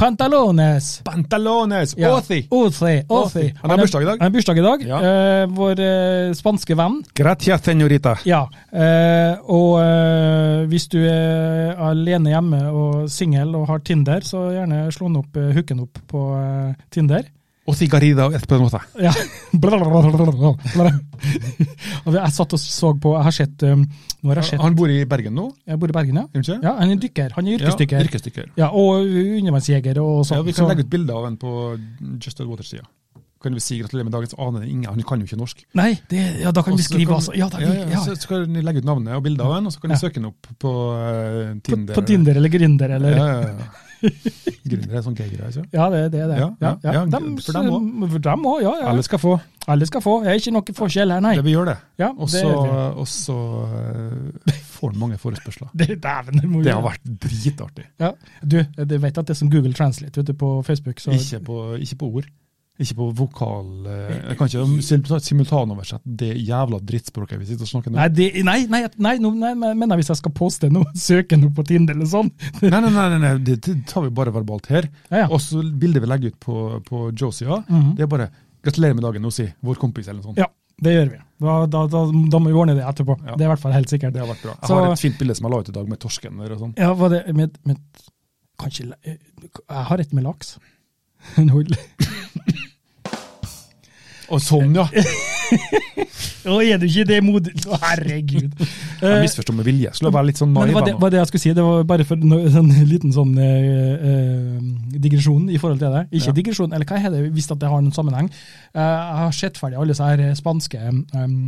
[SPEAKER 1] Pantalones.
[SPEAKER 2] Pantalones!
[SPEAKER 1] Ja.
[SPEAKER 2] Åthi!
[SPEAKER 1] Othi, Othi.
[SPEAKER 2] Han har bursdag i dag.
[SPEAKER 1] Han har bursdag i dag.
[SPEAKER 2] Ja.
[SPEAKER 1] Eh, vår eh, spanske venn.
[SPEAKER 2] Gracias, senorita.
[SPEAKER 1] Ja. Eh, og eh, hvis du er alene hjemme og singel og har Tinder, så gjerne slå den opp, eh, hooken opp på eh, Tinder.
[SPEAKER 2] Og sigarida og esperanza.
[SPEAKER 1] Ja. *laughs* og jeg satt *laughs* og så på Jeg har sett um, Nå har jeg sett
[SPEAKER 2] Han bor i Bergen nå,
[SPEAKER 1] Jeg bor i Bergen, ja.
[SPEAKER 2] gjør han ikke?
[SPEAKER 1] ja han er dykker. Han er yrkesdykker.
[SPEAKER 2] Ja,
[SPEAKER 1] Ja,
[SPEAKER 2] yrkesdykker.
[SPEAKER 1] og undervannsjeger og
[SPEAKER 2] Ja,
[SPEAKER 1] sånn.
[SPEAKER 2] vi kan
[SPEAKER 1] Så-
[SPEAKER 2] legge ut bilder av en på Just Dead Water-sida. Kan vi si gratulerer med dagen? Så aner ingen, han kan jo ikke norsk.
[SPEAKER 1] Nei, det, ja, da kan vi
[SPEAKER 2] Og så
[SPEAKER 1] skrive,
[SPEAKER 2] kan-
[SPEAKER 1] altså. Ja, da,
[SPEAKER 2] ja,
[SPEAKER 1] vi, ja.
[SPEAKER 2] Så så kan vi legge ut navnet og bildet av han, og så kan vi
[SPEAKER 1] Ja.
[SPEAKER 2] søke han opp på eh,
[SPEAKER 1] På,
[SPEAKER 2] Tinder.
[SPEAKER 1] på Tinder eller Grinder
[SPEAKER 2] Ja,
[SPEAKER 1] eller
[SPEAKER 2] ja, ja. Gründer er en sånn gay-greie, ikke
[SPEAKER 1] Ja, det det er det.
[SPEAKER 2] Ja, ja, ja,
[SPEAKER 1] Dem-
[SPEAKER 2] for dem
[SPEAKER 1] For dem òg, ja. ja.
[SPEAKER 2] Alle skal få.
[SPEAKER 1] Alle skal få. Jeg er ikke noe forskjell her, *laughs* nei.
[SPEAKER 2] Det vi gjør, det.
[SPEAKER 1] Ja,
[SPEAKER 2] Og
[SPEAKER 1] det
[SPEAKER 2] så og så, eh, får han mange forespørsler.
[SPEAKER 1] det, dæven, det må
[SPEAKER 2] Det har
[SPEAKER 1] gjøre.
[SPEAKER 2] vært dritartig.
[SPEAKER 1] Ja. Du, du vet at det er som Google Translate vet du, på Facebook. Så,
[SPEAKER 2] Ikke på, ikke på ord. Ikke på vokal eh, Jeg kan ikke simulta- simultanoversette det jævla drittspråket vi sitter og snakker nå.
[SPEAKER 1] Nei, det, nei, nei, nei, nå- nei, nei, mener jeg hvis jeg skal poste noe, *laughs* søke noe på Tinder eller sånn. *laughs*
[SPEAKER 2] Nei, nei, nei, nei, nei det, det tar vi bare verbalt her.
[SPEAKER 1] Ja, ja. Mhm.
[SPEAKER 2] Og så bildet vi legger ut på, på Josia, det er bare 'gratulerer med dagen', nå si vår kompis, eller noe sånt.
[SPEAKER 1] Ja, det gjør vi. Da, da, da, da må vi ordne det etterpå.
[SPEAKER 2] Ja.
[SPEAKER 1] Det er i hvert fall helt sikkert.
[SPEAKER 2] Det har vært bra. Jeg
[SPEAKER 1] Så-
[SPEAKER 2] har et fint bilde som jeg la ut i dag, med torsken der og sånn.
[SPEAKER 1] Ja, var det med, med Kanskje la- eh, Jeg har et med laks. *laughs* En hull.
[SPEAKER 2] Og sånn,
[SPEAKER 1] *laughs*
[SPEAKER 2] ja!
[SPEAKER 1] Å, er du ikke det modig? Å, Herregud. *laughs*
[SPEAKER 2] Jeg
[SPEAKER 1] Eh,
[SPEAKER 2] misforstår med vilje. Skulle være litt sånn
[SPEAKER 1] Men
[SPEAKER 2] naiv.
[SPEAKER 1] det var det,
[SPEAKER 2] jeg nå.
[SPEAKER 1] var det jeg skulle si. Det var bare for no, en *laughs* liten sånn eh, eh, digresjon i forhold til det. Ikke
[SPEAKER 2] Ja.
[SPEAKER 1] digresjon, eller hva er det, hvis at det har noen sammenheng. Eh, jeg har sett ferdig alle disse her eh, spanske um,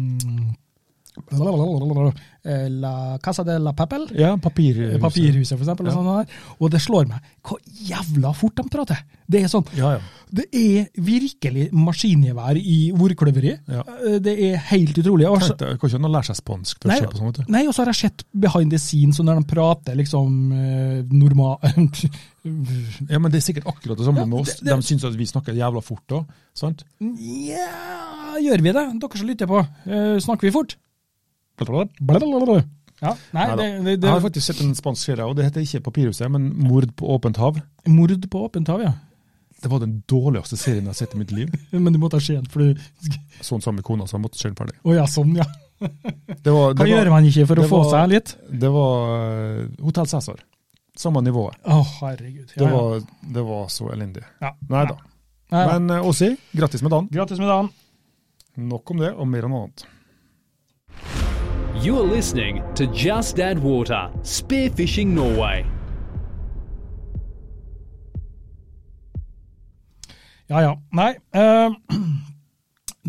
[SPEAKER 1] La Casa de la Papel.
[SPEAKER 2] Ja, papirhuset.
[SPEAKER 1] Papirhuset, for eksempel.
[SPEAKER 2] Ja.
[SPEAKER 1] Og, sånn der. og det slår meg hvor jævla fort de prater. Det er sånn
[SPEAKER 2] Ja, ja.
[SPEAKER 1] det er virkelig maskingevær i ordkløveri.
[SPEAKER 2] Ja.
[SPEAKER 1] Eh, Det er helt utrolig. Og så-
[SPEAKER 2] Tenkte, jeg, kan ikke han lære seg spansk for å
[SPEAKER 1] Nei,
[SPEAKER 2] se på sånn, vet du.
[SPEAKER 1] nei, og så har jeg sett behind the scenes, og når de prater liksom eh, normal *laughs*
[SPEAKER 2] Ja, men det er sikkert akkurat det samme
[SPEAKER 1] Ja,
[SPEAKER 2] med oss.
[SPEAKER 1] det- det-
[SPEAKER 2] De syns at vi snakker jævla fort òg, sant?
[SPEAKER 1] Nja, gjør vi det? Dere som lytter på, eh, snakker vi fort?
[SPEAKER 2] Blablabla.
[SPEAKER 1] Blablabla. Ja, nei, det,
[SPEAKER 2] Neida.
[SPEAKER 1] det,
[SPEAKER 2] Jeg har
[SPEAKER 1] det,
[SPEAKER 2] faktisk sett en spansk serie, og det heter ikke Papirhuset, men Mord på åpent hav.
[SPEAKER 1] Mord på åpent hav, ja.
[SPEAKER 2] Det var den dårligste serien jeg har sett i mitt liv.
[SPEAKER 1] Men du må ta skjeen, for du
[SPEAKER 2] Sånn sammen med kona, så jeg måtte se den ferdig.
[SPEAKER 1] Å ja, sånn, ja.
[SPEAKER 2] Det var,
[SPEAKER 1] Hva
[SPEAKER 2] det
[SPEAKER 1] gjør
[SPEAKER 2] var,
[SPEAKER 1] man ikke for å
[SPEAKER 2] det
[SPEAKER 1] få
[SPEAKER 2] var-
[SPEAKER 1] seg litt?
[SPEAKER 2] det var eh, Hotel Cæsar. Samme nivået.
[SPEAKER 1] Å, herregud.
[SPEAKER 2] Det
[SPEAKER 1] Ja, ja.
[SPEAKER 2] var, det var så elendig.
[SPEAKER 1] Ja.
[SPEAKER 2] Nei da.
[SPEAKER 1] Nei, da.
[SPEAKER 2] Men eh, Åsi, grattis med dagen.
[SPEAKER 1] Grattis med dagen.
[SPEAKER 2] Nok om det, og mer om noe annet.
[SPEAKER 3] You're listening to Just Add Water, Spearfishing Norway.
[SPEAKER 1] Ja, ja. Nei. eh, *clears throat*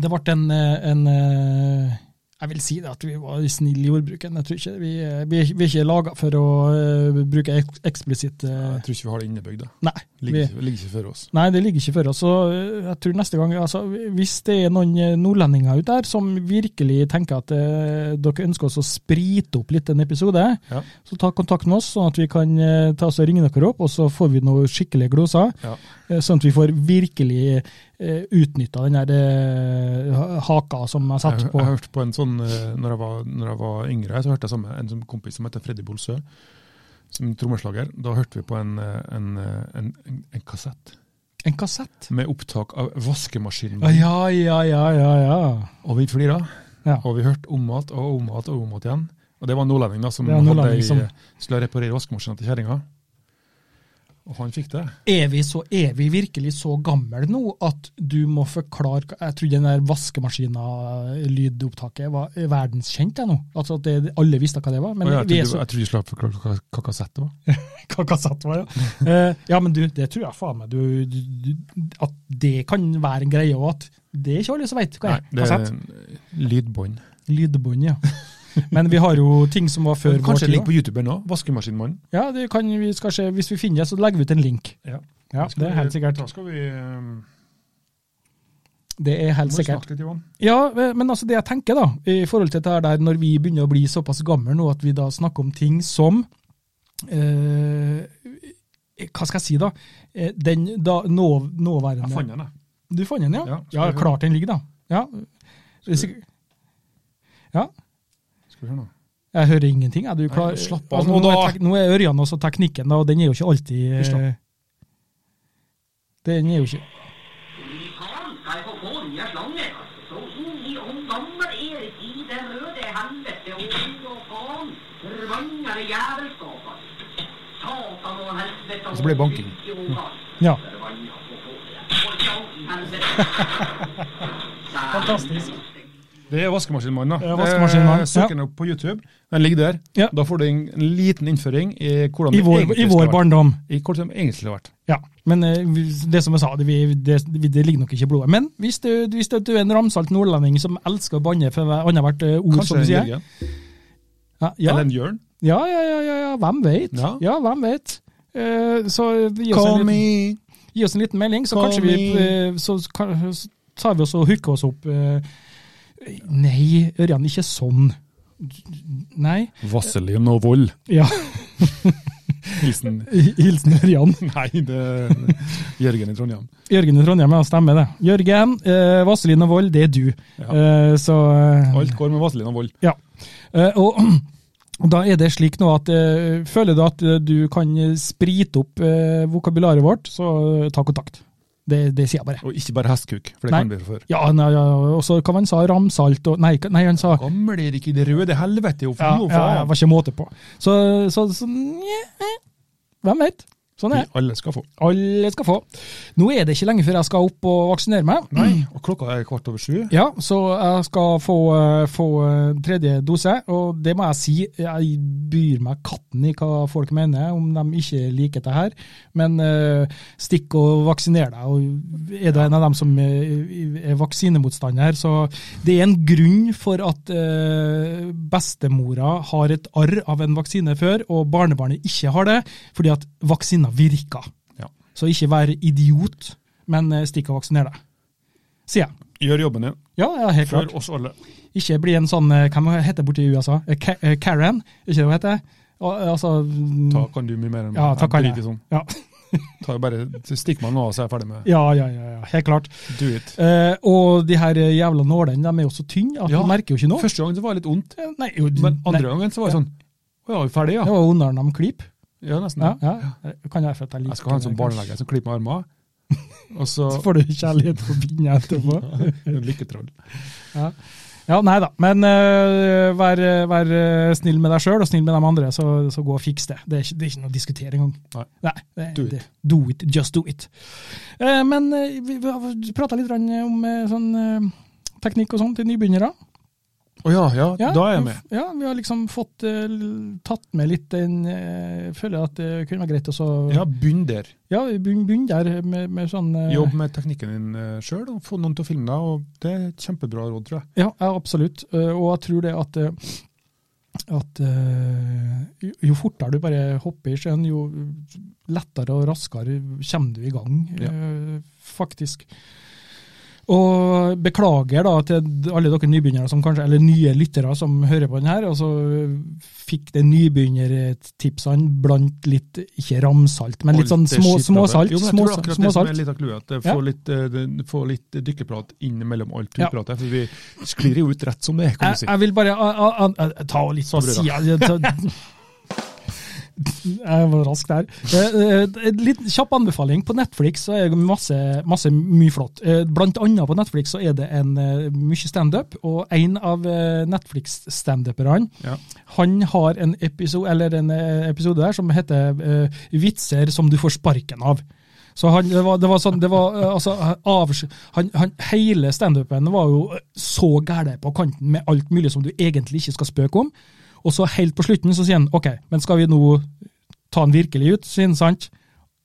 [SPEAKER 1] det ble en, eh, en eh, Jeg vil si det at vi var snille i ordbruken. Jeg tror ikke Vi, eh, vi, er- vi er ikke laga for å eh, bruke ek, eksplisitt eh,
[SPEAKER 2] Jeg tror ikke vi har det innebygd. det.
[SPEAKER 1] Nei. Vi,
[SPEAKER 2] Ligger, ikke- ligger ikke for oss.
[SPEAKER 1] nei, det ligger ikke for oss. Så eh, jeg tror neste gang altså, Hvis det er noen eh, nordlendinger ute der som virkelig tenker at eh, dere ønsker oss å sprite opp litt en episode,
[SPEAKER 2] Ja.
[SPEAKER 1] så ta kontakt med oss, sånn at vi kan eh, ta oss og ringe dere opp, og så får vi noen skikkelige gloser.
[SPEAKER 2] Ja.
[SPEAKER 1] Eh, Sånn at vi får virkelig eh, utnytta den der eh, ha- haka som jeg satt
[SPEAKER 2] Jeg,
[SPEAKER 1] på.
[SPEAKER 2] jeg hørte på en sånn, eh, når jeg var, når jeg var yngre, så hørte jeg sammen en sånn kompis som heter Freddy Bolsø, som trommeslager. Da hørte vi på en, eh, en, eh, en, en, en kassett
[SPEAKER 1] En kassett?
[SPEAKER 2] med opptak av vaskemaskinen.
[SPEAKER 1] Å, Ja, ja, ja, ja. ja.
[SPEAKER 2] Og vi flira,
[SPEAKER 1] Ja.
[SPEAKER 2] og vi hørte om igjen og om igjen og om igjen igjen. Og det var en nordlending da, som,
[SPEAKER 1] Det er en nordlending
[SPEAKER 2] hadde,
[SPEAKER 1] som-
[SPEAKER 2] som... skulle reparere vaskemaskinen til kjerringa. Og han fikk det.
[SPEAKER 1] Er, vi så, er vi virkelig så gamle nå at du må forklare hva- Jeg trodde den der vaskemaskina-lydopptaket var verdenskjent, jeg nå. Altså at det, alle visste hva det var. Men
[SPEAKER 2] og jeg
[SPEAKER 1] vi er
[SPEAKER 2] trodde,
[SPEAKER 1] så
[SPEAKER 2] jeg trodde de skulle ha forklart hva, hva kassett det var.
[SPEAKER 1] *laughs* Hva kassett var, ja. Eh, ja, men du, det tror jeg faen meg du, du, du, At det kan være en greie, og at det er ikke alle som vet hva er.
[SPEAKER 2] det er
[SPEAKER 1] Kassett.
[SPEAKER 2] lydbånd.
[SPEAKER 1] Lydbånd, ja. *laughs* Men vi har jo ting som var før vår
[SPEAKER 2] Kanskje det
[SPEAKER 1] tid.
[SPEAKER 2] ligger
[SPEAKER 1] også.
[SPEAKER 2] på YouTube ennå. Vaskemaskinmannen.
[SPEAKER 1] Ja, det kan vi skal se. Hvis vi finner det, så legger vi ut en link.
[SPEAKER 2] Ja.
[SPEAKER 1] Ja, Det er helt sikkert.
[SPEAKER 2] Da skal vi ehm,
[SPEAKER 1] Det er
[SPEAKER 2] må
[SPEAKER 1] helt
[SPEAKER 2] vi
[SPEAKER 1] sikkert.
[SPEAKER 2] snakke litt, Johan.
[SPEAKER 1] Ja, men altså det jeg tenker da, i forhold til dette her der, når vi begynner å bli såpass gamle nå at vi da snakker om ting som eh, Hva skal jeg si, da? Eh, Den da, nå, nåværende
[SPEAKER 2] Jeg fant den, jeg.
[SPEAKER 1] Du fant den, ja?
[SPEAKER 2] Ja,
[SPEAKER 1] Ja,
[SPEAKER 2] skal vi-
[SPEAKER 1] klart den ligger, da. Ja. Sik- ja.
[SPEAKER 2] Skal vi høre nå.
[SPEAKER 1] Jeg hører ingenting. Er du klar?
[SPEAKER 2] Nei, slapp av
[SPEAKER 1] Altså,
[SPEAKER 2] nå,
[SPEAKER 1] nå,
[SPEAKER 2] da.
[SPEAKER 1] er tek, nå er Ørjan også teknikken, da, og den er jo ikke alltid
[SPEAKER 2] Hysj da.
[SPEAKER 1] eh, Den er jo ikke
[SPEAKER 4] Han skal få få nye slanger. Så inn i om gamle Erik i det røde helvete og inn og faen. Forvandlede jævelskaper. Satan og helvete
[SPEAKER 2] Og så blir det banking.
[SPEAKER 1] Ja.
[SPEAKER 4] Forbanna på hodet. Forbanna helvete.
[SPEAKER 1] Fantastisk.
[SPEAKER 2] Det er Vaskemaskinmannen. da.
[SPEAKER 1] Ja, Vaskemaskinmannen,
[SPEAKER 2] Eh, Søk den opp på YouTube. Den ligger der.
[SPEAKER 1] Ja.
[SPEAKER 2] Da får du en en liten innføring i hvordan
[SPEAKER 1] I
[SPEAKER 2] det
[SPEAKER 1] vår,
[SPEAKER 2] egentlig
[SPEAKER 1] i
[SPEAKER 2] skulle
[SPEAKER 1] vår
[SPEAKER 2] vært.
[SPEAKER 1] barndom.
[SPEAKER 2] I hvordan det egentlig skulle vært.
[SPEAKER 1] Ja. Men eh, vi- det som jeg sa, det, vi, det, vi- det ligger nok ikke i blodet. Men hvis du, hvis du er en ramsalt nordlending som elsker å banne for hver- annethvert eh, ord, som
[SPEAKER 2] Kanskje
[SPEAKER 1] du sier
[SPEAKER 2] en Jørgen.
[SPEAKER 1] ja, ja.
[SPEAKER 2] Eller en Jørn.
[SPEAKER 1] Ja, ja, ja, ja, ja, hvem vet?
[SPEAKER 2] Ja.
[SPEAKER 1] Ja, hvem vet? Eh, så gi oss, en liten, gi oss en liten melding, så
[SPEAKER 2] Call
[SPEAKER 1] kanskje vi
[SPEAKER 2] me.
[SPEAKER 1] eh, så, kan- så tar vi oss og hooker oss opp. eh. Nei, Ørjan, ikke sånn. Nei. *laughs*
[SPEAKER 2] Vaselin og vold.
[SPEAKER 1] Ja.
[SPEAKER 2] Hilsen *laughs*
[SPEAKER 1] Hilsen Ørjan.
[SPEAKER 2] Nei, det er Jørgen i Trondheim.
[SPEAKER 1] Jørgen i Trondheim, ja, stemmer det. Jørgen, eh, Vazelin og Vold, det er du.
[SPEAKER 2] Ja.
[SPEAKER 1] Eh, så eh,
[SPEAKER 2] Alt går med Vazelin og vold.
[SPEAKER 1] Ja. Eh, og *clears throat* da er det slik nå at eh, føler du at eh, du kan sprite opp eh, vokabularet vårt, så eh, ta kontakt. Det, det sier jeg bare.
[SPEAKER 2] Og ikke bare hestkuk, for det
[SPEAKER 1] Nei.
[SPEAKER 2] kan vi fra før.
[SPEAKER 1] Ja, nei, ja, og så hva var det han sa? Ramsalt og Nei, hva- nei han sa
[SPEAKER 2] Gamle Erik i det røde helvete, jo
[SPEAKER 1] ja,
[SPEAKER 2] faen, jo
[SPEAKER 1] ja, ja,
[SPEAKER 2] faen.
[SPEAKER 1] var ikke måte på. Så, så, så nje, eh, Hvem vet? Sånn er det.
[SPEAKER 2] Alle skal få.
[SPEAKER 1] Alle skal få. Nå er det ikke lenge før jeg skal opp og vaksinere meg.
[SPEAKER 2] Nei, og klokka er kvart over sju.
[SPEAKER 1] Ja, så jeg skal få, eh, få eh, tredje dose, og det må jeg si, jeg byr meg katten i hva folk mener, om de ikke liker det her. Men eh, stikk og vaksiner deg, og er du en av dem som eh, er vaksinemotstander, så det er en grunn for at eh, bestemora har et arr av en vaksine før, og barnebarnet ikke har det, fordi at vaksiner virker.
[SPEAKER 2] Ja.
[SPEAKER 1] Så ikke vær idiot, men eh, stikk og vaksiner deg, sier jeg.
[SPEAKER 2] Gjør jobben din.
[SPEAKER 1] Ja, ja, helt klart.
[SPEAKER 2] Før oss alle.
[SPEAKER 1] Ikke bli en sånn eh, Hva heter det borte i USA? Eh, Ka- eh, Karen, er ikke det hun heter? Al- Altså mm,
[SPEAKER 2] Ta kan du mye mer enn
[SPEAKER 1] Ja, takk, Arne.
[SPEAKER 2] Jeg driter i sånn.
[SPEAKER 1] Ja. *laughs*
[SPEAKER 2] Ta bare, Stikk meg nå, så er jeg ferdig med
[SPEAKER 1] Ja, ja, ja, ja, helt klart.
[SPEAKER 2] Do it.
[SPEAKER 1] Eh, og de her eh, jævla nålene, de er jo så tynne at
[SPEAKER 2] Ja.
[SPEAKER 1] du merker jo ikke noe.
[SPEAKER 2] Første gangen så var det litt vondt,
[SPEAKER 1] Eh, Nei, jo,
[SPEAKER 2] men andre
[SPEAKER 1] nei,
[SPEAKER 2] gangen så var det sånn Å ja, vi er ferdig,
[SPEAKER 1] Det
[SPEAKER 2] ja.
[SPEAKER 1] var vondere enn de klipper.
[SPEAKER 2] Ja, nesten.
[SPEAKER 1] Ja, ja. Eh, Kan jeg, for at jeg, liker
[SPEAKER 2] Jeg skal ha en sånn
[SPEAKER 1] det, kanskje.
[SPEAKER 2] barnelege som klipper meg
[SPEAKER 1] *laughs*
[SPEAKER 2] armene. Og så
[SPEAKER 1] Så får du kjærlighet på pinne etterpå.
[SPEAKER 2] *laughs* Lykketroll.
[SPEAKER 1] Ja, nei da. Men eh, vær, vær eh, snill med deg sjøl og snill med de andre, så, så gå og fiks det. Det er ikke, det er ikke noe å diskutere engang.
[SPEAKER 2] Nei.
[SPEAKER 1] det,
[SPEAKER 2] Do it.
[SPEAKER 1] Det, do it. Just do it. Eh, men eh, vi, vi prata litt grann om eh, sånn eh, teknikk og sånn til nybegynnere.
[SPEAKER 2] Å ja, ja, da er jeg med.
[SPEAKER 1] Ja, vi har liksom fått eh, l- tatt med litt den eh, Føler at det kunne være greit å så
[SPEAKER 2] Ja, Begynn der.
[SPEAKER 1] ja, begynn begynn der med, med sånn eh,
[SPEAKER 2] Jobb med teknikken din sjøl, og få noen til å filme deg. og Det er et kjempebra råd, tror jeg.
[SPEAKER 1] Ja, ja, absolutt. Eh, Og jeg tror det at, eh, at eh, jo- jo fortere du bare hopper i sjøen, jo lettere og raskere kommer du i gang, eh, faktisk. Og beklager da til alle dere nybegynnere som kanskje, eller nye lyttere som hører på den her, og så fikk det nybegynnertipsene blant litt, ikke ramsalt, men litt sånn
[SPEAKER 2] Alt eh, det
[SPEAKER 1] små,
[SPEAKER 2] skitpratet.
[SPEAKER 1] småsalt.
[SPEAKER 2] Jo, men jeg tror
[SPEAKER 1] Småsalt.
[SPEAKER 2] akkurat det som
[SPEAKER 1] småsalt.
[SPEAKER 2] er litt av clouet, at det
[SPEAKER 1] Ja.
[SPEAKER 2] får litt, eh, det- får litt dykkeprat inn mellom alt vi
[SPEAKER 1] Ja.
[SPEAKER 2] prater, for vi sklir jo ut rett som det er, kan du
[SPEAKER 1] Jeg,
[SPEAKER 2] si.
[SPEAKER 1] jeg vil bare a, a, a, a, ta litt sånn på
[SPEAKER 2] Sabrina.
[SPEAKER 1] sida *laughs* Jeg var rask der. Eh, eh, En litt kjapp anbefaling. På Netflix så er det masse, masse mye flott. Eh, Blant annet på Netflix så er det en eh, mye standup, og en av eh, Netflix-standuperne
[SPEAKER 2] Ja.
[SPEAKER 1] han har en episode, eller en eh, episode der som heter eh, 'Vitser som du får sparken av'. Så han, det var, det var sånn, det var, eh, altså, avs- han, han, Hele standupen var jo eh, så gæren på kanten med alt mulig som du egentlig ikke skal spøke om. Og så helt på slutten så sier han OK, men skal vi nå ta han virkelig ut? Sier han, sant?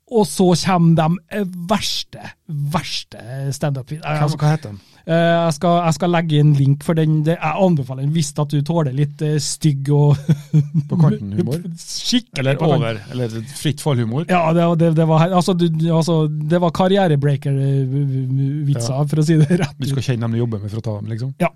[SPEAKER 1] Og så kommer de eh, verste, verste standup-videoene.
[SPEAKER 2] Altså, Hva, hva heter den?
[SPEAKER 1] Eh, Jeg skal, jeg skal legge inn link for den. Det, jeg anbefaler den hvis at du tåler litt eh, stygg og *laughs*
[SPEAKER 2] På kanten-humor?
[SPEAKER 1] Skikkelig
[SPEAKER 2] Eller
[SPEAKER 1] på kanten.
[SPEAKER 2] over? Eller fritt fall-humor?
[SPEAKER 1] Ja, det, var- det, det var, altså, du, altså, det var karrierebreaker-vitser, for å si det rett.
[SPEAKER 2] Du skal kjenne dem du jobber med for å ta dem, liksom?
[SPEAKER 1] Ja.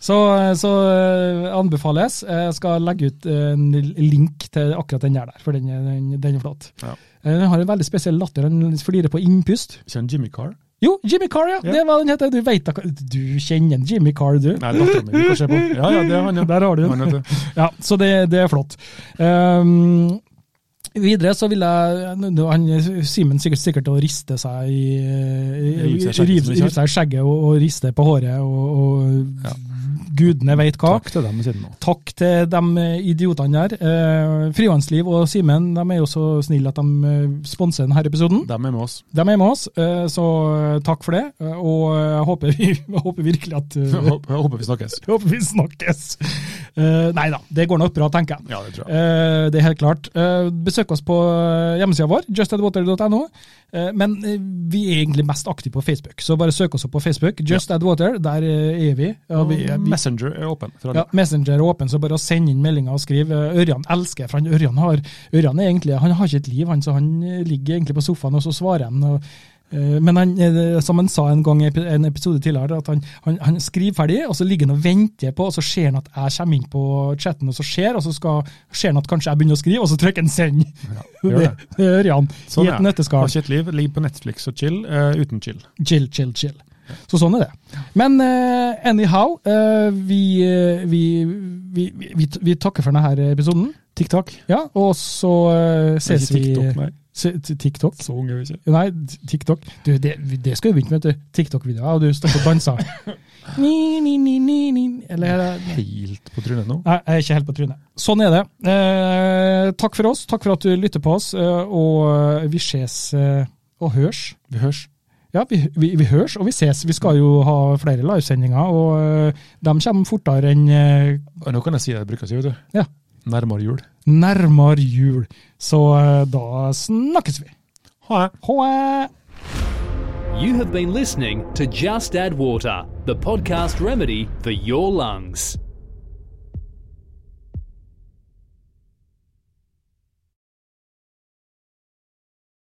[SPEAKER 1] Så, så eh, anbefales. Jeg skal legge ut eh, en link til akkurat den der, der, for den, er- den, den er flott.
[SPEAKER 2] Ja.
[SPEAKER 1] Eh, Den har en veldig spesiell latter. Han flirer på innpust.
[SPEAKER 2] Kjenner Jimmy Carr?
[SPEAKER 1] Jo, Jimmy Carr, ja.
[SPEAKER 2] Ja.
[SPEAKER 1] Det var den heter. Du vet da hva Du kjenner Jimmy Carr, du.
[SPEAKER 2] Nei, datteren min. Du kan se på. Ja, ja, det er han,
[SPEAKER 1] *laughs*
[SPEAKER 2] ja.
[SPEAKER 1] Der har du den.
[SPEAKER 2] Han, vet du.
[SPEAKER 1] Ja, så det, det er flott. Ehm, videre så vil jeg nå- nå- han, Simen sikkert, sikkert å riste seg i
[SPEAKER 2] Rive seg i skjegget, som
[SPEAKER 1] rive-
[SPEAKER 2] det heter.
[SPEAKER 1] Rive seg i skjegget og, og riste på håret og, og
[SPEAKER 2] Ja.
[SPEAKER 1] gudene veit hva.
[SPEAKER 2] Takk til dem, siden nå.
[SPEAKER 1] Takk til de idiotene der. Eh, Frivannsliv og Simen de er jo så snille at de eh, sponser denne episoden.
[SPEAKER 2] Dem er med oss.
[SPEAKER 1] De er med oss, eh, så takk for det. eh, Og jeg håper, vi, *laughs* jeg håper virkelig at eh,
[SPEAKER 2] Jeg håper jeg håper vi snakkes.
[SPEAKER 1] Jeg håper vi snakkes. Eh, Nei da, det går nok bra, tenker jeg.
[SPEAKER 2] Ja, det tror jeg.
[SPEAKER 1] Eh, det er helt klart. Eh, besøk oss på hjemmesida vår, justadwater.no. Eh, men eh, vi er egentlig mest aktive på Facebook, så bare søk oss opp på Facebook. Just Add Water, der eh, er vi. Ja, vi,
[SPEAKER 2] Og
[SPEAKER 1] vi
[SPEAKER 2] Messenger er åpen for
[SPEAKER 1] ja,
[SPEAKER 2] alle.
[SPEAKER 1] Messenger er åpen, så bare å sende inn meldinger og skrive. Eh, Ørjan elsker for han Ørjan har Ørjan er egentlig, han har ikke et liv, han, så han eh, ligger egentlig på sofaen, og så svarer han. og Eh, Men han, eh, som han sa en gang i epi- en episode tidligere, at han, han, han skriver ferdig, og så ligger han og venter på, og så ser han at jeg kommer inn på chatten, og så ser, og så skal, ser han at kanskje jeg begynner å skrive, og så trykker han send.
[SPEAKER 2] gjør
[SPEAKER 1] *laughs* det,
[SPEAKER 2] det.
[SPEAKER 1] det hører han. I et
[SPEAKER 2] Sånn er det. Har
[SPEAKER 1] nøtteskall.
[SPEAKER 2] ikke et liv. Ligger på Netflix og chill eh, uten chill.
[SPEAKER 1] Chill, chill, chill. Så sånn er det. Men eh, anyhow, eh, vi, eh, vi, vi, vi, vi, vi takker for denne episoden.
[SPEAKER 2] TikTok.
[SPEAKER 1] Ja, og så eh, ses
[SPEAKER 2] Ikke
[SPEAKER 1] vi
[SPEAKER 2] TikTok, nei.
[SPEAKER 1] Se- til TikTok?
[SPEAKER 2] Så unge er vi ikke.
[SPEAKER 1] Nei, t- TikTok. Du, det, det skal vi begynne med, vet du. TikTok-videoer, og du står og
[SPEAKER 2] *laughs*
[SPEAKER 1] danser. ni, ni, ni, ni, ni. Eller
[SPEAKER 2] Helt på trynet nå.
[SPEAKER 1] Nei, jeg er ikke helt på trynet. Sånn er det. Eh, takk for oss. Takk for at du lytter på oss, eh, og vi ses eh, og hørs.
[SPEAKER 2] Vi hørs.
[SPEAKER 1] Ja, vi, vi, vi hørs og vi ses. Vi skal jo ha flere livesendinger, og eh, de kommer fortere enn eh,
[SPEAKER 2] Og nå kan jeg si det jeg bruker å si, vet du.
[SPEAKER 1] ja,
[SPEAKER 2] Nærmere jul.
[SPEAKER 1] nærmere jul. Så eh, da snakkes vi.
[SPEAKER 2] Ha det.
[SPEAKER 1] Ha det!
[SPEAKER 3] You have been listening to Just Add Water, the podcast remedy for your lungs.